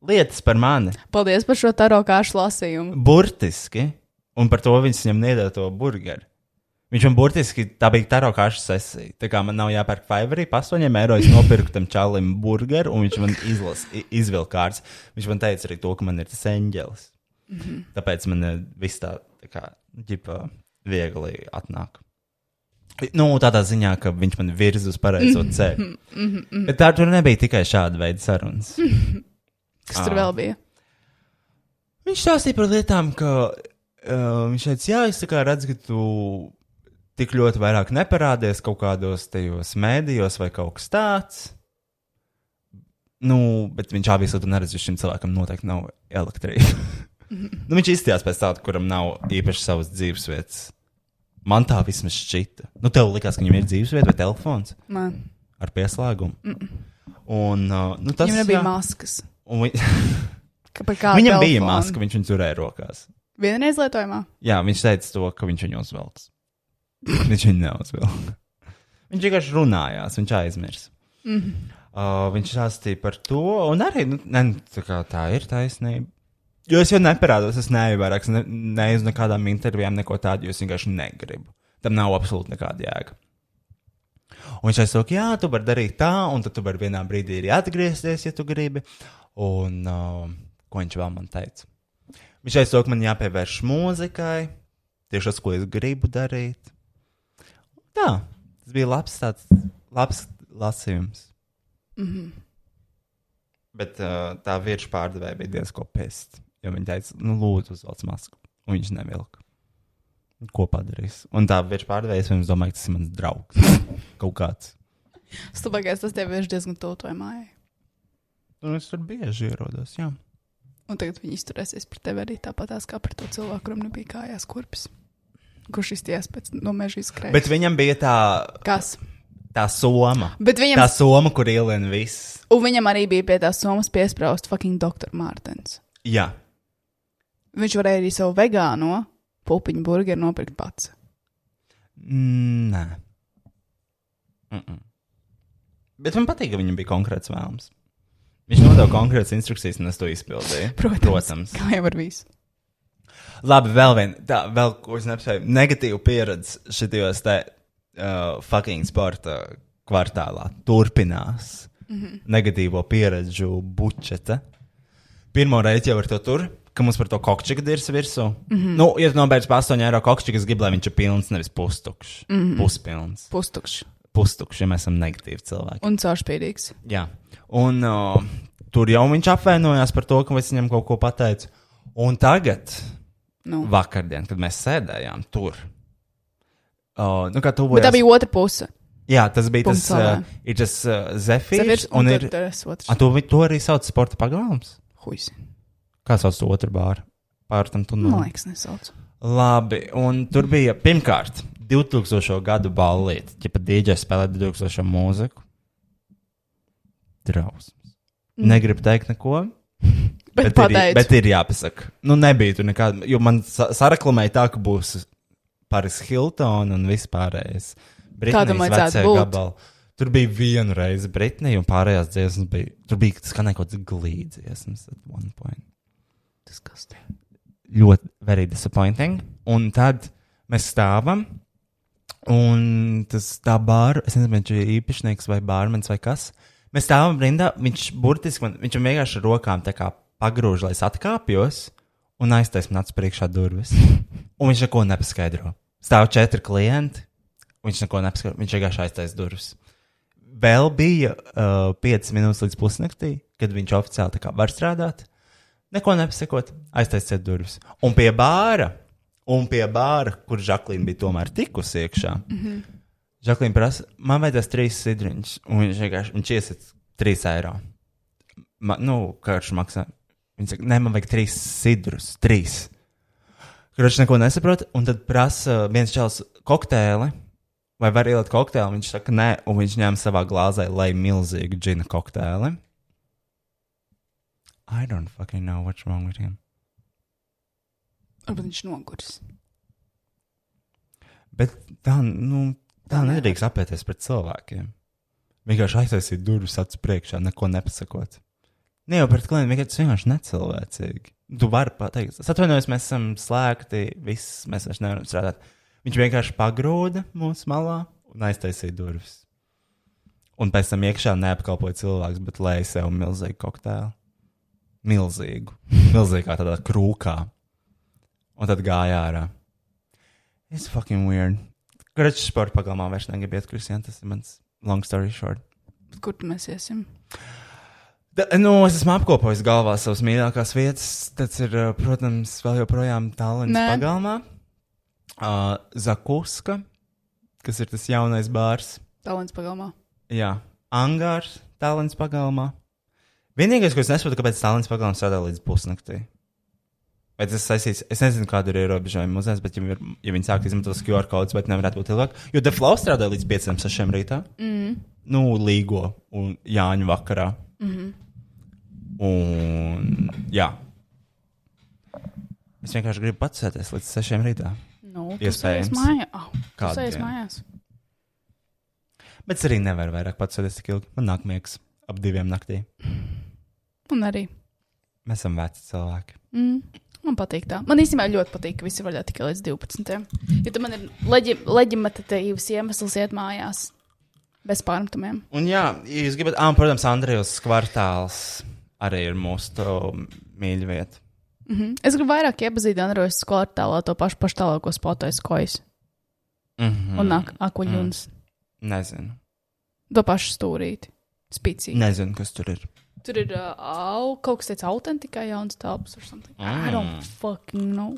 [SPEAKER 2] Lietas par mani.
[SPEAKER 3] Paldies par šo taro kāšu lasījumu.
[SPEAKER 2] Burtiski. Un par to viņš viņam nedēļa to burgeru. Viņš man burtiski tā bija tā rokaša sesija. Tā kā man nav jāpērk Fiverr, pa 8 eiro es nopirku tam čalim burgeru, un viņš man izlas, i- izvilka kārtas. Viņš man teica arī to, ka man ir tas eņģelis.
[SPEAKER 3] Mhm.
[SPEAKER 2] Mm -hmm. Tāpēc man eh, viss tā, tā kā ģipa viegli atnāk. Nu, tādā ziņā, ka viņš man virza uz pareizo ceļu. Mm
[SPEAKER 3] Mhm,
[SPEAKER 2] -hmm. Bet tā tur nebija tikai šāda veida sarunas.
[SPEAKER 3] Kas tur
[SPEAKER 2] Ah.
[SPEAKER 3] vēl bija?
[SPEAKER 2] Viņš stāstīja par lietām, ka uh, viņš teica, jā, es tā kā redzu, ka tu tik ļoti vairāk neparādies kaut kādos tajos mēdījos vai kaut kas tāds. Nu, bet viņš obviously to neredz, jo šim cilvēkam noteikti nav elektrība. nu, viņš izstījās pēc tāda, kuram nav īpaši savas dzīves vietas. Man tā vismaz šķita. Nu, tev likās, ka viņam ir dzīves vieta vai telefons
[SPEAKER 3] Man.
[SPEAKER 2] ar pieslēgumu. Mm -mm. Un, uh, nu, tas
[SPEAKER 3] Viņam nebija
[SPEAKER 2] jā.
[SPEAKER 3] maskas.
[SPEAKER 2] Un vi...
[SPEAKER 3] Ka- par kādu
[SPEAKER 2] Viņam
[SPEAKER 3] telefonu?
[SPEAKER 2] bija maska, viņš viņu turēja rokās.
[SPEAKER 3] Vienreiz lietojumā.
[SPEAKER 2] Jā, viņš teica to, ka viņš viņu uzvelks. viņš viņu neuzvilka. Viņš vienkārši runājās, viņš aizmirsa. Mm -hmm. uh, viņš stāstīja par to, un arī nu, ne, nu, tā, kā, tā ir taisnība. Jo es jau neparādos, es neeju vairāk, es ne, neeju uz nekādām intervijām, neko tādu, jo es vienkārši negribu. Tam nav absolūti nekāda jēga. Un viņš aizsaka, jā, tu vari darīt tā, un tad tu vari vienā brīdī arī atgriezties, ja tu gribi. Un uh, ko viņš vēl man teica? Viņš aizsaka, man jāpievērš mūzikai. Tieši tas, ko es gribu darīt. Tā, tas bija labs, tāds, labs lasījums. Mm -hmm.
[SPEAKER 3] Mhm.
[SPEAKER 2] Bet uh, tā virsmas pārdevēja bija diezgan pēst. Jo viņa teica, nu, lūdzu, uzvelc masku. Un viņš nevilka. Ko padarīs? Un tā virsmas pārdevēja, es domāju, ka tas ir mans draugs. Kaut kāds.
[SPEAKER 3] Stupagais tas tev ir diezgan tuvu tavai mājai.
[SPEAKER 2] Un es tur bieži ierodos. Jā.
[SPEAKER 3] Un tagad viņi izturēsies pret tevi arī tāpatās kā pret to cilvēku, kuram nebija kājās kurpes. Kurš izties pēc no meža izkrājas?
[SPEAKER 2] Bet viņam bija tā,
[SPEAKER 3] Kas?
[SPEAKER 2] tā soma.
[SPEAKER 3] Bet viņam,
[SPEAKER 2] Tā soma, kur ielien viss.
[SPEAKER 3] un viņam arī bija pie tās somas piesprāst fucking doktor Mārtens.
[SPEAKER 2] Jā.
[SPEAKER 3] Viņš varēja arī savu vegāno pupiņu burgeru nopirkt pats.
[SPEAKER 2] Mm, Nē. Mm -mm. Bet man patīk, ka viņam bija konkrēts vēlms. Viņš nodeva konkrētas instrukcijas, un es to izpildīju.
[SPEAKER 3] Protams.
[SPEAKER 2] Protams.
[SPEAKER 3] Kā jau ar visu.
[SPEAKER 2] Labi, vēl viena, tā, vēl ko es neapsēju. Negatīva pieredze šajos te uh, fucking sporta kvartālā turpinās. Mm -hmm. Negatīvo pieredžu bučeta. Pirmo reizi jau ar to tur, ka mums par to kokšķiku dirs virsū. Mm
[SPEAKER 3] Mhm.
[SPEAKER 2] -hmm. Nu, ja tu nobeidz pa 8 eiro kokšķiku, es gribu, lai viņš ir pilns, nevis pustukšs. Mm -hmm. Puspilns
[SPEAKER 3] Mhm. Pustukšs
[SPEAKER 2] pustukši, ja mēs esam negatīvi cilvēki.
[SPEAKER 3] un caurspīdīgs.
[SPEAKER 2] Jā. Un uh, tur jau viņš apvainojās par to, ka es viņam kaut ko pateicu. Un tagad,
[SPEAKER 3] Nu.
[SPEAKER 2] vakardien, kad mēs sēdējām tur, uh, nu, kā tuvojas.
[SPEAKER 3] Bet tā bija otra puse.
[SPEAKER 2] Jā, tas bija tas,
[SPEAKER 3] Punkts
[SPEAKER 2] uh,
[SPEAKER 3] savā.
[SPEAKER 2] ir tas uh, zefīrs.
[SPEAKER 3] Sevirs un
[SPEAKER 2] Un
[SPEAKER 3] tur
[SPEAKER 2] ir,
[SPEAKER 3] tur tas otrs.
[SPEAKER 2] a, to, vi- to arī sauc par sporta pagalms.
[SPEAKER 3] Huis.
[SPEAKER 2] Kā sauc to otru bāru? Pārtam tunelim.
[SPEAKER 3] Man liekas, nesauc.
[SPEAKER 2] Labi, un tur bija pirmkārt 2000. gadu ballīte, ja pat dīdžers spēlē 2000. mūziku. drausmas. Negribu teikt neko.
[SPEAKER 3] Mm. Bet
[SPEAKER 2] ir,
[SPEAKER 3] pateicu.
[SPEAKER 2] bet ir jāpasaka. Nu, nebija tur nekāda. Jo man sa saraklamēja tā, ka būs Paris Hilton un vispārējais.
[SPEAKER 3] Tāda vajadzētu
[SPEAKER 2] vecā
[SPEAKER 3] būt.
[SPEAKER 2] gabala. Tur bija viena reize Britnija, un pārējās dziesmas bija. Tur bija skanēja kaut kāds glīdziesmas at one point. Tas kas te? Ļoti, very disappointing. Un tad mēs stāvam. Un tas tā bāra, es nezinu, viņš ir īpašnieks vai bārmenis vai kas. Mēs stāvam rindā, viņš burtiski man, viņš man vienkārši ar rokām tā kā pagrūž, lai es atkāpjos, un aiztais man acis priekšā durvis. Un viņš neko nepaskaidro. Stāv četri klienti, un viņš neko nepaskaidro, viņš vienkārši aiztais durvis. Vēl bija uh, 5 minūtes līdz pusnaktī, kad viņš oficiāli tā kā var strādāt. Neko nepasakot, aiztaisiet durvis. Un pie bāra, un pie bāra, kur Žaklīna bija tomēr tikusi iekšā, mm -hmm. Žaklīna prasa, man vajadzēs trīs sidriņus, un viņš vienkārši viņš iesiet trīs eiro. Ma, nu, karš maksā. Viņa saka, nē, man vajag trīs sidrus, trīs. Kurš neko nesaprot, un tad prasa viens čels kokteili. Vai var ielikt kokteili? Viņš saka, nē, un viņš ņēma savā glāzē, lai milzīgu džina kokteili. I don't fucking know what's wrong with him.
[SPEAKER 3] Varbūt viņš noguris.
[SPEAKER 2] Bet tā, nu, tā nedrīkst apēties pret cilvēkiem. Vienkārši aiztaisīt durvis acu priekšā, neko nepasakot. Ne jau pret klientiem, vienkārši tas vienkārši necilvēcīgi. Tu vari pateikt, es atvainojos, mēs esam slēgti, viss, mēs vairs nevaram strādāt. Viņš vienkārši pagrūda mūsu malā un aiztaisīja durvis. Un pēc tam iekšā neapkalpoja cilvēks, bet lēja sev milzīgu kokteili. Milzīgu, milzīgā tādā krūkā. Un tad gāja ārā. It's fucking weird. Kurš sporta pagalmā vairs negribu iet, Kristian? Tas ir mans long story short.
[SPEAKER 3] Bet Kur tad mēs iesim?
[SPEAKER 2] Da, nu, es esmu apkopojis galvā savas mīļākās vietas. Tas ir, uh, protams, vēl joprojām Tallinas
[SPEAKER 3] Nē.
[SPEAKER 2] pagalmā. Uh, Zakuska, kas ir tas jaunais bārs.
[SPEAKER 3] Talants pagalmā.
[SPEAKER 2] Jā, Angārs, Tallinas pagalmā. Vienīgais, ko es nesaprotu, kāpēc Tallinas pagalmā strādā līdz pusnaktī. Vai tas saistīts? Es nezinu, kāda ir ierobežojuma muzeja, bet, ja, ir, ja viņi sāk izmantot tos QR kodus, vai nevarētu būt ilgāk? Jo Deflau strādā līdz 5, 6 rītā. Mm. Nu, Līgo un Jāņu vakarā.
[SPEAKER 3] Mhm.
[SPEAKER 2] Mm. Un, jā. Es vienkārši gribu pats sēties līdz 6 rītā.
[SPEAKER 3] Nu,
[SPEAKER 2] Iespējams. Kādu
[SPEAKER 3] Kādu? Es
[SPEAKER 2] dienu?
[SPEAKER 3] aizēju mājās.
[SPEAKER 2] Bet es arī nevaru vairāk pats sēdēt tik ilgi. Man nāk miegs ap diviem naktī.
[SPEAKER 3] Un arī.
[SPEAKER 2] Mēs esam veci cilvēki.
[SPEAKER 3] Mm. Man patīk tā. Man īstenībā ļoti patīk, ka visi var ļaut tikai līdz 12. Jo tam man ir leģi, leģimatīvs iemesls iet mājās bez pārmetumiem.
[SPEAKER 2] Un, jā, ja jūs gribat, ah, un, protams, Andrejs kvartāls arī ir mūsu to mīļa vieta.
[SPEAKER 3] Mm. Es gribu vairāk iepazīt Androjas skolu tālā to pašu pašu tālāko spotais kojas
[SPEAKER 2] Mm -hmm.
[SPEAKER 3] un ak akuļuns. Mm.
[SPEAKER 2] Mhm. Nezinu.
[SPEAKER 3] To pašu stūrīti. Spicīgi.
[SPEAKER 2] Nezinu, kas tur ir.
[SPEAKER 3] Tur ir uh, au, kaut kas tāds autentikā jauns telpas vai something. Mm. I don't fucking know.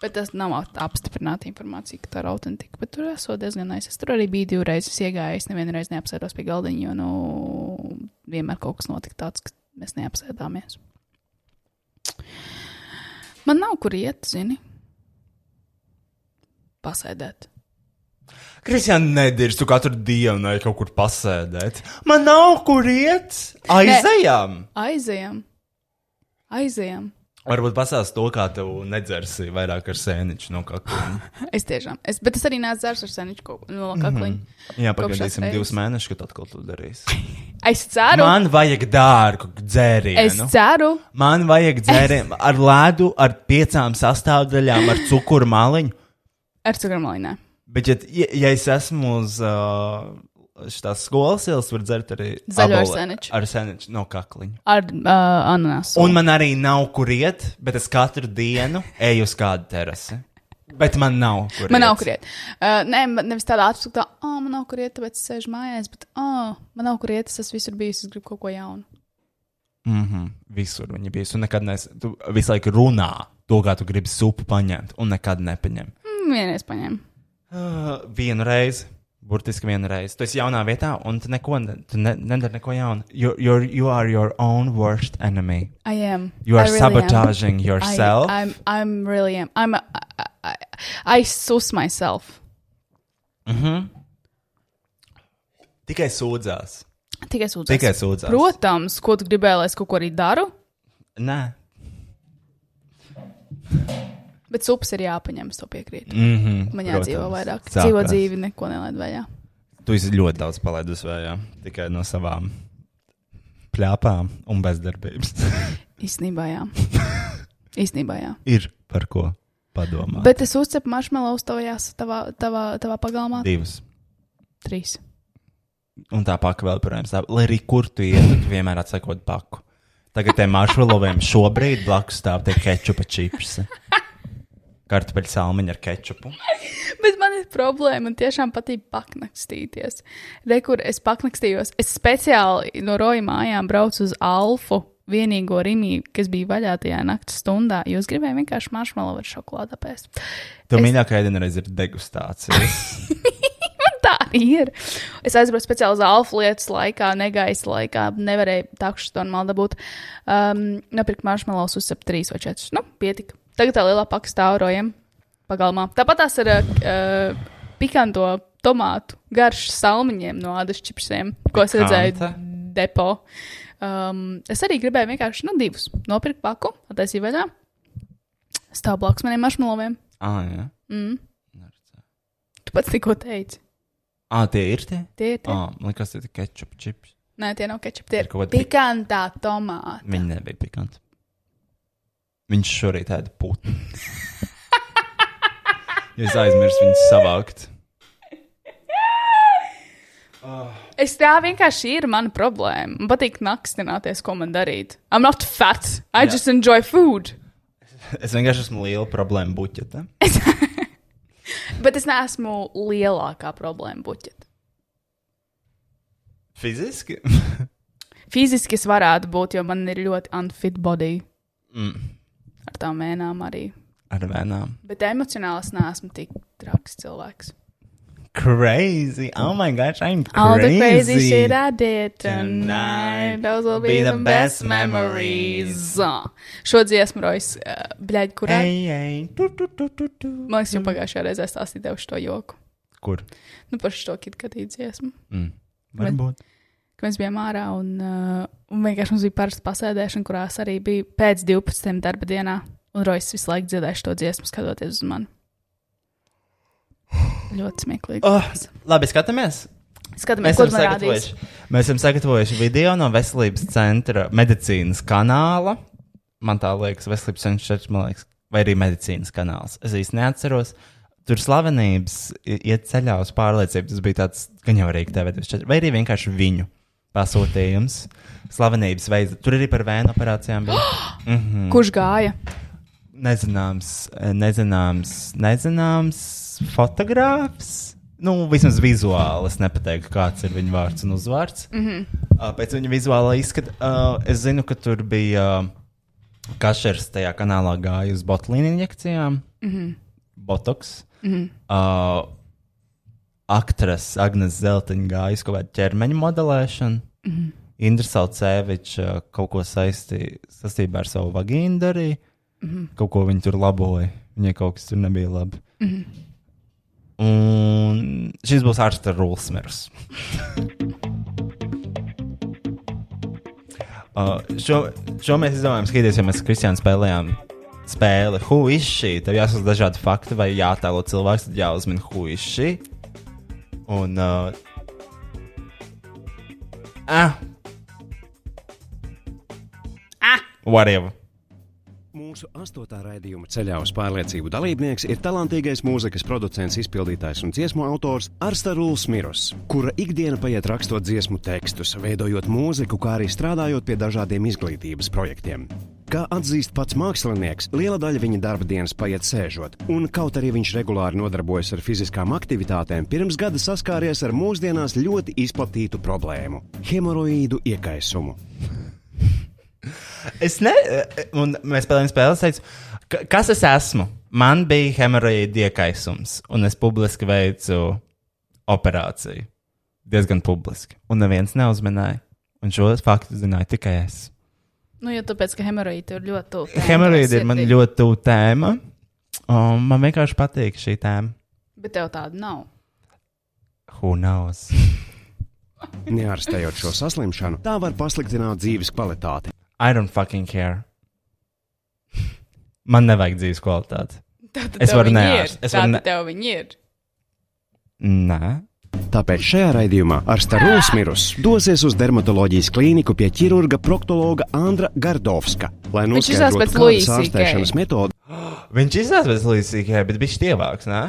[SPEAKER 3] Bet tas nav at- apstiprināta informācija, ka tā ir autentika. Bet tur esot diezgan nice. Es tur arī biju divreiz es iegāju. Es nevienu reizi neapsēdos pie galdiņa, jo nu, vienmēr kaut kas notika tāds, ka mēs neapsēdāmies. Man nav kur iet, zini. Pasēdēt.
[SPEAKER 2] Kristija, nedirst, tu katru dienu ej kaut kur pasēdēt. Man nav kur iet, aizejām.
[SPEAKER 3] Aizejam. Aizejam.
[SPEAKER 2] Varbūt pasās to, kā tev nedzersi vairāk ar sēniņu no kakla.
[SPEAKER 3] Es tiešām. Es, bet es arī nācu zārs ar seniņu kaut nu, no kakliņa.
[SPEAKER 2] Mhm. Jā,
[SPEAKER 3] Kopš
[SPEAKER 2] pagaidīsim
[SPEAKER 3] šās
[SPEAKER 2] divus mēnešus, kad atkal to darīs.
[SPEAKER 3] Es ceru, Man,
[SPEAKER 2] Man vajag dārgu
[SPEAKER 3] es
[SPEAKER 2] dzērienu.
[SPEAKER 3] ceru,
[SPEAKER 2] Man vajag dzērienu ar lēdu, ar piecām sastāvdaļām, ar cukuru maliņu.
[SPEAKER 3] ar cukurmalīnē.
[SPEAKER 2] Bet, ja, ja, ja es esmu uz uh, šīs skolas ielas, var dzert arī
[SPEAKER 3] Zaļo ar
[SPEAKER 2] aboli-
[SPEAKER 3] sendviču.
[SPEAKER 2] Ar sēniņu no kakliņa.
[SPEAKER 3] Ar uh, ananasu.
[SPEAKER 2] Un man arī nav kur iet, bet es katru dienu eju uz kādu terasi. Bet man nav kur
[SPEAKER 3] Man
[SPEAKER 2] iet.
[SPEAKER 3] nav kur iet. Uh, nē, man nevis tādā apsūdzībā, ah, oh, man nav kur iet, tāpēc es sēžu mājās, bet, ah, oh, man nav kur iet, es esmu visur bijis, es gribu kaut ko jaunu.
[SPEAKER 2] Mm -hmm. Visur viņi bija. Tu nekad neesi. Tu visu laiku runā to, kā tu gribi supu paņemt, un nekad nepaņem.
[SPEAKER 3] Mm, vienreiz paņēmu.
[SPEAKER 2] Uh, vienu reizi. Burtiski vienu reizi. Tu esi jaunā vietā, un tu neko ne, tu ne, nedari neko jaunu. You're, you're, you are your own worst enemy.
[SPEAKER 3] I am.
[SPEAKER 2] You are
[SPEAKER 3] I really
[SPEAKER 2] sabotaging
[SPEAKER 3] am.
[SPEAKER 2] yourself.
[SPEAKER 3] I, I'm, I'm really am. I'm, a, I, I, I sus myself.
[SPEAKER 2] Mhm. Tikai sūdzās.
[SPEAKER 3] Tikai sūdzēs.
[SPEAKER 2] Tikai sūdzās.
[SPEAKER 3] Protams, ko tu gribēji, lai es kaut ko arī daru,
[SPEAKER 2] Nē.
[SPEAKER 3] bet sups ir jāpaņem, es to piekrītu.
[SPEAKER 2] Mm -hmm,
[SPEAKER 3] Man jādzīvo vairāk.
[SPEAKER 2] Sāpēs.
[SPEAKER 3] Dzīvo dzīvi, neko nelaid vējā.
[SPEAKER 2] Tu esi ļoti daudz palaidus vējā. Tikai no savām plēpām un bezdarbības.
[SPEAKER 3] Īsnībā jā. Īsnībā jā.
[SPEAKER 2] Ir par ko padomāt.
[SPEAKER 3] Bet es uzcepu maršmelovus tavajās, tavā, tavā, tavā pagalmā.
[SPEAKER 2] Divas.
[SPEAKER 3] Trīs.
[SPEAKER 2] Un tā paka vēl, protams, tā, lai arī kur tu ietu, tu vienmēr atsakot paku. Tagad tiem maršruloviem šobrīd blakus stāv tie kečupa čips. Kartupeļu salmiņa ar kečupu.
[SPEAKER 3] Bet man ir problēma. Man tiešām patīk paknakstīties. Re, kur es paknakstījos. Es speciāli no roja mājām braucu uz Alfu. Vienīgo rīmi, kas bija vaļā tajā naktas stundā, jo es gribēju vienkārši maršmelu ar šokolādu pēst.
[SPEAKER 2] Tu es... mīļākā ēdienā reiz ir degustācijas.
[SPEAKER 3] Tā arī ir. Es aizbraucu speciāli uz alfa lietas laikā, negaisa laikā. Nevarēju takšu to normāli dabūt. Um, Nopirkt maršmelos uz 3 vai 4. Nu, pietika. Tagad tā lielā pakā stāv rojam pagalmā. Tāpat tās ir uh, pikanto tomātu garš salmiņiem no ādas čipsiem, ko es redzēju
[SPEAKER 2] Pikanta.
[SPEAKER 3] depo. Um, es arī gribēju vienkārši, nu, divus. Nopirkt paku, attaisīju vaļā. Stāv blakus maniem maršmeloviem.
[SPEAKER 2] ah, jā.
[SPEAKER 3] Mm. Tu pats tikko teici.
[SPEAKER 2] Ah, tie ir tie?
[SPEAKER 3] Tie ir tie.
[SPEAKER 2] Ah, man liekas, tie ir kečupa čips.
[SPEAKER 3] Nē, tie nav kečup, tie
[SPEAKER 2] Ir
[SPEAKER 3] ir
[SPEAKER 2] kaut kāda pik-
[SPEAKER 3] pikantā tomāta.
[SPEAKER 2] Viņi nebija pikanti. Viņš šorīt ēda putnu. es aizmirsu viņus savākt.
[SPEAKER 3] Es tā vienkārši ir mana problēma. Man patīk nakstināties, ko man darīt. I'm not fat, I yeah. just enjoy food.
[SPEAKER 2] Es vienkārši esmu liela problēma buķetē.
[SPEAKER 3] Bet es neesmu lielākā problēma buķet.
[SPEAKER 2] Fiziski?
[SPEAKER 3] Fiziski es varētu būt, jo man ir ļoti unfit body
[SPEAKER 2] mm.
[SPEAKER 3] ar tām mēnām arī.
[SPEAKER 2] Ar vēnām.
[SPEAKER 3] Bet emocionāli es neesmu tik traks cilvēks.
[SPEAKER 2] crazy. Oh my gosh, I'm crazy.
[SPEAKER 3] All the crazy shit I did tonight,
[SPEAKER 2] Tonight
[SPEAKER 3] those will be, the, best memories. Šo dziesmu, Rojas, bļaļ, kurā?
[SPEAKER 2] Hey, hey. Tu, tu, tu, tu, tu.
[SPEAKER 3] Man liekas, jau pagājušajā reizē es stāstīju tev šo joku.
[SPEAKER 2] Kur?
[SPEAKER 3] Nu, par šo kitkadīju dziesmu.
[SPEAKER 2] Mm. Varbūt.
[SPEAKER 3] Ka mēs bijām ārā un, uh, un vienkārši mums bija parasta pasēdēšana, kurās arī bija pēc 12. darba dienā. Un Rojas visu laiku dziedāja šo dziesmu, skatoties uz mani. Ļoti smieklīgi.
[SPEAKER 2] Oh, labi, skatāmies.
[SPEAKER 3] Skatāmies,
[SPEAKER 2] Mēs
[SPEAKER 3] ko
[SPEAKER 2] esam,
[SPEAKER 3] tu man rādīsi.
[SPEAKER 2] sagatavojuši, mēs esam sagatavojuši video no veselības centra medicīnas kanāla. Man tā liekas, veselības centrs šeit, man liekas, vai arī medicīnas kanāls. Es īsti neatceros. Tur slavenības i- iet ceļā uz pārliecību. Tas bija tāds gan jau arī TV24, vai arī vienkārši viņu pasūtījums. Slavenības veids. Tur arī par vēju operācijām bija. Mhm.
[SPEAKER 3] Kurš gāja?
[SPEAKER 2] nezināms, eh, nezināms, nezināms fotogrāfs. Nu, vismaz vizuāli es nepateiktu, kāds ir viņa vārds un uzvārds. Mm -hmm. Pēc viņa vizuālā izskata, uh, es zinu, ka tur bija uh, kašers tajā kanālā gāja uz botlīnu injekcijām, mm -hmm. botoks. Mm -hmm. uh, Aktrise Agnēs Zeltiņa gāja uz kaut kādu ķermeņa modelēšanu. Mm -hmm. Indra Salcēviča eh, kaut ko saistīja saistībā ar savu vagīnu darīja kaut ko viņi tur laboja. Viņai kaut kas tur nebija labi. Mm -hmm. Un šis būs ārsta rulsmers. Uh, šo, šo mēs izdomājām skatīties, jo mēs ar Kristiānu spēlējām spēli Who is she? Tev jāsaka dažādi fakti, vai jātēlo cilvēks, tad jāuzmina Who is she? Un. Uh, ah! Ah! Whatever!
[SPEAKER 8] Mūsu astotā raidījuma ceļā uz pārliecību dalībnieks ir talantīgais mūzikas producents, izpildītājs un dziesmu autors Arsta Rūls Mirus, kura ikdiena paiet rakstot dziesmu tekstus, veidojot mūziku, kā arī strādājot pie dažādiem izglītības projektiem. Kā atzīst pats mākslinieks, liela daļa viņa darba dienas paiet sēžot, un kaut arī viņš regulāri nodarbojas ar fiziskām aktivitātēm, pirms gada saskāries ar mūsdienās ļoti izplatītu problēmu - hemoroīdu iekaisumu.
[SPEAKER 2] Es ne, un mēs spēlējām spēli. Es teicu, "Ka- kas es esmu? Man bija hemoroīda iekaisums, un es publiski veicu operāciju. Diezgan publiski. Un neviens neuzmanīja. Un šo faktu zināju tikai es.
[SPEAKER 3] Nu, jo tāpēc, ka hemoroīda ir ļoti tuvu.
[SPEAKER 2] Hemoroīda ir man ļoti tuva tēma. Un man vienkārši patīk šī tēma.
[SPEAKER 3] Bet tev tāda nav.
[SPEAKER 2] Who knows?
[SPEAKER 8] Neārstējot šo saslimšanu, tā var pasliktināt dzīves kvalitāti.
[SPEAKER 2] I don't fucking care. Man nevajag dzīves kvalitāti.
[SPEAKER 3] Tātad
[SPEAKER 2] Es
[SPEAKER 3] tev
[SPEAKER 2] varu
[SPEAKER 3] viņi
[SPEAKER 2] neārst-
[SPEAKER 3] ir.
[SPEAKER 2] es varu ne-
[SPEAKER 3] Tātad tev viņi ir.
[SPEAKER 2] Nē.
[SPEAKER 8] Tāpēc šajā raidījumā ar Starūs Mirus dosies uz dermatoloģijas klīniku pie ķirurga proktologa Andra Gardovska, lai
[SPEAKER 3] Viņš izskatās pēc
[SPEAKER 8] noskaidrotu,
[SPEAKER 3] Louis CK.
[SPEAKER 8] kādas ārstēšanas metodas
[SPEAKER 2] Viņš izsaka pēc līdzīgā, bet viņš tievāks, nē?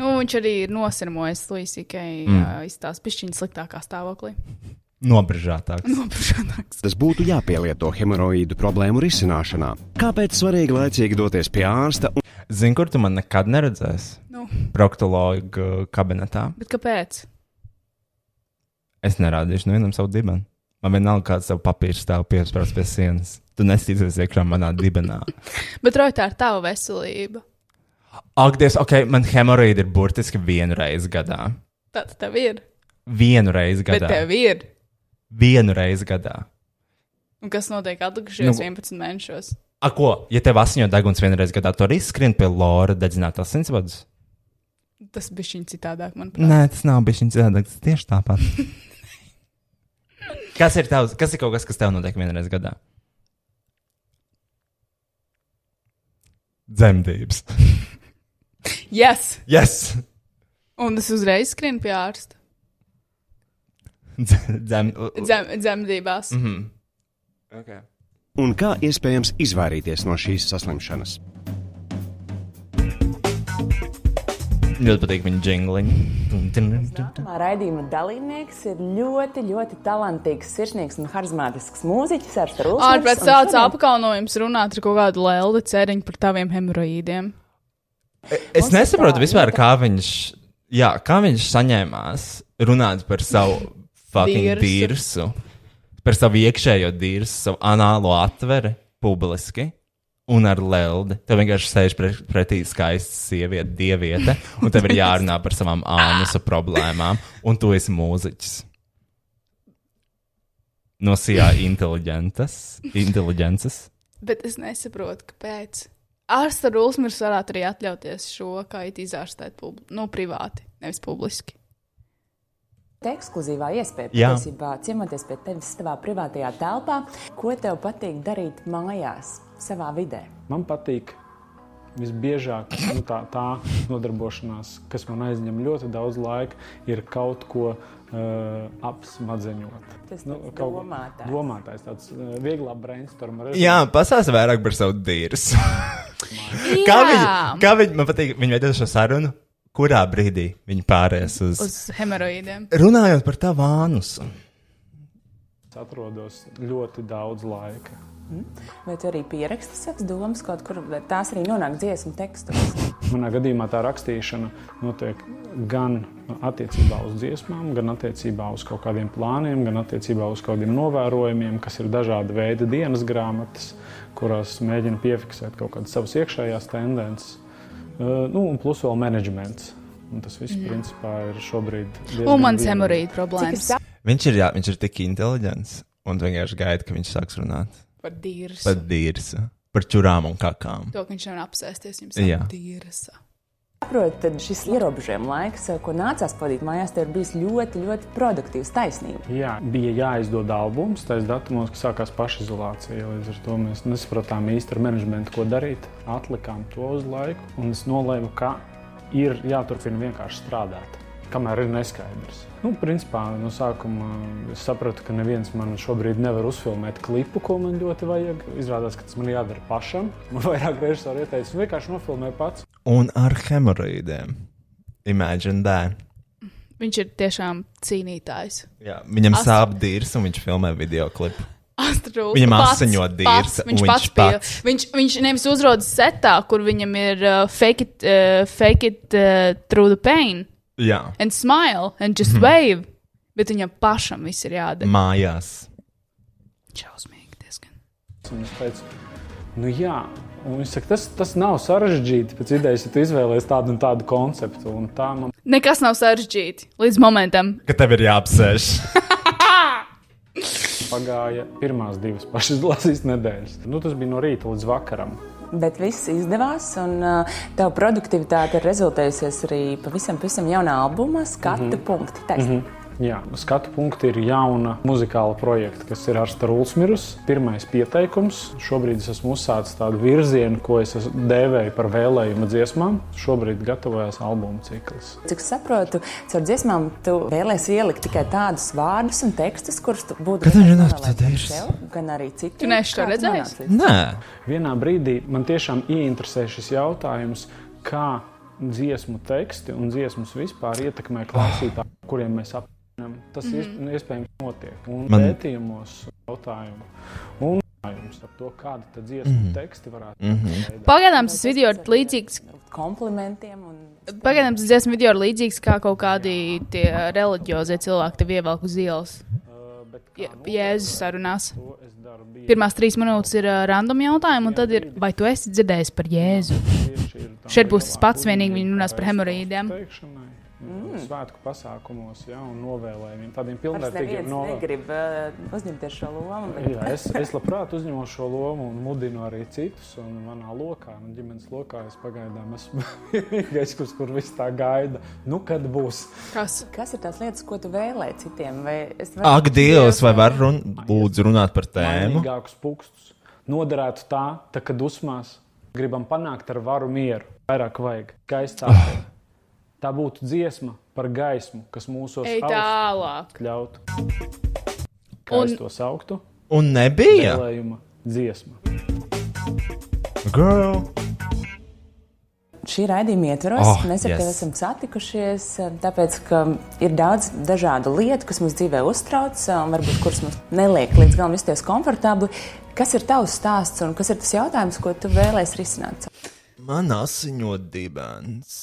[SPEAKER 3] Nu, viņš arī ir nosirmojis Luisīkai mm. izstāst pišķiņu sliktākā stāvoklī.
[SPEAKER 2] Nobrižātāks.
[SPEAKER 3] Nopušanāks.
[SPEAKER 8] būtu jāpielieto hemoroīdu problēmu risināšanā. Kāpēc svarīgi laicīgi doties pie ārsta un
[SPEAKER 2] Zini, kur tu man nekad neredzēsi?
[SPEAKER 3] Nu,
[SPEAKER 2] Proktologa kabinetā.
[SPEAKER 3] bet kāpēc?
[SPEAKER 2] Es nerādīšu nevienam savu dibenu. Man vienalga, kāds savu papīru stāv piesprāst pie sienas. Tu nesīsies iekšā manā dibenā.
[SPEAKER 3] Bet Roja, tā ir tava veselība.
[SPEAKER 2] Ak, Dievs, ok, man hemoroīdi ir burtiski vienu reizi gadā.
[SPEAKER 3] Tātad tev ir.
[SPEAKER 2] Vienu reizi
[SPEAKER 3] Bet
[SPEAKER 2] gadā.
[SPEAKER 3] tev ir.
[SPEAKER 2] Vienu reizi gadā.
[SPEAKER 3] Un kas notiek atlikušajos
[SPEAKER 2] Nu,
[SPEAKER 3] nu, 11 mēnešos?
[SPEAKER 2] A, ko? Ja tev asiņo deguns vienu reizi gadā, tu arī skrien pie lora dedzinātās sinsvadas?
[SPEAKER 3] Tas bija viņa citādāk, manuprāt.
[SPEAKER 2] Nē, tas nav bijis viņa dzirdēts. Tas tieši tāpat. kas ir tavs? Kas ir kaut kas, kas tev notiek vienreiz gadā? Zemdības.
[SPEAKER 3] Yes!
[SPEAKER 2] Yes!
[SPEAKER 3] Un tas uzreiz skrien pie ārsta.
[SPEAKER 2] Zem.
[SPEAKER 3] Dzem, dzemdībās. Mm.
[SPEAKER 2] Mhm. Okay.
[SPEAKER 8] un kā iespējams izvairīties no šīs saslimšanas.
[SPEAKER 2] Ļoti patīk viņa jingliņa.
[SPEAKER 9] Nākamā raidījuma dalībnieks ir ļoti, ļoti talantīgs, sirsnīgs un harizmātisks mūziķis ar strūklaku.
[SPEAKER 3] Ārpēc tāds apkaunojums runāt ar kaut kādu lēlu cēriņu par taviem hemoroīdiem.
[SPEAKER 2] E, Es nesaprotu vispār, kā viņš, jā, kā viņš saņēmās runāt par savu fucking
[SPEAKER 3] Dirsu.
[SPEAKER 2] dirsu, par savu iekšējo dirsu, savu anālo atveri publiski. Un ar leldi. Tev vienkārši sēž pre- pretī skaista sieviete, dieviete, un tev ir jārunā par savām ānusa problēmām, un tu esi mūziķis. No sijā inteliģentas, inteliģences.
[SPEAKER 3] Bet es nesaprotu, kāpēc. Ārsta Rūsmers varētu arī atļauties šo kaitu izārstēt pub... nu, privāti, nevis publiski.
[SPEAKER 9] Tā ekskluzīvā iespēja
[SPEAKER 2] Jā.
[SPEAKER 9] patiesībā ciemoties pie tevis savā privātajā telpā, ko tev patīk darīt mājās, savā vidē.
[SPEAKER 10] Man patīk visbiežāk nu, tā, tā nodarbošanās, kas man aizņem ļoti daudz laika, ir kaut ko uh, apsmadzeņot.
[SPEAKER 9] Tas tāds
[SPEAKER 10] Nu, kaut-
[SPEAKER 9] domātājs.
[SPEAKER 10] domātājs, tāds uh, vieglā brainstorma.
[SPEAKER 2] Jā, pasāst vairāk par savu dirsu. kā viņi, kā viņi man patīk, viņi veido šo sarunu, kurā brīdī viņi pāries uz. uz...
[SPEAKER 3] Uz hemoroīdiem.
[SPEAKER 2] Runājot par tavu anusu.
[SPEAKER 10] Es atrodos ļoti daudz laika.
[SPEAKER 9] Vai tu arī pieraksti savas domas kaut kur, vai tās arī nonāk dziesmu tekstos?
[SPEAKER 10] Manā gadījumā tā rakstīšana notiek gan attiecībā uz dziesmām, gan attiecībā uz kaut kādiem plāniem, gan attiecībā uz kaut kādiem novērojumiem, kas ir dažāda veida dienas grāmatas, kurās mēģina piefiksēt kaut kādas savas iekšējās tendences. Eh, Nu, un plus vēl menedžments. Un tas viss, principā, ir šobrīd. diezgan
[SPEAKER 3] Un mans
[SPEAKER 10] viegli.
[SPEAKER 3] hemoroīdu problēmas.
[SPEAKER 2] Viņš ir, jā, viņš ir tik inteliģents un vienkārši gaida, ka viņš sāks runāt
[SPEAKER 3] Par dīras.
[SPEAKER 2] par dirsu, par čurām un kakām.
[SPEAKER 3] To, ka viņš nevar apsēsties jums
[SPEAKER 2] Jā.
[SPEAKER 3] ar dīras.
[SPEAKER 9] Saprotu, tad šis ierobežojuma laiks, ko nācās pavadīt mājās, tev ir bijis ļoti, ļoti produktīvs. Taisnība.
[SPEAKER 10] Jā, bija jāizdod albums tajos datumos, kad sākās pašizolācija. Līdz ar to mēs nesapratām īsti ar menedžmentu, ko darīt. Atlikām to uz laiku, un es nolēmu, ka ir jāturpina vienkārši strādāt, kamēr ir neskaidrs. Nu, principā no sākuma es sapratu, ka neviens man šobrīd nevar uzfilmēt klipu, ko man ļoti vajag. Izrādās, ka tas man jādara pašam. Man vairāk režisori ieteica, "Nu, vienkārši nofilmēt pats.
[SPEAKER 2] Un ar hemoroīdiem. Imagine that.
[SPEAKER 3] Viņš ir tiešām cīnītājs.
[SPEAKER 2] Jā, viņam
[SPEAKER 3] As-
[SPEAKER 2] sāp dirsu un viņš filmē video klipu.
[SPEAKER 3] Astrūs,
[SPEAKER 2] Viņam
[SPEAKER 3] pats-
[SPEAKER 2] asiņo
[SPEAKER 3] pats,
[SPEAKER 2] dīrsa, un
[SPEAKER 3] Viņš
[SPEAKER 2] viņš
[SPEAKER 3] pats bija.
[SPEAKER 2] pats.
[SPEAKER 3] Viņš, viņš nevis uzrodas setā, kur viņam ir uh, fake it, uh, fake it uh, through the pain
[SPEAKER 2] Jā,
[SPEAKER 3] and smile and just wave. Bet viņam pašam viss ir jādara.
[SPEAKER 2] mājās.
[SPEAKER 3] Čausmīgi diezgan.
[SPEAKER 10] Un es teicu, nu jā, un viņš saka, tas, tas nav sarežģīti. Pēc idejas, ja tu izvēlējies tādu un tādu konceptu, un tā man
[SPEAKER 3] Nekas nav sarežģīti līdz momentam.
[SPEAKER 2] Ka tev ir jāapsēž.
[SPEAKER 10] pagāja pirmās divas pašizlasīs nedēļas. Nu, tas bija no rīta līdz vakaram.
[SPEAKER 9] Bet viss izdevās, un uh, tā
[SPEAKER 10] Mhm.
[SPEAKER 9] produktivitāte ir rezultējusies arī pavisam, pavisam jaunā albumā, skatu mm -hmm. punkti. Mm -hmm.
[SPEAKER 10] Jā, skatu punkti ir jauna muzikāla projekta, kas ir Arsta Rulsmirs. Pirmais pieteikums. Šobrīd es esmu uzsācis tādu virzienu, ko es esmu dēvēju par vēlējumu dziesmām. Šobrīd gatavojas albuma cikls.
[SPEAKER 9] Cik es saprotu, caur dziesmām tu vēlēsies ielikt tikai tādus vārdus un tekstus, kurus tu būtu
[SPEAKER 6] Kad viņi
[SPEAKER 9] gatavs
[SPEAKER 6] nāk
[SPEAKER 9] novēlēt
[SPEAKER 6] tad
[SPEAKER 9] gan
[SPEAKER 6] ir?
[SPEAKER 9] sev, gan arī citiem.
[SPEAKER 3] Tu neesi to
[SPEAKER 9] Kā tu
[SPEAKER 3] redzējis?
[SPEAKER 9] nonāci līdz-
[SPEAKER 6] Nē,
[SPEAKER 10] Vienā brīdī man tiešām ieinteresē šis jautājums, kā dziesmu teksti un dziesmas vispār ietekmē klausītāju, kuriem mēs apvienam. Tas
[SPEAKER 9] Mhm.
[SPEAKER 10] mm -hmm. iespējams notiek. Un
[SPEAKER 6] Man-
[SPEAKER 10] man... pētījumos jautājumu un jums par to, kādi tad dziesmu mm
[SPEAKER 6] Mhm.
[SPEAKER 10] -hmm. teksti varētu būt. Mm -hmm.
[SPEAKER 3] Pagaidām tas video ir līdzīgs.
[SPEAKER 9] Komplimentiem un
[SPEAKER 3] Pagaidām tas dziesmu video ir līdzīgs kā kaut kādi tie reliģiozie cilvēki tev ievelk uz ielas.
[SPEAKER 10] Bet
[SPEAKER 3] Je- Jēzus sarunās.
[SPEAKER 10] to es daru bieži.
[SPEAKER 3] Pirmās trīs minūtes ir ā, random jautājumi, un tad ir, vai tu esi dzirdējis par Jēzu?
[SPEAKER 10] Tieši ir tā
[SPEAKER 3] Šeit būs tas
[SPEAKER 10] lielā
[SPEAKER 3] pats, vienīgi viņi
[SPEAKER 10] uzmanība
[SPEAKER 3] runās par hemoroīdiem.
[SPEAKER 10] teikšanai, mm. Svētku pasākumos, ja, un novēlējumiem, tādiem
[SPEAKER 9] Vairs
[SPEAKER 10] pilnvērtīgiem
[SPEAKER 9] neviens
[SPEAKER 10] novēlējumiem.
[SPEAKER 9] negrib eh, uzņemties šo lomu. bet-
[SPEAKER 10] Jā, es, es labprāt uzņemos šo lomu un mudinu arī citus. Un manā lokā, nu, ģimenes lokā, es pagaidām esmu vienīgais, kurš kur viss tā gaida. Nu, kad būs?
[SPEAKER 3] Kas?
[SPEAKER 9] Kas ir tās lietas, ko tu vēlēji citiem? Vai es varu-
[SPEAKER 1] Ak, Dievs, vai var run lūdzu runāt par tēmu?
[SPEAKER 10] Mainīgākus pukstus noderētu tā, tā ka dusmās gribam panākt ar varu mieru. Vairāk vajag skaistāk. Tā būtu dziesma par gaismu, kas mūsos
[SPEAKER 3] Ej
[SPEAKER 10] ausīs
[SPEAKER 3] tālāk.
[SPEAKER 10] ļautu. Kā un...
[SPEAKER 3] Un-
[SPEAKER 10] es to sauktu?
[SPEAKER 1] Un nebija.
[SPEAKER 10] Vēlējuma dziesma.
[SPEAKER 1] Girl.
[SPEAKER 9] Šī raidījuma ietvaros
[SPEAKER 1] Oh,
[SPEAKER 9] oh, mēs ar
[SPEAKER 1] yes.
[SPEAKER 9] yes. tevi esam satikušies, eh, tāpēc, ka ir daudz dažādu lietu, kas mums dzīvē uztrauc, eh, un varbūt kuras mums neliek līdz galam justies komfortabli. Kas ir tavs stāsts un kas ir tas jautājums, ko tu vēlēsies risināt?
[SPEAKER 1] Man asiņo dibens.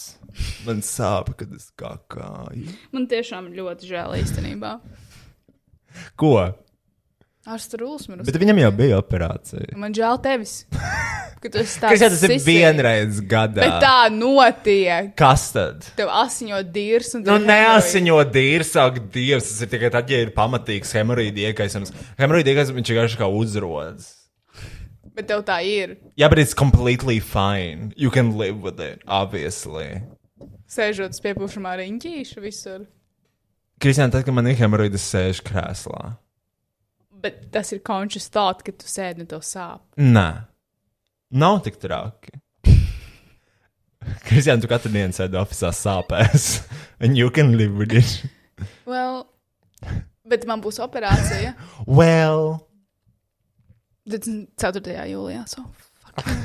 [SPEAKER 1] Man sāp, kad es kakāju.
[SPEAKER 3] Man tiešām ļoti žēl īstenībā.
[SPEAKER 1] Ko?
[SPEAKER 3] Ar strūksmu.
[SPEAKER 1] Bet viņam jau bija operācija.
[SPEAKER 3] Man žēl tevis. Kad tu esi tāds
[SPEAKER 1] Kas tas ir
[SPEAKER 3] sisi.
[SPEAKER 1] vienreiz
[SPEAKER 3] Bet
[SPEAKER 1] gadā?
[SPEAKER 3] tā notiek.
[SPEAKER 1] Kas tad?
[SPEAKER 3] Tev asiņo dīrs un
[SPEAKER 1] Nu,
[SPEAKER 3] tev
[SPEAKER 1] neasiņo dīrs, ak, dievs, tas ir tikai tad, ja ir pamatīgs hemoroīdi iekaisums. Hemoroīdi iekaisums viņš vienkārši kā uzrodas.
[SPEAKER 3] hemoroīdi. Bet tev tā ir.
[SPEAKER 1] Yeah, but it's completely fine. You can live with it, obviously.
[SPEAKER 3] Sēžot uz piepūšamā riņķīša visur.
[SPEAKER 1] Kristian, tad, kad man ir hemoroīdi, es sēžu krēslā.
[SPEAKER 3] Bet tas ir conscious thought, ka tu sēdi un tev sāp.
[SPEAKER 1] Nē, nav tik traki. Kristian, tu katru dienu sēdi oficiālā sāpēs. And you can live with it.
[SPEAKER 3] Well, bet man būs operācija
[SPEAKER 1] Well,
[SPEAKER 3] 24. jūlijā. So, fuck you.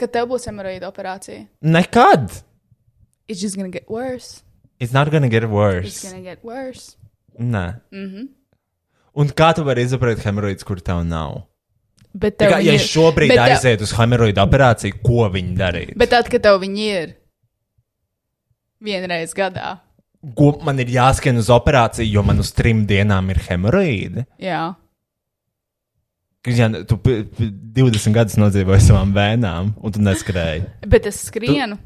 [SPEAKER 3] Kad tev būs hemoroīda operācija,
[SPEAKER 1] nekad.
[SPEAKER 3] it's just gonna get worse.
[SPEAKER 1] It's not gonna get
[SPEAKER 3] It's
[SPEAKER 1] worse.
[SPEAKER 3] gonna get worse.
[SPEAKER 1] Nē.
[SPEAKER 3] Mm -hmm.
[SPEAKER 1] Un kā tu vari izprast hemoroīdus, kur tev nav?
[SPEAKER 3] Bet
[SPEAKER 1] Tā
[SPEAKER 3] tev
[SPEAKER 1] kā, ja
[SPEAKER 3] viņi
[SPEAKER 1] es šobrīd
[SPEAKER 3] bet tev-
[SPEAKER 1] aizietu uz hemoroīdu operāciju, ko viņi darītu?
[SPEAKER 3] Bet tad, kad tev viņi ir vienreiz gadā,
[SPEAKER 1] Ko man ir jāskrien uz operāciju, jo man uz trim dienām ir hemoroīdi?
[SPEAKER 3] jā,
[SPEAKER 1] Kristian, tu pi- pi- 20 gadus nodzīvoji savām vēmām, un tu neskrēji.
[SPEAKER 3] bet es skrienu.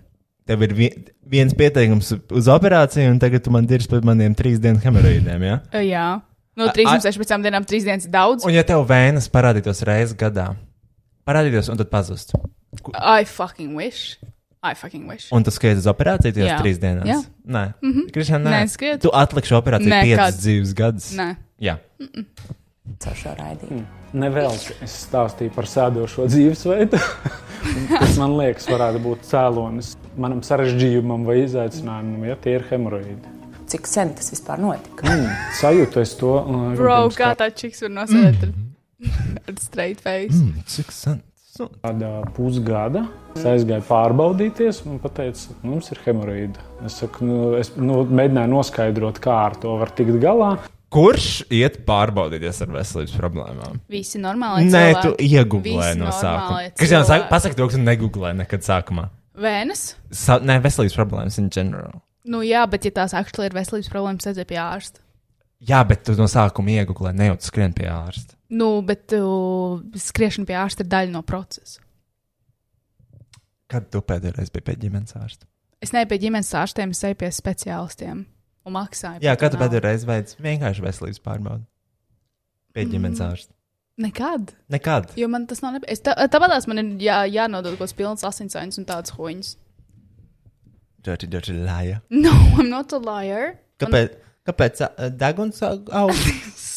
[SPEAKER 1] Tev ir vi- viens pieteikums uz operāciju, un tagad tu man dirzi par maniem trīs dienu hemoroīdiem. Ja?
[SPEAKER 3] Tu... Uh, Jā, no 316 dienām 3 dienas ir daudz.
[SPEAKER 1] Un, ja tev vēnas parādītos reizes gadā, parādītos un tad pazustu,
[SPEAKER 3] I fucking wish. I fucking wish.
[SPEAKER 1] un tu skribi uz operāciju, tad jau
[SPEAKER 3] Jā.
[SPEAKER 1] trīs dienas.
[SPEAKER 3] Jā. Mhm.
[SPEAKER 1] Nē, mm -hmm. Kristian, nē.
[SPEAKER 3] Nē, es skrietu.
[SPEAKER 1] Tu atlikšu operāciju
[SPEAKER 3] Nekad.
[SPEAKER 1] piecas dzīves gadus.
[SPEAKER 3] Nē.
[SPEAKER 1] Jā.
[SPEAKER 9] Caur šo raidījumu.
[SPEAKER 10] Nevelti es stāstīju par sēdošo dzīvesveidu. Tas man liekas, varētu būt cēlonis manam sarežģījumam vai izaicinājumam, ja tie ir hemoroīdi.
[SPEAKER 9] Cik sen tas vispār notika?
[SPEAKER 10] Mm, sajūtu es to laikam,
[SPEAKER 3] Bro,
[SPEAKER 10] pirms
[SPEAKER 3] kā tā čiks var nosēdēt ar, ar straight face?
[SPEAKER 1] Mhm. Mm, cik sen? Su-
[SPEAKER 10] kāda pusgada. Es aizgāju pārbaudīties, un viņš teica, ka mums ir hemoroīdi. Es, saku, nu, es nu, mēģināju noskaidrot, kā ar to var tikt galā.
[SPEAKER 1] Kurš iet pārbaudīties ar veselības problēmām?
[SPEAKER 3] Visi normāli.
[SPEAKER 1] Nē, tu
[SPEAKER 3] cilvēki.
[SPEAKER 1] iegūlēji
[SPEAKER 3] Visi
[SPEAKER 1] no sākuma.
[SPEAKER 3] normālie
[SPEAKER 1] Kristian,
[SPEAKER 3] cilvēki.
[SPEAKER 1] pasak, to, ka tu negūlēji nekad sākumā.
[SPEAKER 3] Vēnes?
[SPEAKER 1] Sa nē, veselības problēmas in general.
[SPEAKER 3] Nu jā, bet ja tās aktuāli ir veselības problēmas, tad ir pie ārsta.
[SPEAKER 1] Jā, bet tu no sākuma iegūlēji, ne jau tu skrien pie ārsta.
[SPEAKER 3] Nu, bet uh, skriešana pie ārsta ir daļa no procesa.
[SPEAKER 1] Kad tu pēdējais biji pie ģimenes ārsta?
[SPEAKER 3] Es neeju pie ģimenes ārstiem, es eju pie speciālistiem un maksāju.
[SPEAKER 1] Jā,
[SPEAKER 3] par
[SPEAKER 1] kad
[SPEAKER 3] to
[SPEAKER 1] tu
[SPEAKER 3] naudu.
[SPEAKER 1] pēdējais veids vienkārši veselības pārbaudi? Pie ģimenes mm. ārsta.
[SPEAKER 3] Nekad.
[SPEAKER 1] Nekad.
[SPEAKER 3] Jo man tas nav nepieciešams. Tā, tāpēc man ir jā, jānodod kaut kāds pilns asinsainis un tāds hoņas.
[SPEAKER 1] Dirty, dirty liar.
[SPEAKER 3] No, I'm not a liar.
[SPEAKER 1] Kāpēc? Kāpēc ā, deguns aug- aug?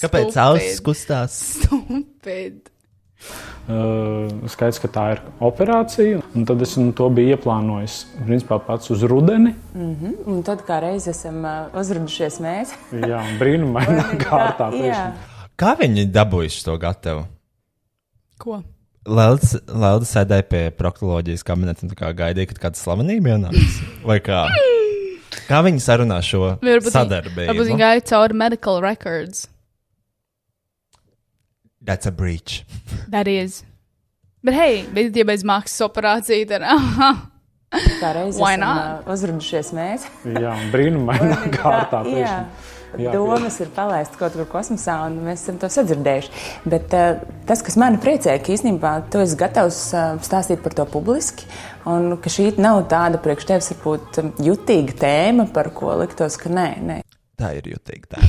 [SPEAKER 1] Kāpēc ausis kustās?
[SPEAKER 3] Stupid.
[SPEAKER 10] Uh, skaidrs, ka tā ir operācija. Un tad es nu, to biju ieplānojis principā, pats uz rudeni.
[SPEAKER 9] Mm -hmm. Un tad kā reizes esam uh, uzrudušies mēs.
[SPEAKER 10] Jā, brīnumainā kārtā.
[SPEAKER 9] nu jā.
[SPEAKER 11] Kā viņi dabūjuši to gatavu?
[SPEAKER 3] Ko?
[SPEAKER 11] Lelda sēdēja pie proktoloģijas kabineta un tā kā gaidīja, kad kāda slavenība ienāks. Vai kā? Kā viņi sarunā šo
[SPEAKER 3] Varbūt viņi- Varbūt viņi
[SPEAKER 11] sadarbību?
[SPEAKER 3] gāja cauri medical records.
[SPEAKER 11] That's a breach.
[SPEAKER 3] That is. Bet, hei, bet ja bez maksas operācija, tad aha.
[SPEAKER 9] Kā reizes
[SPEAKER 3] Why
[SPEAKER 9] esam
[SPEAKER 3] not?
[SPEAKER 9] uh, uzrudušies mēs.
[SPEAKER 10] Jā, brīnumainā kārtā.
[SPEAKER 9] nu jā.
[SPEAKER 10] tieši. Jā,
[SPEAKER 9] Domas ir palaistas kaut kur kosmosā, un mēs esam to sadzirdējuši. Bet uh, tas, kas man priecē, ka īstenībā tu esi gatavs uh, stāstīt par to publiski, un ka šī nav tāda priekš tevis varbūt um, jutīga tēma, par ko liktos, ka nē, nē.
[SPEAKER 1] Tā ir jutīga. Tā.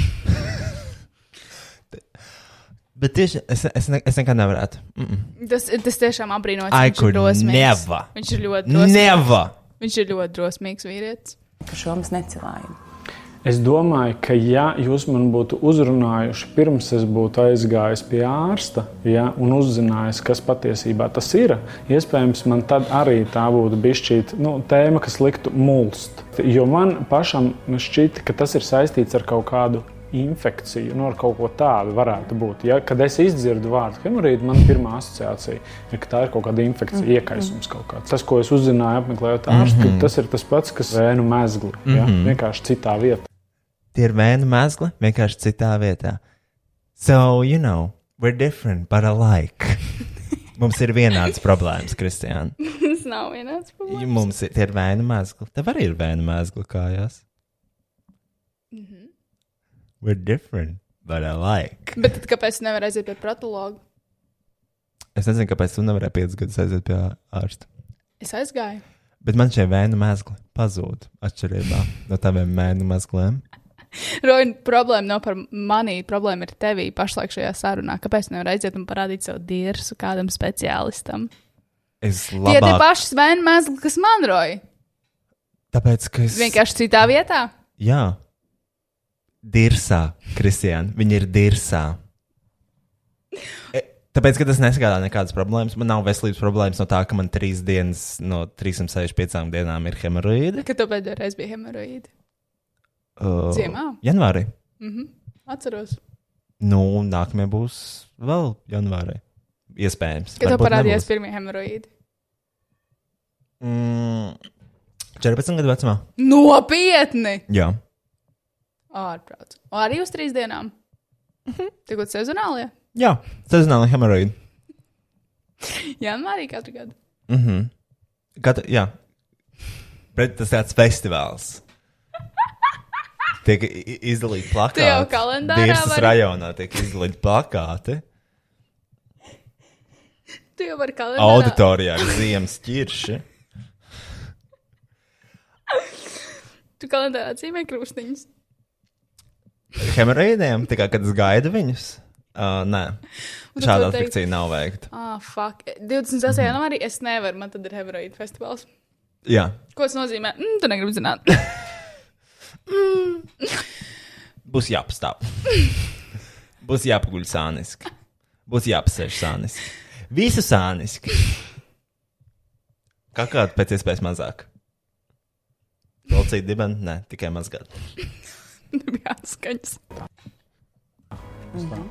[SPEAKER 1] Bet tieši es, es, ne, es nekad nevarētu. Mm -mm.
[SPEAKER 3] Tas, ir- tas tiešām apbrīnojams.
[SPEAKER 1] I
[SPEAKER 3] Viņš ir
[SPEAKER 1] could
[SPEAKER 3] drosmīgs.
[SPEAKER 1] never.
[SPEAKER 3] Viņš ir ļoti drosmīgs.
[SPEAKER 1] Never.
[SPEAKER 3] Viņš ir ļoti drosmīgs vīrietis.
[SPEAKER 9] Ka šo mums necilājam.
[SPEAKER 10] Es domāju, ka ja jūs man būtu uzrunājuši pirms es būtu aizgājis pie ārsta ja, un uzzinājis, kas patiesībā tas ir, iespējams, man tad arī tā būtu bijusi nu, tēma, kas liktu mulst. Jo man pašam šķita, ka tas ir saistīts ar kaut kādu. Infekciju, nu, ar kaut ko tādu varētu būt. Ja, kad es izdzirdu vārdu hemorīdu, man pirmā asociācija ir, ka tā ir kaut kāda infekcija,
[SPEAKER 12] Mhm.
[SPEAKER 10] iekaisums kaut kāds. Tas, ko es uzzināju, apmeklējot ārstu, mm
[SPEAKER 1] Mhm.
[SPEAKER 10] -hmm. tas ir tas pats, kas vēnu mezgli. Ja,
[SPEAKER 1] Mhm.
[SPEAKER 10] vienkārši citā vietā.
[SPEAKER 1] Tie ir vēja mēsli, vienkārši citā vietā. So, you know, we're different, but alike. Mums ir vienādas problēmas, Kristija.
[SPEAKER 3] Tas nav vienāds.
[SPEAKER 1] Mums ir, tie ir vēja mēsli. Tev arī ir vēja mēsli kājās. We're different, but alike.
[SPEAKER 3] Bet tad kāpēc tu nevari aiziet pie protologa?
[SPEAKER 1] Es nezinu, kāpēc tu nevarēji piecus gadus aiziet pie ārsta.
[SPEAKER 3] Es aizgāju.
[SPEAKER 1] Bet man šie vēja mēsli pazūd atšķirībā no taviem vēja mēsliem.
[SPEAKER 3] Roja, problēma nav par mani, problēma ir tevī pašlaik šajā sarunā. Kāpēc tu nevari aiziet un parādīt savu dirsu kādam speciālistam?
[SPEAKER 11] Es
[SPEAKER 3] Tie tie
[SPEAKER 11] labāk.
[SPEAKER 3] paši svēni mēsli, kas man roja.
[SPEAKER 1] Tāpēc, ka es.
[SPEAKER 3] Vienkārši citā vietā.
[SPEAKER 1] Jā, dirsā, Kristija. Viņa ir dirsā. E, Tāpēc, ka tas nesagādā nekādas problēmas. Man nav veselības problēmas no tā, ka man trīs dienas no 365 dienām ir hemoroīdi.
[SPEAKER 3] Kad tu pēdējo reizi biji hemoroīdi?
[SPEAKER 1] Uh,
[SPEAKER 3] Ziemā?
[SPEAKER 1] Janvārī.
[SPEAKER 3] Mhm. Atceros.
[SPEAKER 1] Nu, nākamie būs vēl janvārī. Iespējams.
[SPEAKER 3] Kad tev
[SPEAKER 1] Varbūt
[SPEAKER 3] parādījās
[SPEAKER 1] nebūs.
[SPEAKER 3] pirmie hemoroīdi?
[SPEAKER 1] Mm, 14 gadu vecumā.
[SPEAKER 3] Nopietni!
[SPEAKER 1] Jā.
[SPEAKER 3] Ārprāts. Un Arī uz trīs dienām. Tikko sezonālie.
[SPEAKER 1] Jā, sezonāli hemoroīdi.
[SPEAKER 3] Janvārī katru gadu.
[SPEAKER 1] Mm -hmm. Katra, jā, bet tas tāds festivāls. Tiek i- i- izdalīti plakāti.
[SPEAKER 3] Tu jau kalendārā
[SPEAKER 1] Dirsas
[SPEAKER 3] vari- Nu,
[SPEAKER 1] rajonā tiek izdalīti plakāti.
[SPEAKER 3] Tu jau vari kalendārā.
[SPEAKER 1] Auditorijā ir ziemas ķirši.
[SPEAKER 3] Tu kalendārā atzīmē krustiņus.
[SPEAKER 1] Hemoroīdiem, tā kā kad es gaidu viņus. Uh, nē,
[SPEAKER 3] Un tad
[SPEAKER 1] šāda
[SPEAKER 3] tu teiksi-
[SPEAKER 1] atfikcija nav veikta.
[SPEAKER 3] Ah, fuck. 26. janvārī es nevaru, man tad ir hemoroīdu festivāls.
[SPEAKER 1] Jā,
[SPEAKER 3] Ko tas nozīmē? Mm, tu negribi zināt.
[SPEAKER 1] būs jāpastāv. būs jāpaguļ sāniski. Būs jāpasēž sāniski. Visu sāniski. Kā kāda pēc iespējas mazāk. Balcīt dibenu? Nē, tikai mazgāt.
[SPEAKER 3] Nebija atskaņas.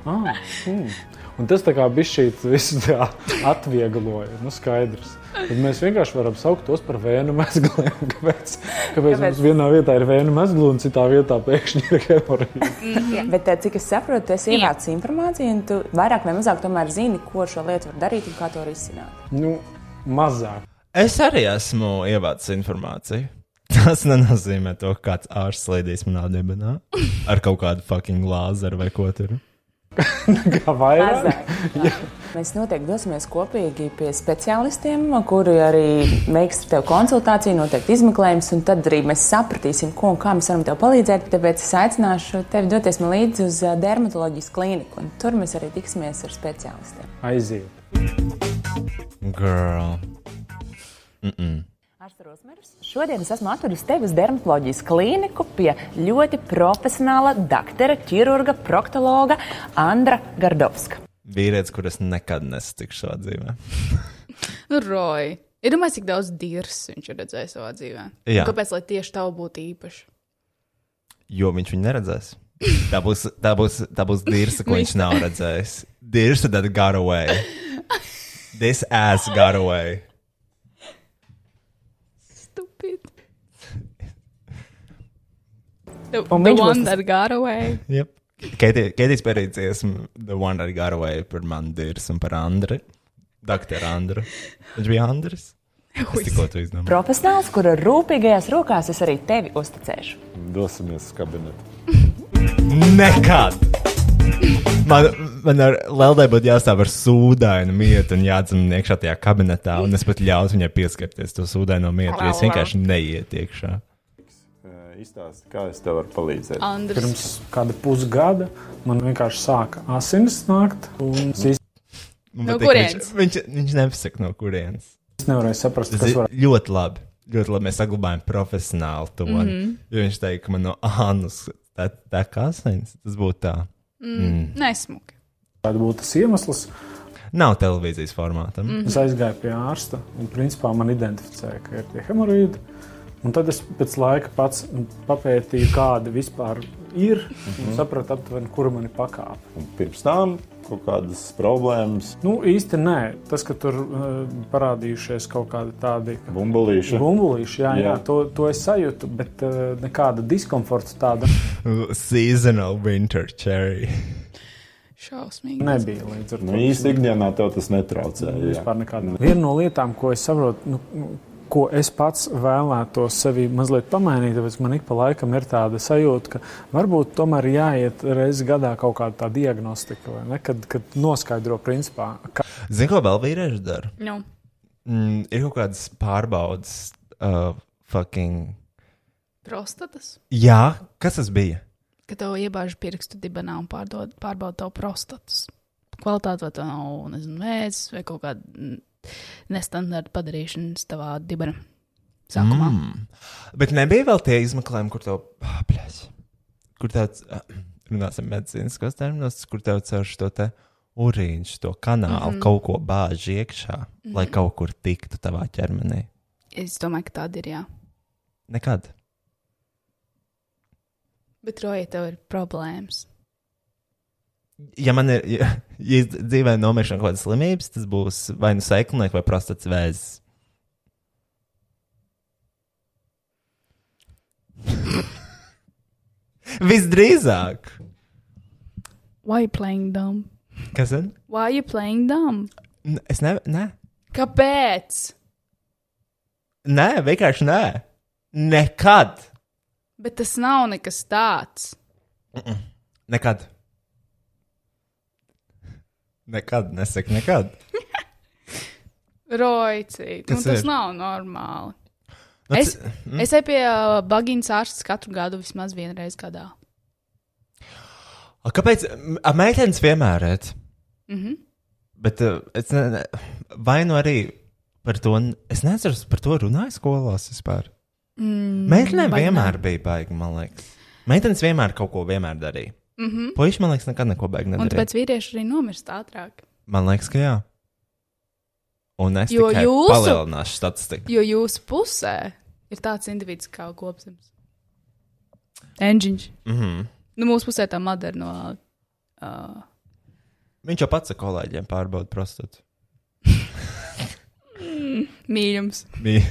[SPEAKER 10] Ah, mm. Un tas tā kā bija šīs visas tā atviegloja. Nu, skaidrs. Tad mēs vienkārši varam saukt tos par vēju mezgliem. Kāpēc, kāpēc, kāpēc mums vienā vietā ir vēju mezgli un citā vietā pēkšņi ir hemorāģija?
[SPEAKER 9] Jā, Bet, eh, cik es saprotu, tu esi ievācis informāciju, un tu vairāk vai mazāk tomēr zini, ko ar šo lietu var darīt un kā to risināt.
[SPEAKER 10] Nu, mazāk.
[SPEAKER 1] Es arī esmu ievācis informāciju. Tas nenozīmē to, ka kāds ārsts slēdīs manā dibenā ar kaut kādu fucking lāzeru vai ko tur.
[SPEAKER 10] Kā vairāk?
[SPEAKER 9] Mazāk. Jā. Mēs noteikti dosimies kopīgi pie speciālistiem, kuri arī veiks ar tevi konsultāciju, noteikti izmeklējums, un tad arī mēs sapratīsim, ko un kā mēs varam tev palīdzēt. Tāpēc es aicināšu tevi doties man līdzi uz ā, dermatoloģijas klīniku, un tur mēs arī tiksimies ar speciālistiem.
[SPEAKER 10] Aiziet.
[SPEAKER 1] Girl. Mm -mm.
[SPEAKER 9] Šodien es esmu atvedusi tevi uz dermatoloģijas klīniku pie ļoti profesionāla doktora, ķirurga, proktologa Andra Gardovska.
[SPEAKER 1] Vīrietis, kurus nekad nesatikšu savā dzīvē.
[SPEAKER 3] Nu, Roji, ir domājis, cik daudz dirs viņš ir redzējis savā dzīvē.
[SPEAKER 1] Jā.
[SPEAKER 3] Un Kāpēc, lai tieši tev būtu īpaši?
[SPEAKER 1] Jo viņš viņu neredzēs. Tā būs, tā būs, tā būs dirsa, ko viņš nav redzējis. Dirsa tad got away. This ass got away.
[SPEAKER 3] Stupid. The, the
[SPEAKER 9] Un viņš būs
[SPEAKER 3] one
[SPEAKER 9] tas-
[SPEAKER 3] that got away.
[SPEAKER 1] Yep. Keitijas pieredzējis, the one that got away par mani dirsu un par Andri. Doktor Andri. Viņš bija Andris. Es tikko to izdomāju.
[SPEAKER 9] Profesionāls, kura rūpīgajās rokās es arī tevi uzticēšu.
[SPEAKER 13] Dosimies uz kabinetu.
[SPEAKER 1] Nekad! Man, man ar Lēlai būtu jāstāv ar sūdainu mietu un jāatzīm iekšā tajā kabinetā, un es pat ļautu viņai pieskarties to sūdaino mietu, jo es vienkārši neiet iekšā.
[SPEAKER 13] Izstāsti, kā es tev varu palīdzēt.
[SPEAKER 3] Andris.
[SPEAKER 10] Pirms kāda pusgada man vienkārši sāka asins nākt. un Es īsti
[SPEAKER 1] Man
[SPEAKER 3] No
[SPEAKER 1] patīk, ka
[SPEAKER 3] kurienes?
[SPEAKER 1] viņš, viņš, viņš nepasaka, no kurienes.
[SPEAKER 10] nevarēju saprast,
[SPEAKER 1] Tas
[SPEAKER 10] kas
[SPEAKER 1] ir
[SPEAKER 10] var
[SPEAKER 1] ļoti labi. Ļoti labi mēs saglabājam profesionāli to. Mm
[SPEAKER 3] Mhm.
[SPEAKER 1] -hmm. Jo viņš teica, ka man no ānus tā, tā kā asins, tas būtu tā. Mm.
[SPEAKER 3] Nesmuki.
[SPEAKER 10] būt tas iemesls.
[SPEAKER 1] Nav televīzijas formātam.
[SPEAKER 3] Mhm.
[SPEAKER 1] Mm.
[SPEAKER 10] Es aizgāju pie ārsta un principā man identificēja, ka ir tie hemoroīdi. Un tad es pēc laika pats papētīju, kāda vispār ir.
[SPEAKER 13] Mhm.
[SPEAKER 10] Un sapratu, aptuveni, kura man ir pakāpe.
[SPEAKER 13] Un pirms tam kaut kādas problēmas,
[SPEAKER 10] Nu, īsti nē, tas, ka tur uh, parādījušies kaut kādi tādi
[SPEAKER 13] bumbulīša.
[SPEAKER 10] bumbulīši, jā, jā. jā
[SPEAKER 13] Jā.
[SPEAKER 10] to, to es sajūtu, bet uh, nekāda diskomforta tāda
[SPEAKER 1] Seasonal winter cherry.
[SPEAKER 3] Šausmīgi.
[SPEAKER 10] nebija līdz ar to.
[SPEAKER 13] Nu, īsti ikdienā tev tas netraucēja. jā.
[SPEAKER 10] Vispār nekāda. Viena no lietām, ko es saprotu, nu, nu, ko es pats vēlētos sevi mazliet pamainīt, tāpēc man ik pa laikam ir tāda sajūta, ka varbūt tomēr jāiet reizi gadā kaut kāda tā diagnostika, vai ne? Kad, kad noskaidro principā, ka
[SPEAKER 1] Zini, ko vēl vīrieši dara?
[SPEAKER 3] Nu,
[SPEAKER 1] Mm, ir kaut kādas pārbaudas, uh, fucking.
[SPEAKER 3] prostatas.
[SPEAKER 1] Jā, kas tas bija?
[SPEAKER 3] Ka tev iebāž pirkstu dibenā un pārdod, pārbauda tavu prostatas kvalitāti, vai tā nav, nezinu, mēdzis vai kaut kāda mm, nestandarta padarīšanas tavā dibenā. Sākumā. Mm.
[SPEAKER 1] Bet nebija vēl tie izmeklējumi, kur tev pāpļas. Kur tāds, uh, runāsim, medicīniskos terminos, kur tev caur šo te urīnu, šo kanālu mm -hmm. kaut ko bāž iekšā, mm -hmm. lai kaut kur tiktu tavā ķermenī.
[SPEAKER 3] Es domāju, ka tāda ir jā.
[SPEAKER 1] Nekad.
[SPEAKER 3] Bet roja tev ir problēmas.
[SPEAKER 1] Ja man ir ja, ja es dzīvē nomiršana kaut kādas slimības, tas būs vai nu sēklinieks vai prostats vēzis. Visdrīzāk!
[SPEAKER 3] Why you playing dumb?
[SPEAKER 1] Kas ir?
[SPEAKER 3] Why you playing dumb?
[SPEAKER 1] Es nevaru. Nē,
[SPEAKER 3] Kāpēc?
[SPEAKER 1] nē, vienkārši nē. Nekad.
[SPEAKER 3] Bet tas nav nekas tāds.
[SPEAKER 1] Nekad. Nekad, nesaka, nekad.
[SPEAKER 3] Roicīt, nu,
[SPEAKER 1] Kas
[SPEAKER 3] tas
[SPEAKER 1] ir?
[SPEAKER 3] nav normāli.
[SPEAKER 1] Nu,
[SPEAKER 3] Es,
[SPEAKER 1] c-
[SPEAKER 3] mm. es eju pie uh, Bagīnas ārsta katru gadu vismaz vienu reizi gadā.
[SPEAKER 1] A, Kāpēc? M- a, Meitenes vienmēr redz.
[SPEAKER 3] Mm -hmm.
[SPEAKER 1] Bet uh, es ne, ne, vai nu arī par to, n- es nezinu, par to runāju skolās vispār.
[SPEAKER 3] Mm,
[SPEAKER 1] Meitenēm
[SPEAKER 3] vai ne?
[SPEAKER 1] vienmēr bija baigi, man liekas. Meitenes vienmēr kaut ko vienmēr darīja.
[SPEAKER 3] Mm -hmm.
[SPEAKER 1] Puisši, man liekas, nekad neko baigi
[SPEAKER 3] Un
[SPEAKER 1] nedarīja.
[SPEAKER 3] tāpēc vīrieši arī nomirst ātrāk.
[SPEAKER 1] Man liekas, ka jā. Un es
[SPEAKER 3] Jo
[SPEAKER 1] tikai
[SPEAKER 3] jūsu-
[SPEAKER 1] palielināšu statistiku.
[SPEAKER 3] Jo jūsu pusē ir tāds individs kā gobsams. Enģiņš.
[SPEAKER 1] Mm -hmm.
[SPEAKER 3] Nu, mūsu pusē tā madara no. Uh,
[SPEAKER 1] Viņš jau pats ar kolēģiem pārbauda prostatu.
[SPEAKER 3] mīļums.
[SPEAKER 1] Bija.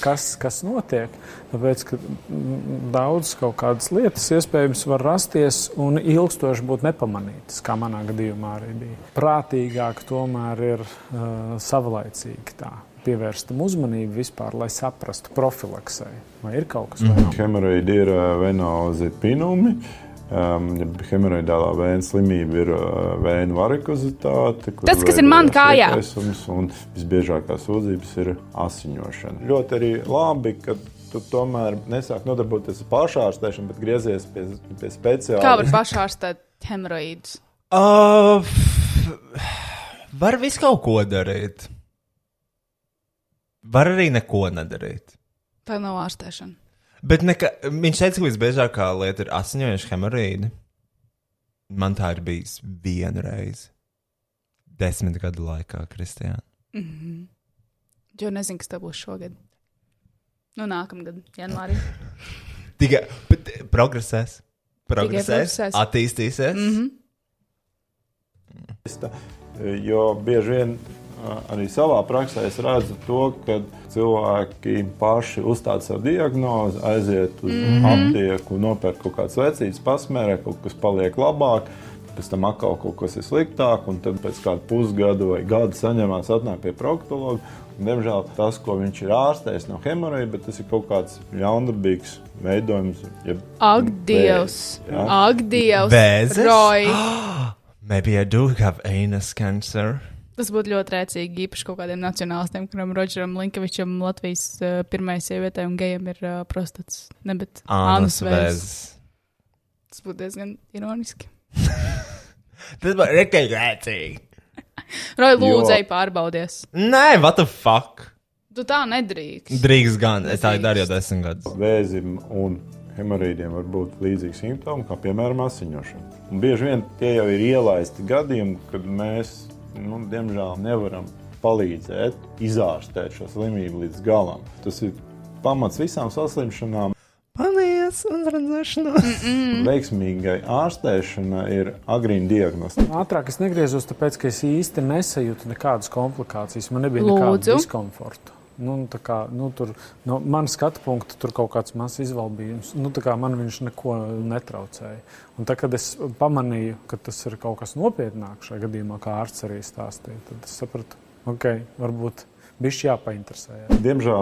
[SPEAKER 10] kas, kas notiek. Tāpēc, ka mm, daudz kaut kādas lietas iespējams var rasties un ilgstoši būt nepamanītas, kā manā gadījumā arī bija. Prātīgāk tomēr ir uh, savlaicīgi tā. Pievērst tam uzmanību vispār, lai saprastu profilaksē, vai ir kaut kas tāds.
[SPEAKER 13] Hemoroīdi ir eh, venozi pinumi. Um, hemoroidālā vēja slimība ir eh, vēja varikozitāte. kur
[SPEAKER 3] Tas, kas ir man
[SPEAKER 13] veidojas
[SPEAKER 3] kājā.
[SPEAKER 13] iekaisums, Un visbiežākās sūdzības ir asiņošana. Ļoti arī labi, ka tu tomēr nesāk nodarboties ar pašārstēšanu, bet griezies pie, pie speciālista.
[SPEAKER 3] Kā var pašārstēt hemoroīdus?
[SPEAKER 1] Uh, var visu kaut ko darīt. Var arī neko nedarīt.
[SPEAKER 3] Tā nav ārstēšana.
[SPEAKER 1] Bet neka, viņš teica, ka visbiežākā lieta ir asinīšu hemorīda. Man tā ir bijis vienu reizi. Desmit gadu laikā, Kristija.
[SPEAKER 3] Mhm. Jo nezinu, kas tev būs šogad. Nu, nākamgad, janvārī.
[SPEAKER 1] Tikai bet, eh, progresēs, progresēs,
[SPEAKER 3] progresēs.
[SPEAKER 1] attīstīsies. Mm -hmm.
[SPEAKER 13] Tā, Jo bieži vien ā, arī savā praksē es redzu to, ka cilvēki paši uzstāda savu diagnozi, aiziet uz mm
[SPEAKER 14] Mhm.
[SPEAKER 13] -hmm. aptieku, nopērk kaut kādas vecības, pasmērē, kaut kas paliek labāk. Pēc tam atkal kaut kas ir sliktāk, un tad pēc kāda pusgada vai gada saņemās atnāk pie proktologa. Un, Diemžēl tas, ko viņš ir ārstējis, nav hemorāģija, bet tas ir kaut kāds ļaunprātīgs veidojums. jeb
[SPEAKER 3] Ak,
[SPEAKER 13] vēzis,
[SPEAKER 3] Dievs!
[SPEAKER 13] jā.
[SPEAKER 3] Ak, Dievs!
[SPEAKER 1] Vēzis?
[SPEAKER 3] Roy!
[SPEAKER 1] Maybe I do have anus cancer.
[SPEAKER 3] Tas būtu ļoti rēcīgi, īpaši kaut kādiem nacionālistiem, kuriem Rodžeram Linkovičam, Latvijas uh, pirmajai sievietei un gejam ir uh, prostats. Ne, bet
[SPEAKER 1] Anus
[SPEAKER 3] ānus vēzis.
[SPEAKER 1] vēzis.
[SPEAKER 3] Tas būtu diezgan ironiski.
[SPEAKER 1] Tas bija rīktīgi rēcīgi.
[SPEAKER 3] Roy,
[SPEAKER 1] Jo-
[SPEAKER 3] lūdzēji, pārbaudies.
[SPEAKER 1] Nē, what the fuck?
[SPEAKER 3] Tu tā nedrīkst.
[SPEAKER 1] Drīz gan. Es tā
[SPEAKER 3] Nedrīkst.
[SPEAKER 1] darīju jau desmit gadus.
[SPEAKER 13] Vēzim un hemorīdiem var būt līdzīgi simptomi, kā piemēram asiņošana. Un bieži vien tie jau ir ielaisti gadījumi, kad mēs, nu, diemžēl, nevaram palīdzēt izārstēt šo slimību līdz galam. Tas ir pamats visām saslimšanām.
[SPEAKER 1] Paldies, un redzēšanos.
[SPEAKER 13] Veiksmīgai ārstēšanai ir agrīna diagnostika.
[SPEAKER 10] Ātrāk es negriezos, tāpēc ka es īsti nesajūtu nekādas komplikācijas. Man nebija
[SPEAKER 3] Lūdzu.
[SPEAKER 10] nekāda diskomforta. Nu, tā kā, nu, tur, no manas skatu punkta tur kaut kāds mazs izvēlbījums. Nu, tā kā man viņš neko netraucēja. Un tā, kad es pamanīju, ka tas ir kaut kas nopietnāk šajā gadījumā, kā ārsts arī stāstīja, tad es sapratu, ok, varbūt bišķi jāpainteresējas.
[SPEAKER 13] Diemžēl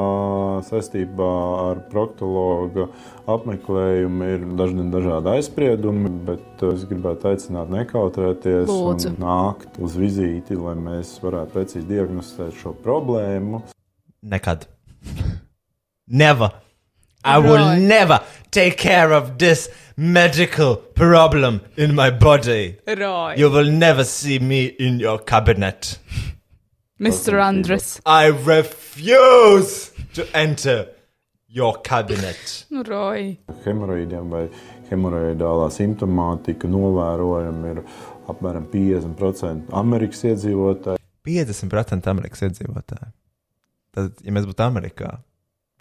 [SPEAKER 13] saistībā ar proktologa apmeklējumu ir dažni dažādi aizspriedumi, bet eh, es gribētu aicināt nekautrēties
[SPEAKER 14] Lūdzu.
[SPEAKER 13] un nākt uz vizīti, lai mēs varētu precīzi diagnosticēt šo problēmu.
[SPEAKER 1] Nekad. Never. I will never take care of this medical problem in my body.
[SPEAKER 3] Roy.
[SPEAKER 1] You will never see me in your cabinet.
[SPEAKER 3] Mr. Andres.
[SPEAKER 1] I refuse to enter your cabinet.
[SPEAKER 3] Nu, Roy.
[SPEAKER 13] Hemoroīdiem vai hemoroīdālā simptomātika novērojama ir apmēram 50% Amerikas iedzīvotāji.
[SPEAKER 1] 50% Amerikas iedzīvotāji. Tad, ja mēs būtu Amerikā,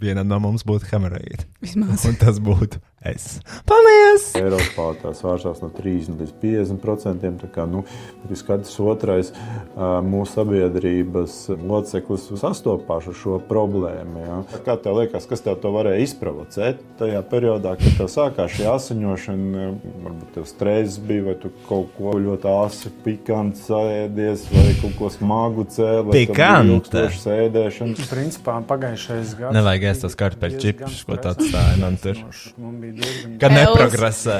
[SPEAKER 1] vienam no mums būtu hemorāģija.
[SPEAKER 3] Vismaz.
[SPEAKER 1] Un tas būtu es.
[SPEAKER 3] Paldies!
[SPEAKER 13] Eiropā tās vāršās no 30 līdz 50 procentiem. Tā kā nu, ir skatrs otrais ā, mūsu sabiedrības loceklis sastopās ar šo problēmu. Ja. Kā tev liekas, kas tev to varēja izprovocēt tajā periodā, kad tev sākās šī asiņošana? Varbūt tev stress bija, vai tu kaut ko ļoti asi pikanti sēdies, vai kaut ko smagu cēlies.
[SPEAKER 1] Pikante?
[SPEAKER 13] Sēdēšana.
[SPEAKER 10] Principā pagājušais gads.
[SPEAKER 1] Nevajag ēst tos kartupeļu čipsus, ko tu atstāji man tur.
[SPEAKER 10] Man bija diezgan
[SPEAKER 1] Ka neprogresē.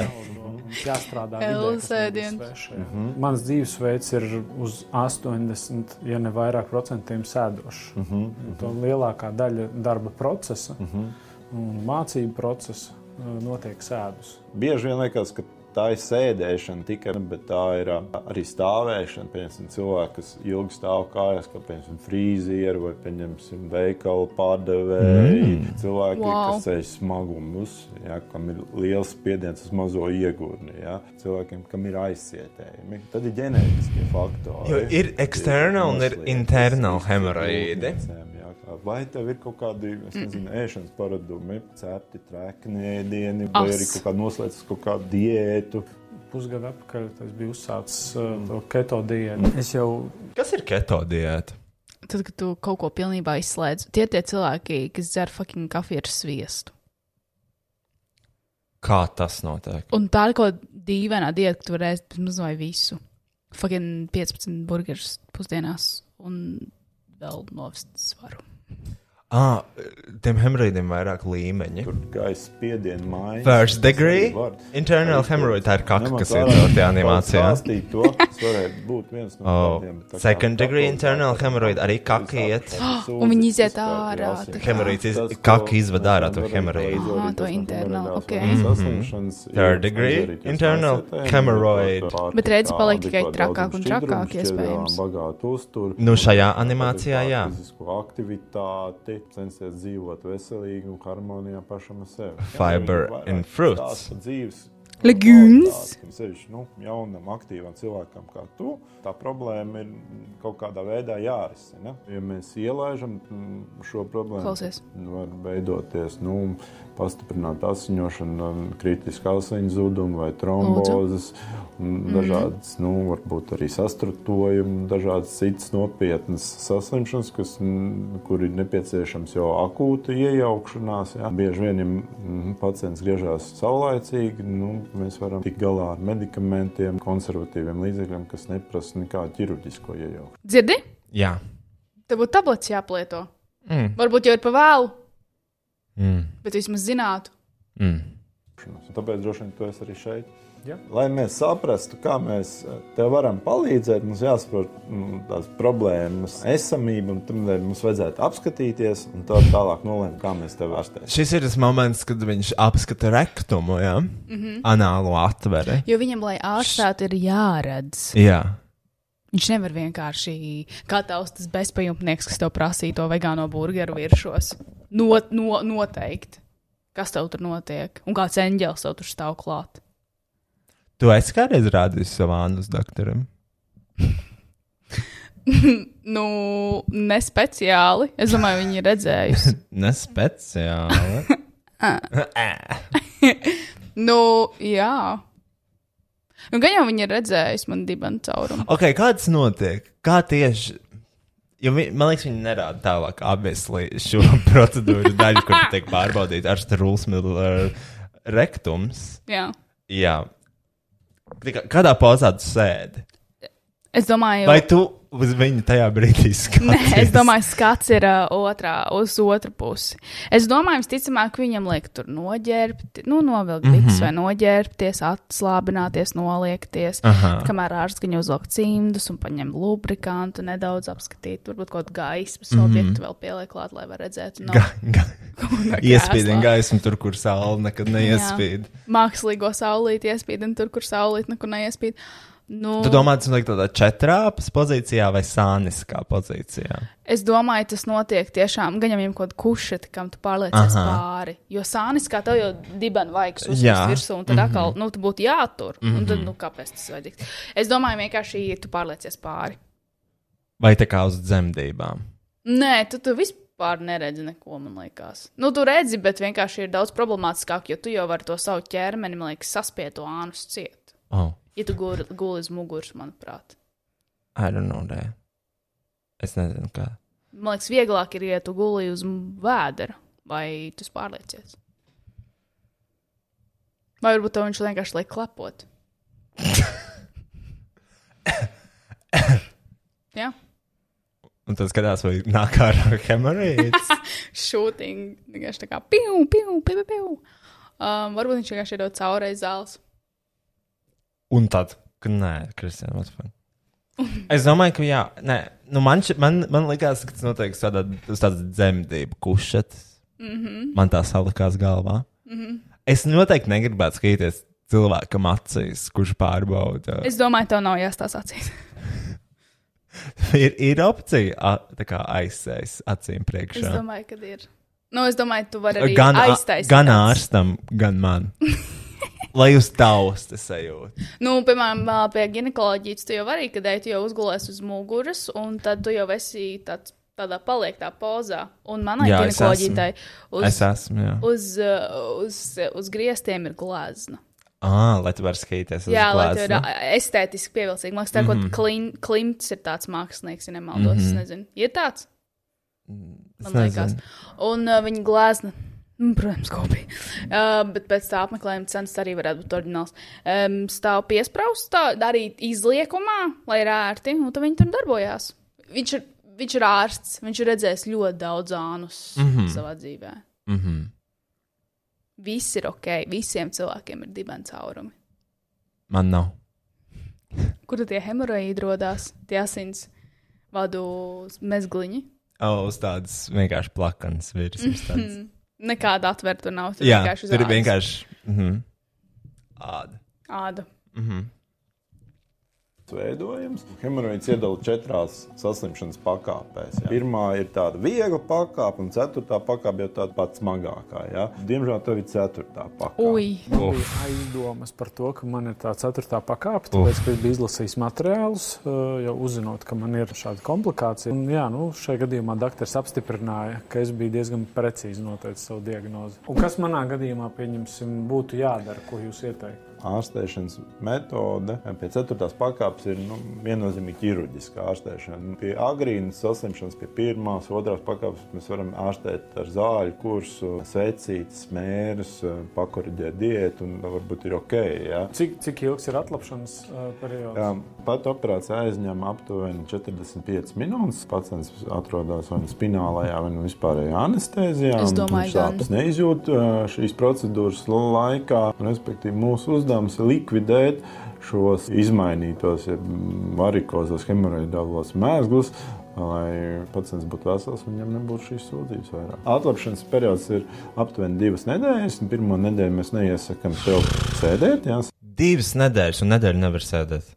[SPEAKER 10] Jāstrādā
[SPEAKER 3] Elvis ēdiens.
[SPEAKER 10] Mhm. Mans dzīvesveids ir uz 80, ja ne vairāk procentiem sēdošs. Mm -hmm. Tā lielākā daļa darba procesa mm -hmm. un mācību procesa eh, notiek sēdus.
[SPEAKER 13] Bieži vien liekas, ka tā ir sēdēšana tikai, bet tā ir ā, arī stāvēšana. Piemēram, cilvēki, kas ilgi stāv kājās, kā piemēram frīzieri vai piemēram veikalu pārdevēji.
[SPEAKER 14] Mm.
[SPEAKER 13] Mm. Cilvēki,
[SPEAKER 14] Wow.
[SPEAKER 13] wow. kas ceļ smagumus, ja, kam ir liels spiediens uz mazo iegūni, ja, cilvēkiem, kam ir aizsietējumi. Tad ir ģenētiskie faktori.
[SPEAKER 1] Jo ir external un ir internal hemorāģija.
[SPEAKER 13] Jā, kā- Vai tev ir kaut kādi es nezinu, ēšanas paradumi, cepti, trēkni, ēdieni, vai
[SPEAKER 10] As.
[SPEAKER 13] arī kaut kā noslēdzis kaut kādu diētu?
[SPEAKER 10] Pusgadu atpakaļ tas bija uzsācis eh, to keto diētu. Es jau
[SPEAKER 1] Kas ir keto diēta?
[SPEAKER 3] Tad, kad tu kaut ko pilnībā izslēdz, tie tie cilvēki, kas dzer fucking kafiju ar sviestu.
[SPEAKER 1] Kā tas notiek?
[SPEAKER 3] Un tā ir kaut kāda dīvainā diēta, ka tu varēsi vismaz vai visu. Fucking 15 burgerus pusdienās un vēl novest svaru.
[SPEAKER 1] Ah, tiem hemorāģiem vairāk līmeņi.
[SPEAKER 13] Gaisa spiediena maiņa.
[SPEAKER 1] First degree, internal hemorrhoid, tā ir kaka, kas ir ļoti animācijā.
[SPEAKER 13] Stāstīt to, tas varētu būt viens no
[SPEAKER 1] Oh,
[SPEAKER 13] tādiem. tā kā
[SPEAKER 1] second degree internal hemorrhoid, arī kaka iet.
[SPEAKER 3] Un viņi iziet ārā. tā kā-
[SPEAKER 1] Hemorrhoids, iz- kaka izved ārā to hemorrhoidu.
[SPEAKER 3] Ah, to internal, ok.
[SPEAKER 1] Mhm. Third degree, internal hemorrhoid.
[SPEAKER 3] Bet redzi, paliek tikai trakāk un trakāk iespējams.
[SPEAKER 13] Bagāt uzturu.
[SPEAKER 1] Nu, šajā animācijā, jā.
[SPEAKER 13] Fizisko aktivitāti, arī censties dzīvot veselīgi un harmonijā pašam ar sevi.
[SPEAKER 1] Fiber
[SPEAKER 13] Vairāk
[SPEAKER 1] and fruits.
[SPEAKER 13] stāsta dzīves
[SPEAKER 3] Legumes.
[SPEAKER 13] kvalitāti, Sevišķi nu, jaunam, aktīvam cilvēkam, kā tu, tā problēma ir kaut kādā veidā jārisina. Ja mēs ielaižam mm, šo problēmu,
[SPEAKER 3] Klausies.
[SPEAKER 13] var veidoties nu, pastiprināta asiņošana, kritiska asiņu zuduma vai trombozes, un
[SPEAKER 14] Mhm.
[SPEAKER 13] dažādas, nu, varbūt arī sastrutojumi, dažādas citas nopietnas saslimšanas, kas, mm, kur ir nepieciešams jau akūta iejaukšanās. Jā. Bieži vien, ja mm, pacients griežās saulaicīgi, nu, mēs varam tikt galā ar medikamentiem, konservatīviem līdzekļiem, kas neprasa nekādu ķirurģisko iejaukšanos.
[SPEAKER 3] Dzirdi?
[SPEAKER 1] Jā.
[SPEAKER 3] Tev būtu tablets jāplieto.
[SPEAKER 1] Mm.
[SPEAKER 3] Varbūt jau ir pa vēlu,
[SPEAKER 1] Mm.
[SPEAKER 3] bet vismaz zinātu.
[SPEAKER 1] Mm.
[SPEAKER 13] Un Tāpēc droši vien tu esi arī šeit. Ja. Lai mēs saprastu, kā mēs eh, tev varam palīdzēt, mums jāsaprot mm, tās problēmas, esamība, un tam mums vajadzētu apskatīties un tā tālāk nolēmt, kā mēs tev ārstēsim.
[SPEAKER 1] Šis ir tas moments, kad viņš apskata rektumu, jau
[SPEAKER 3] Mhm.
[SPEAKER 1] anālo atveri.
[SPEAKER 3] Jo viņam, lai ārstētu, ir jāredz.
[SPEAKER 1] Jā,
[SPEAKER 3] Viņš nevar vienkārši kā tavs tas bezpajumtnieks, kas tev prasīja to vegāno burgeru viršos. Not, no, noteikti. Kas tev tur notiek? Un kāds eņģēlis tev tur stāv klāt?
[SPEAKER 1] tu esi kādreiz rādījis savu anus doktoram.
[SPEAKER 3] nu, nespeciāli. Es domāju, viņi ir redzējuši.
[SPEAKER 1] Ne speciāli.
[SPEAKER 3] nu, jā. Nu, gan jau viņi ir redzējuši man dibenu caurumu.
[SPEAKER 1] ok, kāds notiek? Kā tieši? Jo, vi- man liekas, viņi nerāda tālāk abiesli šo procedūru daļu, kur tiek pārbaudīta ar strūlsmilu rektums.
[SPEAKER 3] Jā.
[SPEAKER 1] Jā. Tikā- Kādā pozā tu sēdi?
[SPEAKER 3] Es domāju,
[SPEAKER 1] Vai tu uz viņu tajā brīdī skaties?
[SPEAKER 3] Nē, es domāju, skats ir uh, otrā, uz otru pusi. Es domāju, visticamāk, viņam liek tur noģērbt, nu, novilkt
[SPEAKER 1] Mhm.
[SPEAKER 3] bites mm -hmm. vai noģērbties, atslābināties, noliekties.
[SPEAKER 1] Aha.
[SPEAKER 3] Kamēr ārsts viņu uzvelk cimdus un paņem lubrikantu, nedaudz apskatīt, varbūt kaut gaismas mm -hmm.
[SPEAKER 1] Mhm.
[SPEAKER 3] objektu vēl pieliek klāt, lai var redzēt. nu, No,
[SPEAKER 1] Ga- ga-
[SPEAKER 3] no
[SPEAKER 1] Iespīdina
[SPEAKER 3] krēslā.
[SPEAKER 1] gaismu tur, kur saule nekad neiespīd.
[SPEAKER 3] Jā. Mākslīgo saulīti iespīdina tur, kur saulīt nekur neiespīd. Nu,
[SPEAKER 1] Tu domā, tas ir tādā četrāpas pozīcijā vai sāniskā pozīcijā?
[SPEAKER 3] Es domāju, tas notiek tiešām gan jau viņam kaut kāda kušeta, kam tu pārliecies
[SPEAKER 1] Aha.
[SPEAKER 3] pāri. Jo sānis kā tev jau dibens vajag
[SPEAKER 1] Jā.
[SPEAKER 3] uzsākt virsū, un tad
[SPEAKER 1] Mhm.
[SPEAKER 3] atkal, nu, tu būtu jātur. Mm -hmm. Un tad,
[SPEAKER 1] Mhm.
[SPEAKER 3] nu, kāpēc tas vajadzīgs? Es domāju, vienkārši tu pārliecies pāri.
[SPEAKER 1] Vai tā kā uz dzemdībām?
[SPEAKER 3] Nē, tu, tu vispār neredzi neko, man liekas. Nu, tu redzi, bet vienkārši ir daudz problemātiskāk, jo tu jau vari to savu ķermeni, man liekas, saspieto ānus ciet.
[SPEAKER 1] Oh.
[SPEAKER 3] Ja tu guli gul uz muguras, manuprāt.
[SPEAKER 1] I don't know, nē. Es nezinu, kā.
[SPEAKER 3] Man liekas, vieglāk ir, ja tu guli uz m- vēdera vai tu pārliecies. Vai varbūt tev viņš vienkārši liek klepot? Jā,
[SPEAKER 1] Un tad skatās, vai nāk ārā hemorīds.
[SPEAKER 3] šūtiņa vienkārši tā kā piu, piu, piu, piu. piu. Um, varbūt viņš vienkārši iedod cauri zāles.
[SPEAKER 1] Un tad, ka nē, Kristija, what the fuck. Es domāju, ka jā, nē, nu man, šķi- man, man likās, ka tas notiek uz tādā, uz tādas dzemdību kušetas.
[SPEAKER 3] Mhm.
[SPEAKER 1] Man tā salikās galvā.
[SPEAKER 3] Mhm.
[SPEAKER 1] Es noteikti negribētu skatīties cilvēkam acīs, kurš pārbauda.
[SPEAKER 3] Es domāju, tev nav jāstāsta acīs.
[SPEAKER 1] ir, ir opcija a, tā kā aizsēs acīm
[SPEAKER 3] es
[SPEAKER 1] priekšā.
[SPEAKER 3] domāju, ka ir. Nu, es domāju, tu vari arī
[SPEAKER 1] Gan, a-
[SPEAKER 3] aiztaisīt.
[SPEAKER 1] gan ārstam, gan man. Lai jūs taustas sajūtu.
[SPEAKER 3] Nu, piemēram, ā, pie ginekoloģijas tu jau arī, kad ej, tu jau uzgulēs uz muguras, un tad tu jau esi tāds, tādā paliektā pozā. Un manai
[SPEAKER 1] Jā, es
[SPEAKER 3] ginekoloģijai
[SPEAKER 1] esmu.
[SPEAKER 3] uz,
[SPEAKER 1] Es esmu, jā.
[SPEAKER 3] uz, uh, uz, uz griestiem ir nu, glāzna.
[SPEAKER 1] Ah, lai tu varētu skatīties uz
[SPEAKER 3] Jā, lai tā ir
[SPEAKER 1] glāzi.
[SPEAKER 3] ā, estētiski pievilcīga. Man liekas, tā mm
[SPEAKER 1] Mhm.
[SPEAKER 3] -hmm. klimts ir tāds mākslinieks, ja nemaldos. Mm -hmm. Es
[SPEAKER 1] Mhm. Mm,
[SPEAKER 3] nezinu, ir tāds. Man
[SPEAKER 1] es
[SPEAKER 3] liekas.
[SPEAKER 1] nezinu.
[SPEAKER 3] Un uh, viņa glāzna. Mm, Protams, kopija. Uh, bet pēc tā apmeklējuma cenas arī varētu būt oriģināls. Um, stāv piesprāstā, arī izliekumā, lai ir ērti, un tad viņi tur darbojās. Viņš ir, viņš ir ārsts, viņš ir redzējis ļoti daudz ānus mm
[SPEAKER 1] Mhm.
[SPEAKER 3] -hmm. savā dzīvē.
[SPEAKER 1] Mm -hmm.
[SPEAKER 3] Viss ir ok, visiem cilvēkiem ir dibens caurumi.
[SPEAKER 1] Man nav.
[SPEAKER 3] Kur tad tie hemoroīdi rodās? Tie asins vadu mezgliņi.
[SPEAKER 1] Oh, uz tādas vienkārši plakanas virsmas. tādas.
[SPEAKER 3] Mhm. Nekāda atvērta nav. Tur
[SPEAKER 1] Jā,
[SPEAKER 3] vienkārši uz
[SPEAKER 1] tur ir mhm.
[SPEAKER 3] ādas.
[SPEAKER 1] vienkārši. Mm -hmm. Āda.
[SPEAKER 3] āda.
[SPEAKER 1] Mm -hmm.
[SPEAKER 13] veidojums. Hemoroīds iedala četrās saslimšanas pakāpēs. Jā. Pirmā ir tāda viegla pakāpe, un ceturtā pakāpe jau tāda pati smagākā. Jā. Diemžēl tev ir ceturtā pakāpe.
[SPEAKER 10] Ui. Man bija aizdomas par to, ka man ir tā ceturtā pakāpe, tāpēc, ka es biju izlasījis materiālus, uh, jau uzzinot, ka man ir šāda komplikācija. Un, jā, nu, šajā gadījumā doktors apstiprināja, ka es biju diezgan precīzi noteicis savu diagnozi. Un kas manā gadījumā, pieņemsim, būtu jādara, ko jūs ieteiktu?
[SPEAKER 13] ārstēšanas metode eh, pie 4. pakāpes ir nu, viennozīmīgi ķirurģiska ārstēšana. Nu, Pie agrīnas saslimšanas, pie 1. un 2. pakāpes mēs varam ārstēt ar zāļu kursu, secītas, mērus, pakoriģēt diētu un varbūt ir ok. Ja?
[SPEAKER 10] Cik, cik ilgs ir atlapšanas uh, periods?
[SPEAKER 13] Jā, Ehm, pat operācija aizņem aptuveni 45 minūtes. Pacients atrodas vai nu spinālajā, vai nu vispārējā anestezijā.
[SPEAKER 3] Es
[SPEAKER 13] un
[SPEAKER 3] domāju,
[SPEAKER 13] viņš sāpes neizjūt ā, šīs procedūras laikā. Respektīvi, mūsu uzdevums ir likvidēt šos izmainītos, ja varikozos, hemoroidālos mēslus. Lai pacients būtu vesels, viņam nebūtu šīs sūdzības vairāk. Atlapšanas periods ir aptuveni divas nedēļas. un Pirmā nedēļa mēs neiesakām tev sēdēt, jā,
[SPEAKER 1] Divas nedēļas, un nedēļa nevar sēdēt.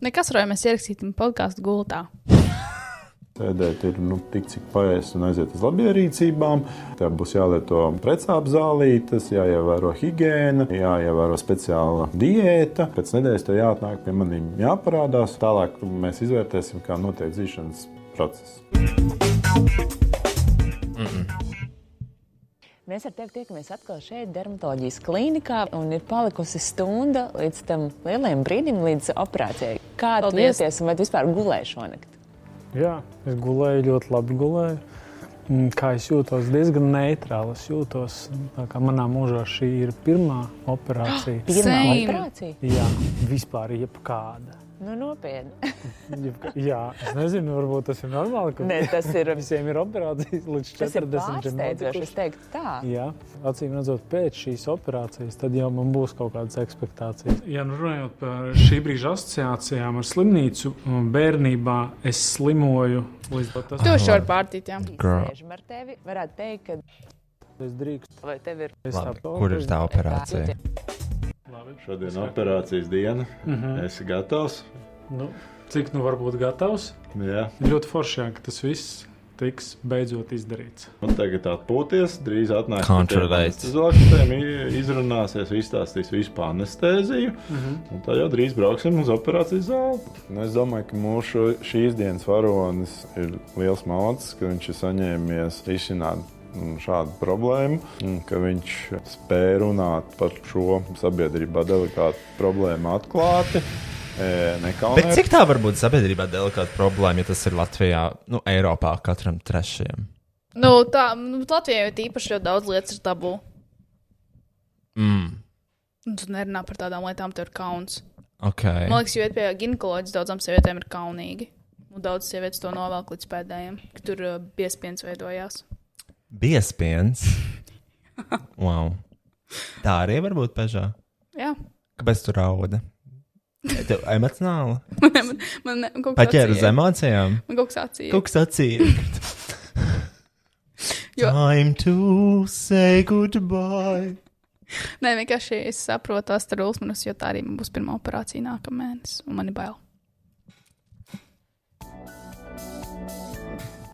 [SPEAKER 3] Nekas, Roja, mēs ierakstīsim podkāstu gultā.
[SPEAKER 13] Sēdēt ir nu, tik, cik paēst un aiziet uz labierīcībām. Tā būs jālieto precāpju zālītes, jāievēro higiēna, jāievēro speciāla diēta. Pēc nedēļas tev jāatnāk pie maniem, jāparādās. Tālāk mēs izvērtēsim, kā notiek dzīšanas process.
[SPEAKER 1] Mm -mm.
[SPEAKER 9] Mēs ar tevi tiekamies atkal šeit, dermatoloģijas klīnikā, un ir palikusi stunda līdz tam lielajam brīdim, līdz operācijai. Kā tu
[SPEAKER 10] Paldies.
[SPEAKER 9] jūties un vai tu vispār gulēji šonakt?
[SPEAKER 10] Jā, es gulēju ļoti labi. Gulēju. Mm, Kā es jūtos, diezgan neitrāli. Es jūtos, tā kā manā mūžā šī ir pirmā operācija.
[SPEAKER 9] Pirmā Same. operācija?
[SPEAKER 10] Jā, vispār jebkāda.
[SPEAKER 9] Nu, nopietni.
[SPEAKER 10] Jebk- Jā, es nezinu, varbūt tas ir normāli. ka
[SPEAKER 9] Nē, tas ir-
[SPEAKER 10] Visiem ir operācijas līdz
[SPEAKER 9] Tas ir
[SPEAKER 10] 40
[SPEAKER 9] pārsteidzoši. Es teiktu, tā.
[SPEAKER 10] Jā, acīm redzot, pēc šīs operācijas, tad jau man būs kaut kādas ekspektācijas. Ja nu runājot par šī brīža asociācijām ar slimnīcu, um, bērnībā es slimoju līdz pat tas.
[SPEAKER 3] To šādi pārtīt, jā.
[SPEAKER 1] Girl.
[SPEAKER 9] Sēžam ar tevi. Varētu teikt, ka
[SPEAKER 10] Es drīkstu.
[SPEAKER 9] Vai tev ir?
[SPEAKER 1] Labi, kur ir tā operācija?
[SPEAKER 13] Šodien ir operācijas diena.
[SPEAKER 10] Mhm.
[SPEAKER 13] Esi gatavs?
[SPEAKER 10] Nu, cik nu var būt gatavs?
[SPEAKER 13] Jā.
[SPEAKER 10] Ļoti forši, jā, ka tas viss tiks beidzot izdarīts.
[SPEAKER 13] Un tagad atpūties, drīz atnāks
[SPEAKER 1] Kontrolēt.
[SPEAKER 13] Uz augstiem izrunāsies, izstāstīs vispār anestēziju.
[SPEAKER 10] Mhm.
[SPEAKER 13] Un tā jau drīz brauksim uz operācijas zāli. Nu, es domāju, ka mūsu šīs dienas varonis ir liels mācis, ka viņš ir saņēmies izsināt. mm, Šādu problēmu, un ka viņš spēja runāt par šo sabiedrībā delikātu problēmu atklāti. e, nekaunēt.
[SPEAKER 1] Bet cik tā var būt sabiedrībā delikāta problēma, ja tas ir Latvijā, nu, Eiropā katram trešajam?
[SPEAKER 4] Nu, tā, nu, Latvijai jau tīpaši ļoti daudz lietas ir tabū.
[SPEAKER 1] Mm.
[SPEAKER 3] Un tu nerunā par tādām lietām, tev ir kauns.
[SPEAKER 1] Ok.
[SPEAKER 3] Man liekas, jo iet pie ginekoloģijas daudzām sievietēm ir kaunīgi. Un daudz sievietes to novelk līdz pēdējiem, ka tur uh, piespiens veidojās.
[SPEAKER 1] Biespiens. wow. Tā arī var būt pežā.
[SPEAKER 3] Jā.
[SPEAKER 1] Kāpēc tu raudi? Tev emocionāli.
[SPEAKER 3] Man, ne- man, ne- man kaut kas
[SPEAKER 1] Paķēri uz
[SPEAKER 3] acī-
[SPEAKER 1] emocijām.
[SPEAKER 3] Man kaut kas acīm.
[SPEAKER 1] Kaut kas acīm. Time to say goodbye.
[SPEAKER 3] Nē, vienkārši es saprotu tās rulsmanas, jo tā arī man būs pirmā operācija nākamēnes, un man ir bail.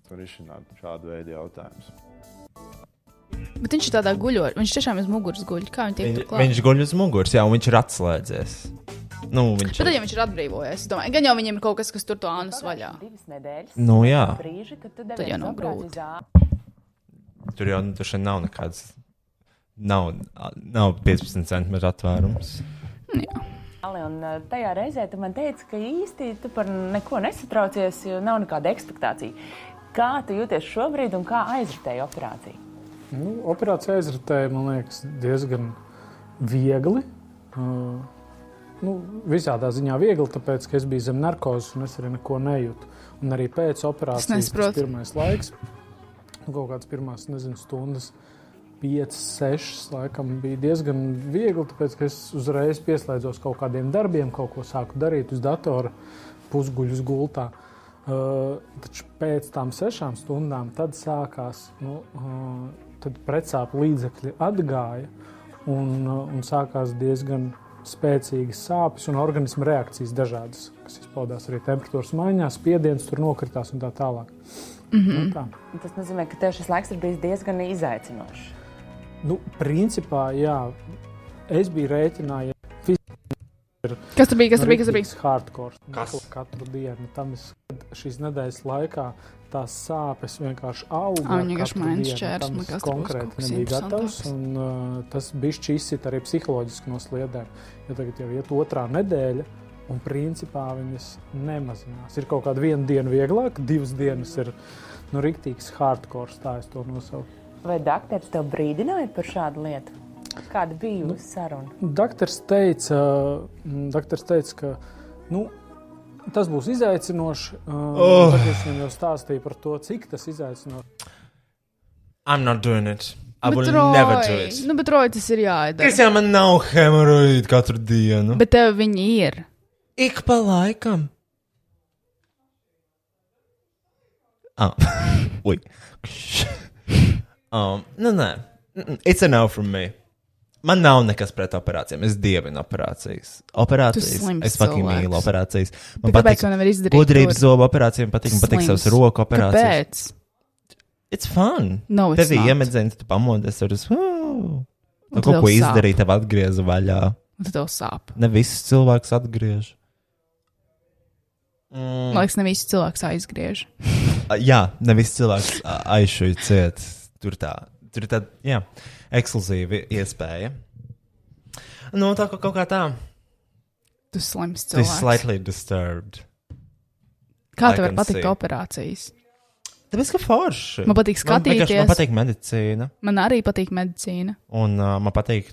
[SPEAKER 13] Var izsināt šādu veidu jautājumus.
[SPEAKER 3] Bet viņš ir tādā guļošā, viņš tiešām aiz muguras guļ. Kā viņi tiek
[SPEAKER 1] Viņ,
[SPEAKER 3] tur klāt?
[SPEAKER 1] viņš guļ uz muguras, jau viņš ir atslēdzies. Nu,
[SPEAKER 3] Bet
[SPEAKER 1] viņš
[SPEAKER 3] tad, ja viņš ir atbrīvojies, es domāju, gan jau viņam ir kaut kas, kas tur to anus vaļā.
[SPEAKER 1] Nu, jā.
[SPEAKER 9] Brīži, kad tu
[SPEAKER 3] Tad
[SPEAKER 9] devies
[SPEAKER 3] jau nav
[SPEAKER 9] operācijas zālē.
[SPEAKER 1] Tur jau nu, tur šeit nav nekādas. Nav, nav 15 centimetru atvērums.
[SPEAKER 9] Ali, Un uh, tajā reizē tu man teici, ka īsti tu par neko nesatraucies, jo nav nekāda ekspektācija. Kā tu jūties šobrīd un kā aizritēja operācija?
[SPEAKER 10] Nu, operācija aizritēja, man liekas, diezgan viegli. Uh, Nu, visādā ziņā viegli, tāpēc, ka es biju zem narkozes un es arī neko nejūtu. Un arī pēc operācijas
[SPEAKER 3] nesaprotu.
[SPEAKER 10] tas pirmais laiks, nu, kaut kāds pirmās, nezinu, stundas, 5, 6, laikam bija diezgan viegli, tāpēc, ka es uzreiz pieslēdzos kaut kādiem darbiem, kaut ko sāku darīt uz datora, pusguļus gultā. Uh, taču pēc tam sešām stundām tad sākās, nu, uh, tad precāpju līdzekļi atgāja un, uh, un sākās diezgan spēcīgas sāpes un organisma reakcijas dažādas, kas izpaudās arī temperatūras maiņās, spiediens tur nokritās un tā tālāk.
[SPEAKER 9] Mhm.
[SPEAKER 10] Nu, tā.
[SPEAKER 9] Tas nozīmē, ka tev šis laiks ir bijis diezgan izaicinošs.
[SPEAKER 10] Nu, principā, jā, es biju rēķinājies. Nu,
[SPEAKER 3] Kas tur bija, kas tur bija, kas tur bija?
[SPEAKER 10] Hardcore.
[SPEAKER 3] Kas?
[SPEAKER 10] Kas? Katru dienu. Tam es šīs nedēļas laikā tās sāpes vienkārši auga.
[SPEAKER 3] Ā, viņa vienkārši
[SPEAKER 10] katru
[SPEAKER 3] maina
[SPEAKER 10] dienu.
[SPEAKER 3] šķērs,
[SPEAKER 10] Tam
[SPEAKER 3] man
[SPEAKER 10] es
[SPEAKER 3] liekas, tur būs kaut
[SPEAKER 10] konkrēti
[SPEAKER 3] kas
[SPEAKER 10] nebija gatavs.
[SPEAKER 3] interesantāks.
[SPEAKER 10] Un, uh, tas bija izsita arī psiholoģiski no sliedēm. Jo tagad jau iet otrā nedēļa. Un principā viņas nemazinās. Ir kaut kāda viena diena vieglāk, divas dienas ir nu, rīktīgs hardcore, tā es to nosaucu.
[SPEAKER 9] Vai dakteris tev brīdināja par šādu lietu? Kāda bija
[SPEAKER 10] Nu,
[SPEAKER 9] jūsu saruna?
[SPEAKER 10] Dakteris teica, mm, dakteris teica ka nu, tas būs izaicinoši.
[SPEAKER 1] Oh.
[SPEAKER 10] Oh. Tad es viņam jau stāstīju par to, cik tas izaicinoši.
[SPEAKER 1] I'm not doing it. I
[SPEAKER 3] Bet
[SPEAKER 1] will
[SPEAKER 3] Roy,
[SPEAKER 1] never do it.
[SPEAKER 3] Nu, bet Roy, tas ir jāiedara.
[SPEAKER 1] Kristian, man nav hemoroīdu katru dienu.
[SPEAKER 3] Bet tev viņi ir.
[SPEAKER 1] Nu. Ik pa laikam. Ah, ui. um, nu, nē, Mm, it's a no from me. Man nav nekas pret operācijām. Es dievinu operācijas.
[SPEAKER 3] Tu
[SPEAKER 1] Operācijas.
[SPEAKER 3] slims
[SPEAKER 1] Es fucking
[SPEAKER 3] cilvēks.
[SPEAKER 1] mīlu operācijas.
[SPEAKER 3] Bet kāpēc to nevar izdarīt
[SPEAKER 1] Gudrības
[SPEAKER 3] tur?
[SPEAKER 1] zobu operācijām patīk. Man patīk
[SPEAKER 3] Slims.
[SPEAKER 1] savas roku operācijas.
[SPEAKER 3] Kāpēc?
[SPEAKER 1] It's fun.
[SPEAKER 3] No, it's
[SPEAKER 1] Tev
[SPEAKER 3] not.
[SPEAKER 1] iemedzēni, tu pamodies ar uz.
[SPEAKER 3] Un
[SPEAKER 1] "Uu." Tu
[SPEAKER 3] tev
[SPEAKER 1] kaut ko
[SPEAKER 3] sāp.
[SPEAKER 1] izdarīji, tev atgriezu vaļā.
[SPEAKER 3] Un tad tev sāp.
[SPEAKER 1] Ne visus cilvēkus atgriež. Mm.
[SPEAKER 3] Man liekas, ne visi cilvēks aizgriež.
[SPEAKER 1] Uh, Jā, nevis cilvēks uh, aizšuja ciet. Tur tā, tur ir tāda, jā, ekskluzīva iespēja. Nu, tā kā kaut kā tā.
[SPEAKER 3] Tu slims
[SPEAKER 1] Tas ir
[SPEAKER 3] cilvēks.
[SPEAKER 1] slightly disturbed.
[SPEAKER 3] Kā
[SPEAKER 1] I
[SPEAKER 3] tev var
[SPEAKER 1] can
[SPEAKER 3] patikt
[SPEAKER 1] see.
[SPEAKER 3] operācijas?
[SPEAKER 1] Tāpēc, ka forši.
[SPEAKER 3] Man patīk
[SPEAKER 1] vienkārši- Man
[SPEAKER 3] skatīties.
[SPEAKER 1] patīk medicīna.
[SPEAKER 3] Man arī patīk medicīna.
[SPEAKER 1] Un uh, man patīk,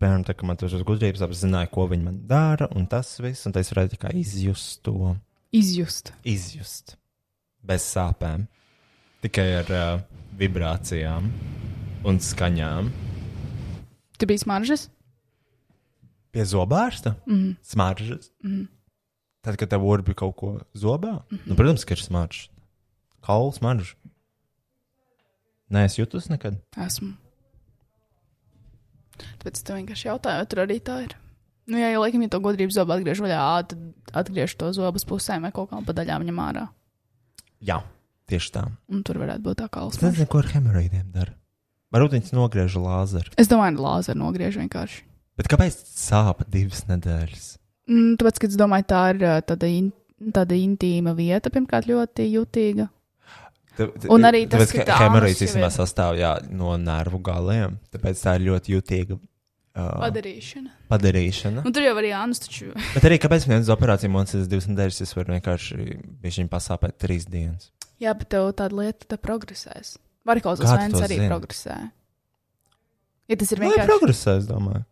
[SPEAKER 1] piemēram, tā, ka man tur uz gudrības apzināja, ko viņi man dara, un tas viss, un tā es varēju tikai izjust to.
[SPEAKER 3] Izjust.
[SPEAKER 1] Izjust. Bez sāpēm. Tikai ar uh, vibrācijām un skaņām.
[SPEAKER 3] Tu biji smaržas?
[SPEAKER 1] Pie zobārsta?
[SPEAKER 3] Mhm.
[SPEAKER 1] Smaržas.
[SPEAKER 3] Mhm.
[SPEAKER 1] Tad, kad tev orbi kaut ko zobā, mm -hmm. nu, protams, ka ir smaržas. Kaulu smaržas. Nē, es jutos nekad.
[SPEAKER 3] Esmu. Tāpēc es tev vienkārši jautāju, vai tur arī tā ir. Nu, jā, jau laikam, ja to gudrības zobu atgriež vaļā, ā, tad atgriež to zobus pusēm vai kaut kā pa daļām ņem ārā.
[SPEAKER 1] Jā, tieši tā.
[SPEAKER 3] Un tur varētu būt tā kā
[SPEAKER 1] Es nezinu, ko ar hemoroīdiem dara. Varbūt viņas nogriež lāzeru.
[SPEAKER 3] Es domāju, lāzeru nogriež vienkārši.
[SPEAKER 1] Bet kāpēc sāp divas nedēļas?
[SPEAKER 3] Mm, tāpēc, ka es domāju, tā ir ā, tāda, in, tāda intīma vieta, pirmkārt, ļoti jutīga.
[SPEAKER 1] Ta- ta-
[SPEAKER 3] Un arī tas,
[SPEAKER 1] tāpēc,
[SPEAKER 3] ka
[SPEAKER 1] ka
[SPEAKER 3] tā
[SPEAKER 1] hemoroīds
[SPEAKER 3] ārsts jau
[SPEAKER 1] īstenībā
[SPEAKER 3] ir-
[SPEAKER 1] sastāv jā, no nervu galiem. Tāpēc tā ir ļoti jutīga uh,
[SPEAKER 3] Padarīšana.
[SPEAKER 1] padarīšana.
[SPEAKER 3] Nu, tur jau arī Jānis taču.
[SPEAKER 1] Bet arī kāpēc man ir operācija, man ir divas nedēļas, es varu vienkārši viņam pasāpēt trīs dienas.
[SPEAKER 3] Jā, bet tev tāda lieta tā progresēs. Varikozes
[SPEAKER 1] Kā tu
[SPEAKER 3] vēns
[SPEAKER 1] to
[SPEAKER 3] arī
[SPEAKER 1] zini?
[SPEAKER 3] progresē. Ja tas ir
[SPEAKER 1] Nu, ir
[SPEAKER 3] vienkārši
[SPEAKER 1] progresē, es domāju.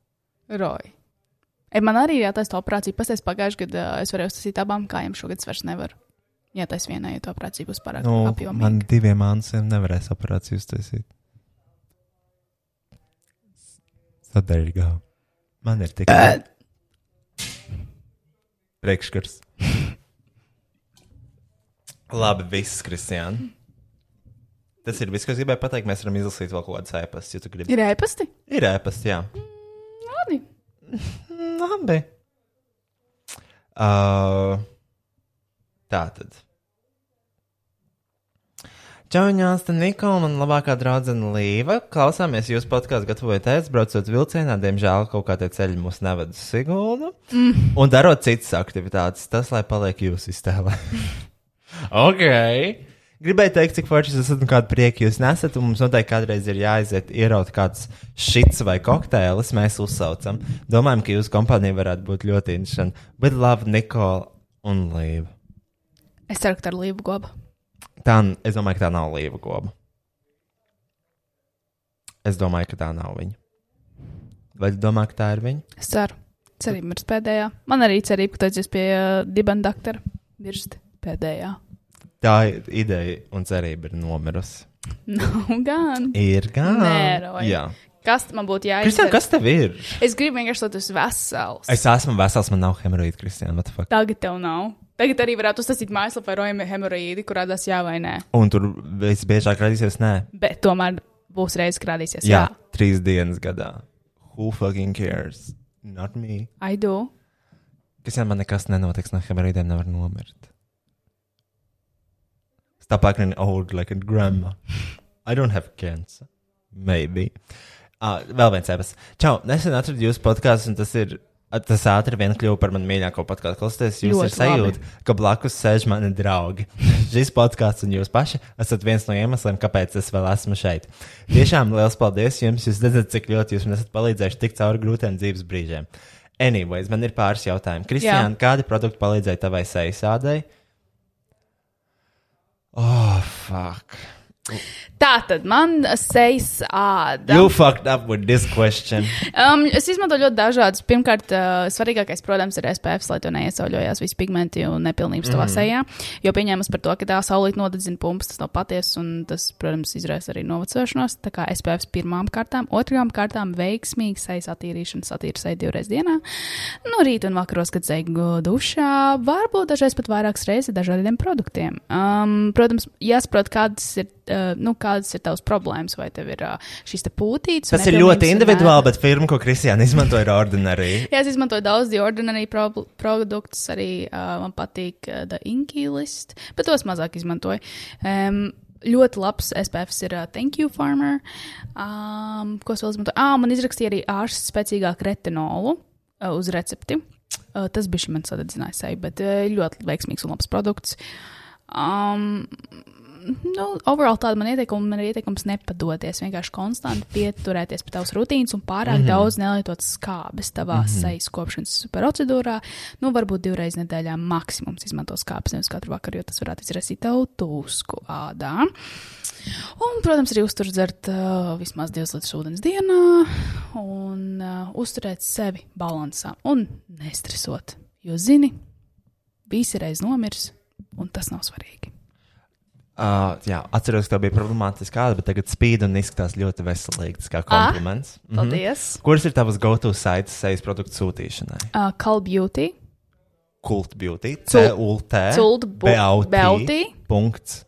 [SPEAKER 3] roji. E, man arī ir jātaisa tā operācija. Pastāstiet, pagājušajā gadā es varēju uztaisīt abām kājām, šogad es vairs nevaru. Jā, tas vienā, jo tā operācija būs pārāk
[SPEAKER 1] Nu,
[SPEAKER 3] apjomīga.
[SPEAKER 1] man diviem ansiem nevarēs operāciju uztaisīt. Sadarbībā. Man ir tikai priekšskars. Labi, viss, Kristija. Tas ir viss, ko es gribēju pateikt. Mēs varam izlasīt vēl kaut kādas ēpastas, ja tu gribi.
[SPEAKER 3] Ir ēpasti?
[SPEAKER 1] Ir ēpasts, jā.
[SPEAKER 3] Labi.
[SPEAKER 1] Labi. Uh, tā tad. Čauņās, tad Nikola, man labākā draudzene Līva. Klausāmies jūsu podkāstu, gatavojoties, braucot vilcienā. Diemžēl kaut kā tie ceļi mūs neved uz Siguldu.
[SPEAKER 14] Mm.
[SPEAKER 1] Un darot citas aktivitātes, tas lai paliek jūsu iztēlē. ok. Gribēju teikt, cik forši jūs esat un kādu prieku jūs nesat. un Mums noteikti kādreiz ir jāaiziet, ieraut kāds šits vai kokteilis, mēs uzsaucam. Domājam, ka jūsu kompānija varētu būt ļoti interesanta. Bet labi, Nikola un Līva.
[SPEAKER 3] Es ceru, ka tā ir līva goba.
[SPEAKER 1] Tā, n- es domāju, ka tā nav līva goba. Es domāju, ka tā nav viņa. Vai tu domā, ka tā ir viņa?
[SPEAKER 3] Es ceru. Cerība ir pēdējā. Man arī cerība, ka tu aizies pie uh, dibana doktora. Virsti pēdējā.
[SPEAKER 1] Tā i- ideja un cerība ir nomirusi.
[SPEAKER 3] Nav Nu, gan.
[SPEAKER 1] Ir gan.
[SPEAKER 3] Nē, Roy.
[SPEAKER 1] Jā.
[SPEAKER 3] Kas man būtu jāizdara?
[SPEAKER 1] Kristian, kas tev ir?
[SPEAKER 3] Es gribu vienkārši, lai tu esi vesels.
[SPEAKER 1] Es esmu vesels, man nav hemoroīda, Kristija.
[SPEAKER 3] Tagad tev nav. Tagad arī varētu uztaisīt mājaslapā ar rojuma hemoroīdi, kur radās jā vai nē.
[SPEAKER 1] Un tur visbiežāk radīsies, nē,
[SPEAKER 3] Bet tomēr būs reizes, kad radīsies jā.
[SPEAKER 1] jā, trīs dienas gadā. Who fucking cares? Not me.
[SPEAKER 3] I do.
[SPEAKER 1] Kas jau man nekas nenotiks, no hemoroīdiem nevar nomirt. Stop acting old like a grandma. I don't have cancer. Maybe. Uh, vēl viens ēpas. Čau, nesen atradu jūsu podkāstu, un tas ir. Tas ātri vien kļuva par manu mīļāko podkāstu. Klausoties, jums ir
[SPEAKER 14] Ļoti labi.
[SPEAKER 1] sajūta, ka blakus sēž mani draugi. Šis podkāsts un jūs paši esat viens no iemesliem, kāpēc es vēl esmu šeit. Tiešām liels paldies jums! Jūs redzat, cik ļoti jūs man esat palīdzējuši tikt cauri grūtiem dzīves brīžiem. Anyways, man ir pāris jautājumi. Kristiāna, kādi produkti palīdzēja tavai sēnesādai? Oh, fuck.
[SPEAKER 3] Tā tad man sejas āda.
[SPEAKER 1] You fucked up with this question.
[SPEAKER 3] Um, es izmantoju ļoti dažādus. Pirmkārt, uh, svarīgākais, protams, ir SPF, lai tu neiesauļojās visi pigmenti un nepilnības mm. tavā
[SPEAKER 1] Mhm.
[SPEAKER 3] sejā. Jo pieņēmas par to, ka tā saulīt nodedzina pumpas, tas nav patiesa un tas, protams, izraisa arī novecošanos. Tā kā SPF pirmām kārtām, otrām kārtām veiksmīgi sejas attīrīšana, satīra seju divreiz dienā. No rīta un vakaros, kad segu dušā, varbūt dažreiz pat vairākas reizes ar dažādiem produktiem. Um, protams, jāsaprot, kādas ir, uh, nu, kādas ir tavas problēmas, vai tev ir uh, šīs te pūtītes. un
[SPEAKER 1] Tas ir
[SPEAKER 3] nepilnības
[SPEAKER 1] ļoti
[SPEAKER 3] un
[SPEAKER 1] individuāli, bet firma, ko Kristiāna izmanto, ir ordinārija.
[SPEAKER 3] Jā, es izmantoju daudz The Ordinary pro produktus, arī uh, man patīk uh, The Inky List, bet tos mazāk izmantoju. Um, ļoti labs SPFs ir uh, Thank You Farmer. Um, ko es vēl izmantoju? Ah, man izrakstīja arī ārsts spēcīgāku retinolu uh, uz recepti. Uh, tas bija man sadedzināja seju, bet uh, ļoti veiksmīgs un labs produkts. Um, Nu, overall tāda man ieteikuma, man ir ieteikums nepadoties, vienkārši konstanti pieturēties pie tavas rutīnas un pārāk mm
[SPEAKER 15] Mhm.
[SPEAKER 3] -hmm. daudz nelietot skābes tavā mm
[SPEAKER 15] Mhm.
[SPEAKER 3] -hmm. sejas kopšanas procedūrā. Nu, varbūt divreiz nedēļā maksimums izmanto skābes, nevis katru vakaru, jo tas varētu izraisīt tev tūsku ādā. Un, protams, arī uztur dzert uh, vismaz divas litras ūdens dienā un uh, uzturēt sevi balansā un nestresot. Jo, zini, visi reiz nomirs, un tas nav svarīgi.
[SPEAKER 1] Uh, jā, atceros, ka tā bija problemātiska kāda, bet tagad spīd un izskatās ļoti veselīgi. Tas kā
[SPEAKER 3] Ah,
[SPEAKER 1] kompliments. Mhm.
[SPEAKER 3] paldies.
[SPEAKER 1] Kuras ir tavas go-to saites sejas produktu sūtīšanai?
[SPEAKER 3] Uh, Call Beauty.
[SPEAKER 1] Kult beauty,
[SPEAKER 3] Cul-
[SPEAKER 1] CULT,
[SPEAKER 3] Cult bu- beauty.
[SPEAKER 1] Punkts.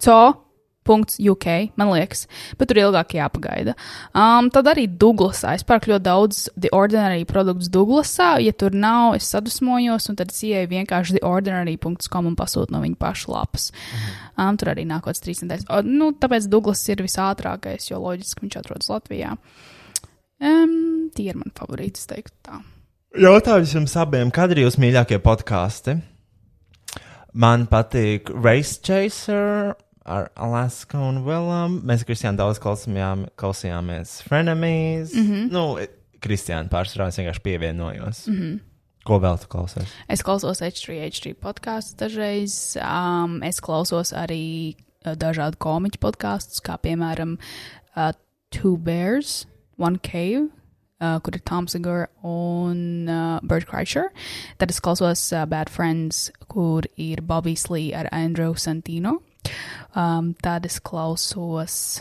[SPEAKER 3] co.uk, man liekas, bet tur ilgāk jāpagaida. Um, tad arī Douglasā. Es pērku ļoti daudz The Ordinary produktu Douglasā. Ja tur nav, es sadusmojos, un tad es ieeju vienkārši theordinary.com un pasūtu no viņa paša lapas. Um, tur arī nākotnes trīs nedēļas. O, Nu, tāpēc Douglas ir visātrākais, jo loģiski viņš atrodas Latvijā. Um, tie ir mani favorīti, es teiktu tā.
[SPEAKER 1] Jautājums jums abiem, kad ir jūsu mīļākie podkāsti? Man patīk Race Chaser ar Alaska un Villam. Mēs Kristiāna daudz klausījām, klausījāmies Frenemies. Mm
[SPEAKER 3] Mhm.
[SPEAKER 1] -hmm. Nu, Kristiāna pārsvarā es vienkārši pievienojos. Mm
[SPEAKER 3] Mhm.
[SPEAKER 1] Ko vēl tu klausies?
[SPEAKER 3] Es klausos H3H3 podkāstu dažreiz. Um, es klausos arī uh, dažādu komiķu podkāstus, kā piemēram uh, Two Bears, One Cave. Uh, kur ir Toms Sigūra un uh, Bird Kreischer. Tad es klausos uh, Bad Friends, kur ir Bobijs Lee ar Andrew Santino. Um, tad es klausos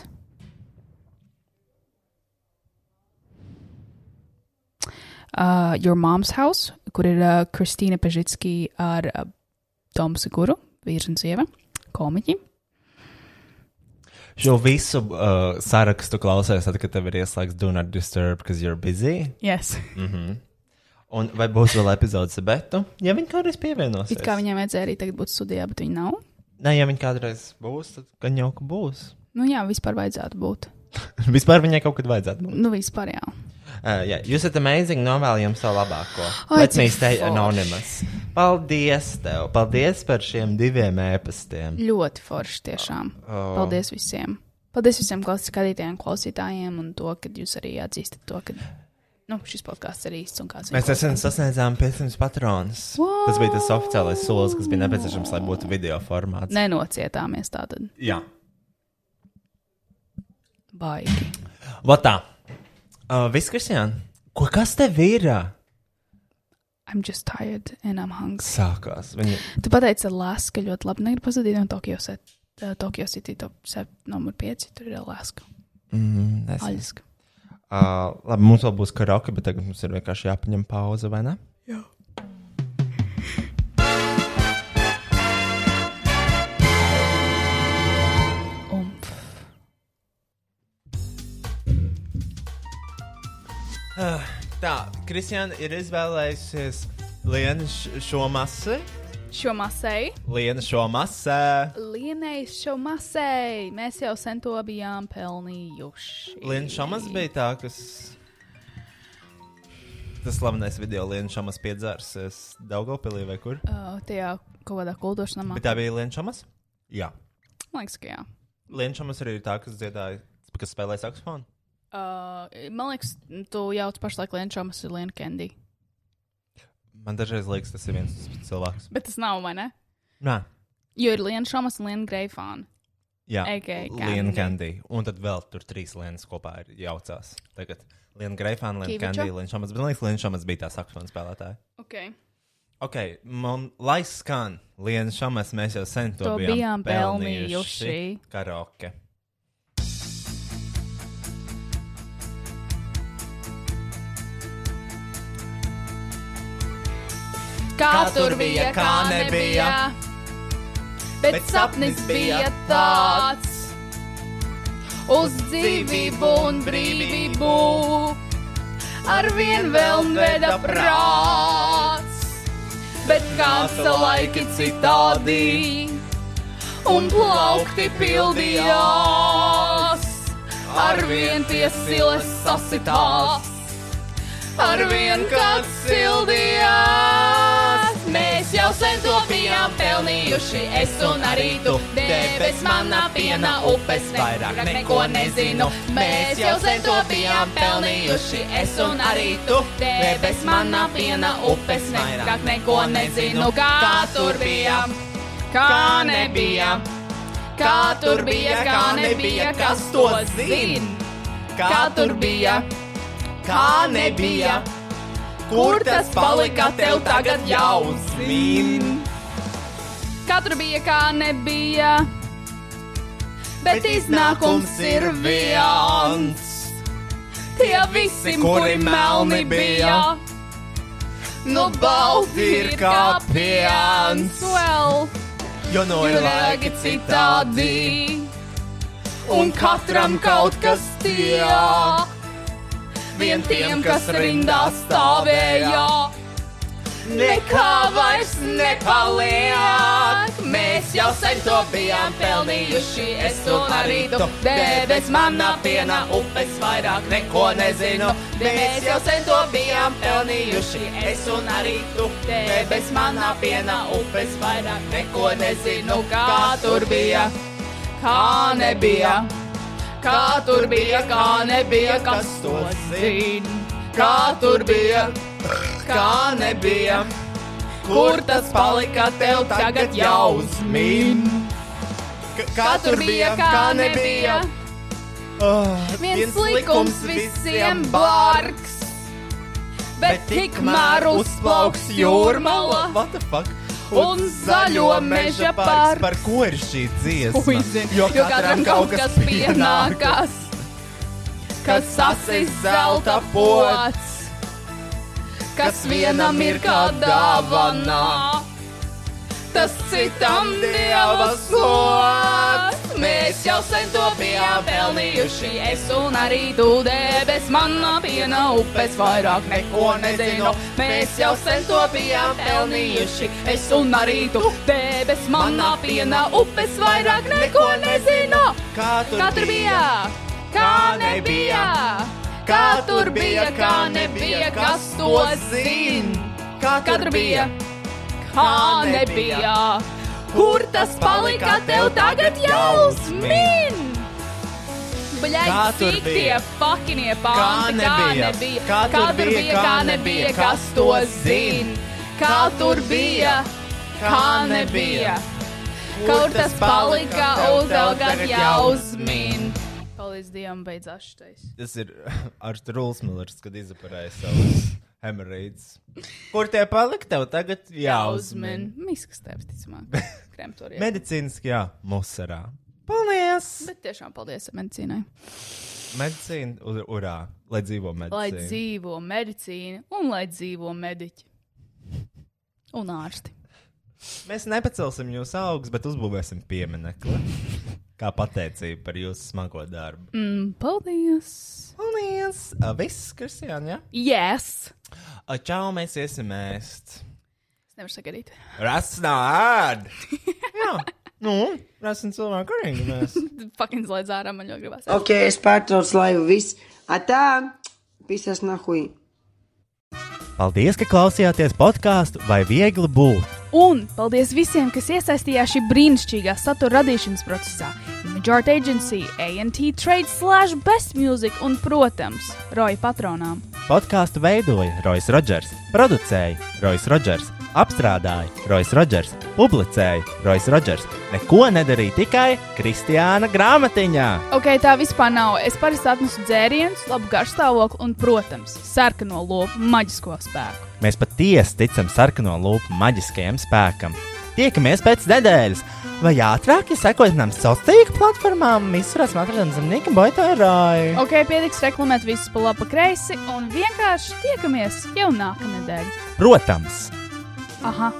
[SPEAKER 3] uh, Your Mom's House, kur ir uh, Kristīna Pežitski ar uh, Tomu Siguru, vīrs un sieva, komiķi.
[SPEAKER 1] Šo visu uh, sarakstu klausies, tad, kad tev ir ieslēgts Do Not Disturb, because you're busy.
[SPEAKER 3] Yes.
[SPEAKER 1] Mm -hmm. Un vai būs vēl epizodes ar Betu? Ja viņi kādreiz pievienosies.
[SPEAKER 3] It kā viņiem vajadzēja arī tagad būt studijā, bet viņi nav.
[SPEAKER 1] Nē, ja viņi kādreiz būs, tad gan jau ka būs.
[SPEAKER 3] Nu jā, vispār vajadzētu būt.
[SPEAKER 1] Vispār viņai kaut kad vajadzētu būt.
[SPEAKER 3] Nu, vispār jā.
[SPEAKER 1] Uh, jā, jūs esat amazing, novēlējam savu labāko.
[SPEAKER 3] Ai,
[SPEAKER 1] Let me
[SPEAKER 3] cik
[SPEAKER 1] stay
[SPEAKER 3] forši.
[SPEAKER 1] anonymous. Paldies tev! Paldies par šiem diviem ēpastiem!
[SPEAKER 3] Ļoti forši tiešām.
[SPEAKER 1] Oh.
[SPEAKER 3] Paldies visiem. Paldies visiem klaus- skatītājiem, klausītājiem un to, ka jūs arī atzīstat to, ka nu, šis podkāsts ir īsts un kāds
[SPEAKER 1] Mēs nesen sasniedzām 500 patronus. Tas bija tas oficiālais solis, kas bija nepieciešams, lai būtu video formāts.
[SPEAKER 3] nenocietāmies tātad.
[SPEAKER 1] Jā,
[SPEAKER 3] Baigi.
[SPEAKER 1] Vatā. Uh, Viss, Kristian, ko kas tev ir?
[SPEAKER 3] I'm just tired and I'm hungry.
[SPEAKER 1] Sākās. Viņa...
[SPEAKER 3] Tu pateici, Alaska ļoti labi. Negribu pazudīt no Tokio, set, uh, Tokio City top 7, numur 5. Tur ir Alaska.
[SPEAKER 1] Mm, nezinu.
[SPEAKER 3] Aļaska.
[SPEAKER 1] Uh, labi, mums vēl būs karaoke, bet tagad mums ir vienkārši jāpaņem pauze, vai ne? Ah, Tā, Kristiāna ir izvēlējusies Lienu š- šo masu.
[SPEAKER 6] Šo masēju.
[SPEAKER 1] Lienu šo masu.
[SPEAKER 6] Lienai šo masēju. Mēs jau sen to bijām pelnījuši.
[SPEAKER 1] Lienu šamas bija tā, kas. Tas slavenais video Lienu šamas piedzērsies Daugopilī vai kur?
[SPEAKER 6] Uh, tajā kaut kādā kultūras namā.
[SPEAKER 1] Bet tā bija Lienu šamas? Jā.
[SPEAKER 6] Man liekas, ka jā.
[SPEAKER 1] Lienu šamas arī ir tā, kas dziedāja, kas spēlēja saksofonu.
[SPEAKER 6] Uh, man liekas, tu jau pašlaik lienčomas ir Liena Kendi.
[SPEAKER 1] Man dažreiz liekas, tas ir viens pats cilvēks.
[SPEAKER 6] Bet tas nav, vai ne?
[SPEAKER 1] Nē,
[SPEAKER 6] Jo ir Liena Šamas un Liena Greifāna.
[SPEAKER 1] jā.
[SPEAKER 6] Aka
[SPEAKER 1] Lienu
[SPEAKER 6] Kandi.
[SPEAKER 1] Kandī. Un tad vēl tur trīs lienas kopā ir jaucās. Tagad Lienu Greifānu, Lienu
[SPEAKER 6] Kīviča?
[SPEAKER 1] Kandī, Lienu šamas. Bet man liekas, Lienu šamas bija tā saksofonu spēlētāja.
[SPEAKER 6] Okay.
[SPEAKER 1] Ok, man lai skan Lienu šamas, mēs jau sen to,
[SPEAKER 6] To bijām pelnījuši.
[SPEAKER 1] Karaoke.
[SPEAKER 6] Kā tur bija, kā nebija, bet sapnis bija tāds uz dzīvību un brīvību. Ar vien vēl veda prāts, bet kāds laiki citādi un plaukti pildījās. Ar vien tie silas sasitās, ar vien kāds sildījās. Mēs jau sen to bijām pelnījuši, es un arī tu. Debes manā piena upes vairāk neko nezinu. Mēs jau sen to bijām pelnījuši, es un arī tu. Debes manā piena upes vairāk neko nezinu. Kā tur bijām, kā nebijām. Kā tur bija, kā nebija, kas to zina? Kā tur bija, kā nebija, kur tas palika tev tagad jau zina? Kā tur bija, kā nebija, bet iznākums ir viens. Tie visi, kuri melni bija, nu balti ir kā piens. Well.
[SPEAKER 1] Jo no ir
[SPEAKER 6] Cilvēki citādi, un katram kaut kas tiek. Vien tiem, kas rindā stāvēja, nekā vairs nepaliek. Mēs jau sen to bijām pelnījuši, es un arī tu. Debes manā pienā upes vairāk neko nezinu. Mēs jau sen to bijām pelnījuši, es un arī tu. Debes manā pienā upes vairāk neko nezinu. Kā tur bija, kā nebija, kā tur bija, kā nebija, kas to zina. Kā tur bija, kā nebija. Kur tas palika tev tagad jau uzmīn? Kā tur bija, kā nebija?
[SPEAKER 1] Oh.
[SPEAKER 6] Viens likums visiem barks, bet tikmēr uzplauks jūrmala
[SPEAKER 1] What the fuck?
[SPEAKER 6] un zaļo meža parks.
[SPEAKER 1] parks. Par ko ir šī dziesma?
[SPEAKER 6] Uizin, jo katram kaut kas pienākas, kas sasis zelta pots, kas vienam ir kā dāvana. Tas citam dieva sots. Mēs jau sen to bijām pelnījuši. Es un arī tu debes manā piena upes vairāk neko nezinu. Mēs jau sen to bijām pelnījuši. Es un arī tu debes manā piena upes vairāk neko nezinu.
[SPEAKER 1] Kā
[SPEAKER 6] Kā tur bija? Kā nebija? Kā tur bija? Kā nebija? Kas to zina? Kā tur bija? kā nebija. Kur tas palika tev tagad jau uzmin?
[SPEAKER 1] Kā
[SPEAKER 6] Bļaigi,
[SPEAKER 1] tur
[SPEAKER 6] cik tie
[SPEAKER 1] bija?
[SPEAKER 6] pakinie panti, kā
[SPEAKER 1] nebija?
[SPEAKER 6] nebija,
[SPEAKER 1] Kā tur
[SPEAKER 6] kā tur
[SPEAKER 1] bija,
[SPEAKER 6] bija,
[SPEAKER 1] kā
[SPEAKER 6] kā
[SPEAKER 1] nebija?
[SPEAKER 6] nebija, kas to zina? Kā tur bija, kā nebija, kur tas palika un tagad jau uzmin? Paldies Dievam, beidzās šitais.
[SPEAKER 1] Tas ir Arthurs Millers, kad izaparēja savus hemorrhoids. Kur tie palika tev tagad jāuzmin?
[SPEAKER 6] Miskas tēvs, ticamāk. Kremtoriem.
[SPEAKER 1] Medicīniski, jā, musarā.
[SPEAKER 6] Paldies! Bet tiešām paldies medicīnai.
[SPEAKER 1] Medicīna, ur- urā, lai dzīvo medicīna.
[SPEAKER 6] Lai dzīvo medicīna un lai dzīvo mediķi. Un ārsti.
[SPEAKER 1] Mēs nepacelsim jūs augstus, bet uzbūvēsim pieminekli. Kā pateicība par jūsu smago darbu.
[SPEAKER 6] Mm, paldies!
[SPEAKER 1] Paldies! A, Viss, Kristiāna, jā?
[SPEAKER 6] Yes!
[SPEAKER 1] A, Čau, mēs iesim ēst.
[SPEAKER 6] Es nevaru sagaidīt.
[SPEAKER 1] Rasts nav ēd! jā, nu, rasts un cilvēku arī mēs.
[SPEAKER 6] Fucking slēdz ārā, man ļoti gribas.
[SPEAKER 8] Ok, es pārtraucu laivu. Viss. Atā! Pisas nahui.
[SPEAKER 2] Paldies, ka klausījāties podkāstu vai viegli būt.
[SPEAKER 3] Un paldies visiem, kas iesaistījās šī brīnišķīgā satura radīšanas procesā. Majority Agency, ANT Trade, Slash, Best Music un, protams, Roja patronām.
[SPEAKER 2] Podkāstu veidoja Rois Rodžers, producēja Rois Rodžers, apstrādāja Rois Rodžers, publicēja Rois Rodžers. Neko nedarīja tikai Kristiāna grāmatiņā.
[SPEAKER 3] Ok, tā vispār nav. Es parasti atnesu dzērienus, labu garšstāvokli un, protams, sarkano lopu maģisko spēku.
[SPEAKER 2] Mēs patiesi ticam sarkano lupu maģiskajam spēkam. Tiekamies pēc nedēļas, vai ātrāk, ja sekojat mums sociālajām tīkla platformām, visurās matradienas zemnieka boitārāji.
[SPEAKER 3] Ok, pietiks reklamēt visus pa labi, pa kreisi un vienkārši tiekamies jau nākamnedēļ.
[SPEAKER 2] Protams!
[SPEAKER 3] Aha!